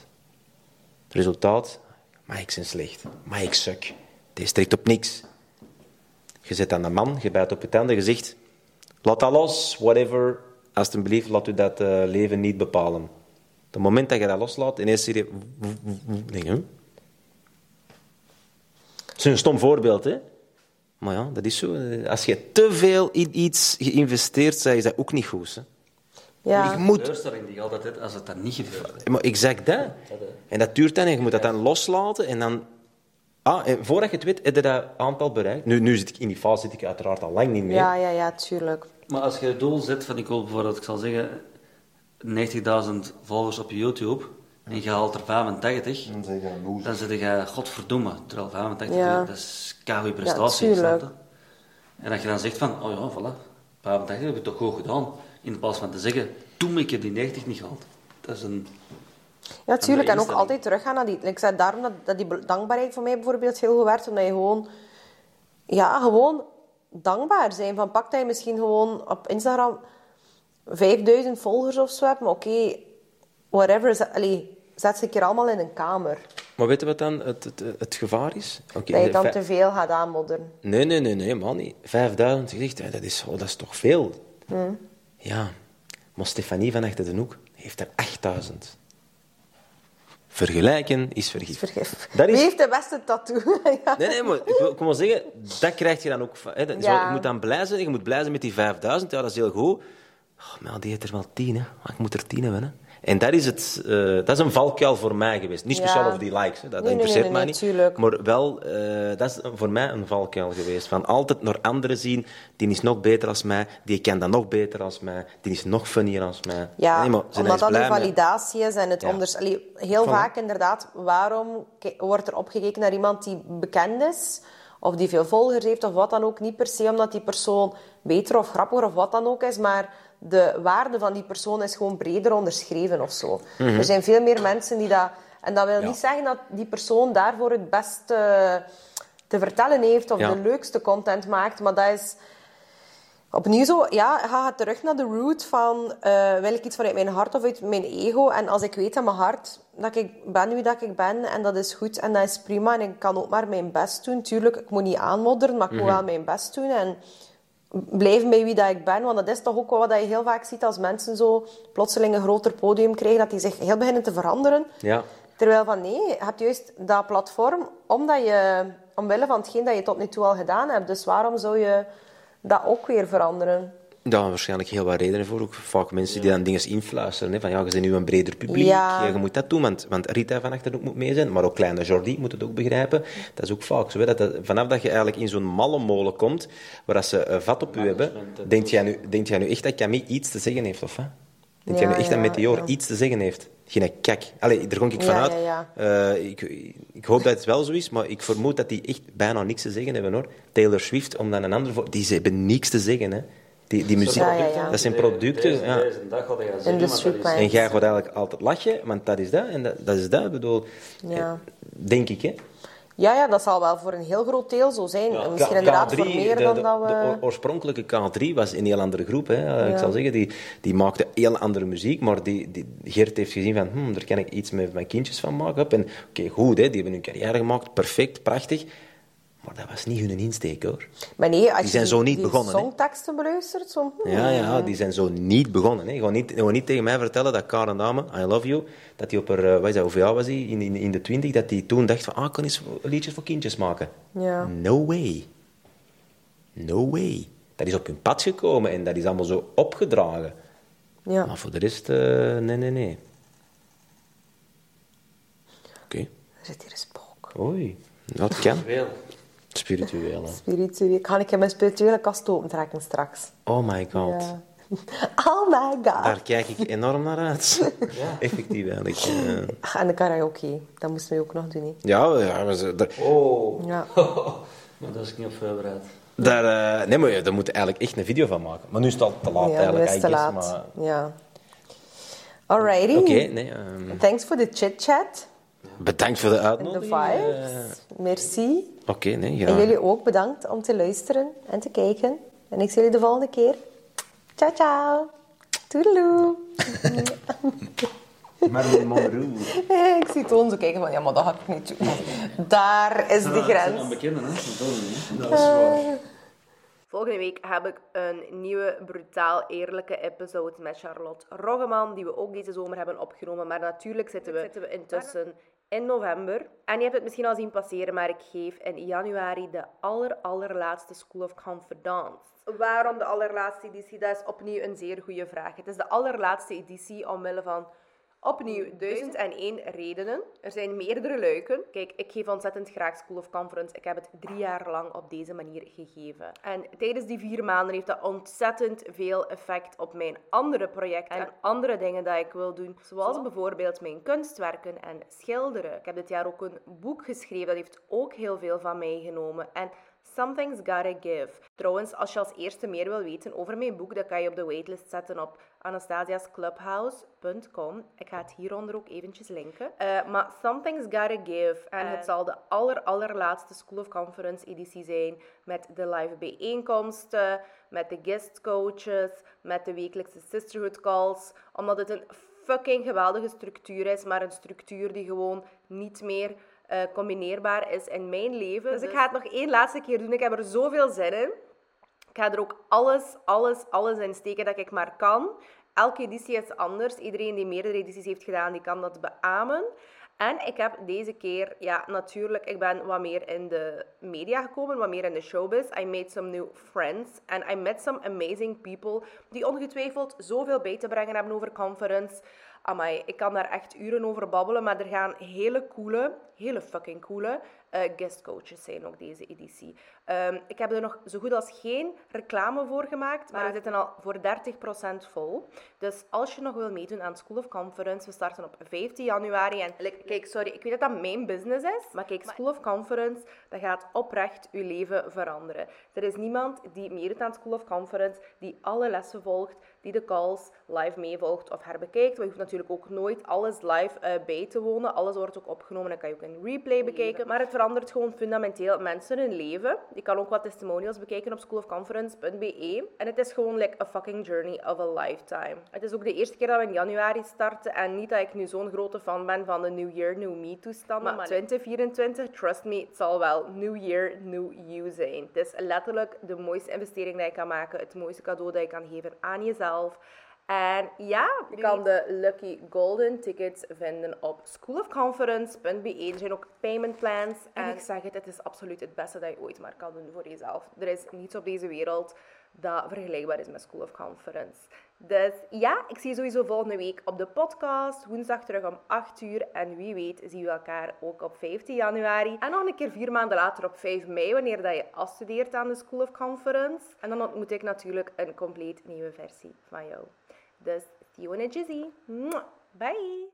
C: Het resultaat? Maar ik zijn slecht. Maar ik suk. Deze trekt op niks. Je zit aan de man, je bijt op je tanden, je zegt... Laat dat los, whatever. Alsjeblieft, laat u dat eh, leven niet bepalen. Op het moment dat je dat loslaat, ineens zie je... Denk je, huh? Het is een stom voorbeeld, hè? Maar ja, dat is zo. Eh, Als je te veel in iets geïnvesteerd bent, is dat ook niet goed. Hè?
B: Ja.
C: Ik moet
E: teleurstelling die je altijd hebt als het dan niet gebeurt.
C: maar exact dat. En dat duurt dan en je moet dat dan loslaten en dan... Ah, en voordat je het weet, heb je dat aantal bereikt. Nu, nu zit ik in die fase, zit ik uiteraard al lang niet meer.
B: Ja, ja, ja, tuurlijk.
E: Maar als je het doel zet van ik wil bijvoorbeeld, ik zal zeggen, 90.000 volgers op YouTube en je haalt er 85, dan zeg je, godverdomme, terwijl 85,
B: Ja.
E: dat is keigoede prestatie.
B: Ja,
E: snap
B: tuurlijk.
E: je? en dat je dan zegt van, oh ja, voilà, 85 heb ik toch goed gedaan, in plaats van te zeggen, toen ik heb die 90 niet gehaald. Dat is een...
B: Ja, tuurlijk. En ook
E: instelling.
B: altijd teruggaan naar die... Ik zei daarom dat, dat die be- dankbaarheid voor mij bijvoorbeeld heel goed werkt. Omdat je gewoon... Ja, gewoon dankbaar zijn. Van pak dat je misschien gewoon op Instagram 5000 volgers of zo hebt. Maar oké, whatever. Is, allee, zet ze een keer allemaal in een kamer.
C: Maar weet je wat dan het, het, het gevaar is? Oké,
B: Dat je dan
C: vij-
B: te veel gaat aanmodderen.
C: Nee, nee, nee, nee, man niet. 5000 gezicht, hè, dat is, oh, dat is toch veel?
B: Hm.
C: Ja, maar Stefanie van Achter de Hoek heeft er 8000. Vergelijken is vergif.
B: Vergif.
C: Dat
B: Wie
C: is...
B: heeft de beste tattoo? ja.
C: Nee, nee, maar ik wil- ik wil maar zeggen, dat krijg je dan ook. van- Hè, dat is
B: Ja.
C: wel- je moet dan blij zijn, je moet blij zijn met die 5000, ja, dat is heel goed. Oh, maar die heeft er wel 10, hè. Maar ik moet er 10 hebben, hè. En dat is, het, eh, dat is een valkuil voor mij geweest. Niet speciaal
B: Ja.
C: over die likes, hè. dat, dat
B: Nee, nee,
C: interesseert
B: nee,
C: mij
B: nee,
C: niet.
B: tuurlijk.
C: Maar wel, eh, dat is voor mij een valkuil geweest. Van altijd naar anderen zien, die is nog beter als mij, die kan dat nog beter als mij, die is nog funnier als mij.
B: Ja,
C: Nee, maar
B: omdat
C: zijn daar
B: dat
C: eens
B: de
C: blij mee?
B: validatie is en het
C: Ja.
B: onders... Allee, heel
C: Voilà.
B: vaak inderdaad, waarom ki- wordt er opgekeken naar iemand die bekend is of die veel volgers heeft of wat dan ook. Niet per se omdat die persoon beter of grappiger of wat dan ook is, maar de waarde van die persoon is gewoon breder onderschreven of zo. Er zijn veel meer mensen die dat... En dat wil
C: Mhm. Ja.
B: niet zeggen dat die persoon daarvoor het beste te vertellen heeft of
C: Ja.
B: de leukste content maakt, maar dat is... Opnieuw zo, ja, ga je terug naar de root van eh, wil ik iets vanuit mijn hart of uit mijn ego. En als ik weet aan mijn hart dat ik ben wie dat ik ben en dat is goed en dat is prima en ik kan ook maar mijn best doen. Tuurlijk, ik moet niet aanmodderen, maar ik moet wel mijn best doen en blijven bij wie dat ik ben. Want dat is toch ook wel wat je heel vaak ziet als mensen zo plotseling een groter podium krijgen, dat die zich heel beginnen te veranderen.
C: Ja.
B: Terwijl van nee, je hebt juist dat platform omdat je, omwille van hetgeen dat je tot nu toe al gedaan hebt. Dus waarom zou je dat ook weer veranderen?
C: Daar waarschijnlijk heel wat redenen voor. Ook vaak mensen die dan dingen influisteren. Hè, van ja, je bent nu een breder publiek.
B: Ja.
C: Ja, je moet dat doen. Want, want Rita van Achterhoek moet mee zijn. Maar ook kleine Jordi moet het ook begrijpen. Dat is ook vaak zo. Hè, dat, dat- vanaf dat je eigenlijk in zo'n malle molen komt. waar dat ze eh, vat op u hebben. Denkt
B: eh,
C: jij, nu, denkt jij nu echt dat Camille iets te zeggen heeft? Of wat? Denkt jij
B: Ja,
C: nu echt
B: ja,
C: dat Meteor
B: ja.
C: iets te zeggen heeft? Geen kak. Allee, daar gong ik
B: Ja,
C: vanuit.
B: ja, ja.
C: Eh, ik, ik hoop dat het wel zo is, maar ik vermoed dat die echt bijna niks te zeggen hebben hoor. Taylor Swift, om dan een ander voor. Die ze hebben niks te zeggen, hè? Die, die muziek.
B: Ja, ja, ja.
C: Dat zijn producten.
E: Deze,
C: ja.
E: deze dag hadden je
B: In
E: zeggen,
B: de
E: maar dat is-
B: streetpijn.
C: En jij gaat eigenlijk altijd lachen, want dat is dat en dat, dat is dat. Ik bedoel,
B: Ja.
C: eh, denk ik, hè?
B: Ja, ja, dat zal wel voor een heel groot deel zo zijn. En Misschien
C: K-
B: inderdaad
C: K3,
B: voor meer
C: de-
B: dan
C: de-
B: dat we...
C: de oor- oorspronkelijke K3 was een heel andere groep. Hè. Eh,
B: Ja.
C: Ik zal zeggen, die, die maakte heel andere muziek, maar die, die, Geert heeft gezien van, hm, daar kan ik iets met mijn kindjes van maken. Hup, En oké, goed, hè, die hebben hun carrière gemaakt, perfect, prachtig. Maar dat was niet hun insteek, hoor.
B: Maar nee, als
C: oh. Die
B: je
C: zijn zo niet
B: die
C: begonnen, hè?
B: songteksten beluistert, zo... hmm.
C: Ja, ja, die zijn zo niet begonnen. Hè. Gewoon, niet, gewoon niet tegen mij vertellen dat Karen Dame, I love you, dat die op haar, eh, wat is dat, hoeveel jaar was hij, in, in, in de twintig, dat die toen dacht van, ah, ik kan eens liedjes voor kindjes maken.
B: Ja.
C: No way. No way. Dat is op hun pad gekomen en dat is allemaal zo opgedragen.
B: Ja.
C: Maar voor de rest, eh, nee, nee, nee. Oké.
B: Er zit hier een spook.
C: Oei. Dat kan.
E: Veel.
C: Spiritueel. hè.
B: Spiritueel. Ik Ga ik in mijn spirituele kast opentrekken straks.
C: Oh my god.
B: Ja. Oh my god.
C: Daar kijk ik enorm naar uit. Effectief eigenlijk. eh.
B: Ach, Ah, En de karaoke, dat moesten we ook nog doen. Hè.
C: Ja, ja maar ze- daar,
E: Oh,
B: Ja.
E: maar dat is ik niet op voorbereid.
C: daar, eh, nee, maar ja, daar moet je eigenlijk echt een video van maken. Maar nu is het al te laat
B: ja, dat
C: eigenlijk.
B: is
C: I
B: te
C: guess,
B: laat.
C: maar-
B: Ja. Alrighty.
C: Oké, nee. ehm,
B: Thanks voor de chit-chat
C: bedankt voor de
B: en de
C: uitnodiging. eh.
B: vibes. Merci.
C: Oké, nee, ja.
B: En jullie ook bedankt om te luisteren en te kijken. En ik zie jullie de volgende keer. Ciao, ciao. Toedeloe.
C: Marilyn Monroe.
B: ik zie Toon zo kijken van, ja, maar dat ga ik niet doen. Daar is de grens. Eh,
E: bekenden, hè? Dat is
A: Volgende week heb ik een nieuwe brutaal eerlijke episode met Charlotte Roggeman, die we ook deze zomer hebben opgenomen. Maar natuurlijk zitten we, zitten we intussen in november. En je hebt het misschien al zien passeren, maar ik geef in januari de aller, allerlaatste School of Confidence. Waarom de allerlaatste editie? Dat is opnieuw een zeer goede vraag. Het is de allerlaatste editie omwille van Opnieuw, 1001 redenen. Er zijn meerdere luiken. Kijk, ik geef ontzettend graag School of Conference. Ik heb het drie jaar lang op deze manier gegeven. En tijdens die vier maanden heeft dat ontzettend veel effect op mijn andere projecten en andere dingen dat ik wil doen. Zoals bijvoorbeeld mijn kunstwerken en schilderen. Ik heb dit jaar ook een boek geschreven. Dat heeft ook heel veel van mij genomen. En Something's Gotta Give. Trouwens, als je als eerste meer wil weten over mijn boek, dan kan je op de waitlist zetten op anastasiasclubhouse.com. Ik ga het hieronder ook eventjes linken. Eh, maar Something's Gotta Give. En het zal de aller, allerlaatste School of Conference editie zijn met de live bijeenkomsten, met de guest coaches, met de wekelijkse sisterhood calls, omdat het een fucking geweldige structuur is, maar een structuur die gewoon niet meer eh, combineerbaar is in mijn leven. Dus ik ga het nog één laatste keer doen. Ik heb er zoveel zin in. Ik ga er ook alles, alles, alles in steken dat ik maar kan. Elke editie is anders. Iedereen die meerdere edities heeft gedaan, die kan dat beamen. En ik heb deze keer, ja, natuurlijk, ik ben wat meer in de media gekomen, wat meer in de showbiz. I made some new friends and I met some amazing people die ongetwijfeld zoveel bij te brengen hebben over conference. Amai, ik kan daar echt uren over babbelen, maar er gaan hele coole, hele fucking coole eh, guest coaches zijn ook deze editie. Ehm, ik heb er nog zo goed als geen reclame voor gemaakt, maar we zitten al voor 30% vol. Dus als je nog wil meedoen aan School of Conference, we starten op 15 januari. En like, kijk, sorry, ik weet dat dat mijn business is, maar kijk, School of Conference, dat gaat oprecht je leven veranderen. Er is niemand die meedoet aan School of Conference, die alle lessen volgt, die de calls live meevolgt of herbekijkt. Maar je hoeft natuurlijk ook nooit alles live eh, bij te wonen. Alles wordt ook opgenomen, dan kan je ook een replay bekijken. Maar het verandert gewoon fundamenteel mensen hun leven. Je kan ook wat testimonials bekijken op schoolofconference.be. E. En het is gewoon like a fucking journey of a lifetime. Het is ook de eerste keer dat we in januari starten. En niet dat ik nu zo'n grote fan ben van de New Year, New Me toestanden. Maar, 2024, trust me, het zal wel New Year, New You zijn. Het is letterlijk de mooiste investering die je kan maken. Het mooiste cadeau dat je kan geven aan jezelf. En ja, je kan de Lucky Golden tickets vinden op schoolofconference.be. Er zijn ook payment plans. En, ik zeg het, het is absoluut het beste dat je ooit maar kan doen voor jezelf. Er is niets op deze wereld dat vergelijkbaar is met School of Conference. Dus ja, ik zie je sowieso volgende week op de podcast. Woensdag terug om 8 uur. En wie weet zien we elkaar ook op 15 januari. En nog een keer vier maanden later op 5 mei, wanneer dat je afstudeert aan de School of Conference. En dan ontmoet ik natuurlijk een compleet nieuwe versie van jou. Dus see you in a jizzy. Mwah. Bye!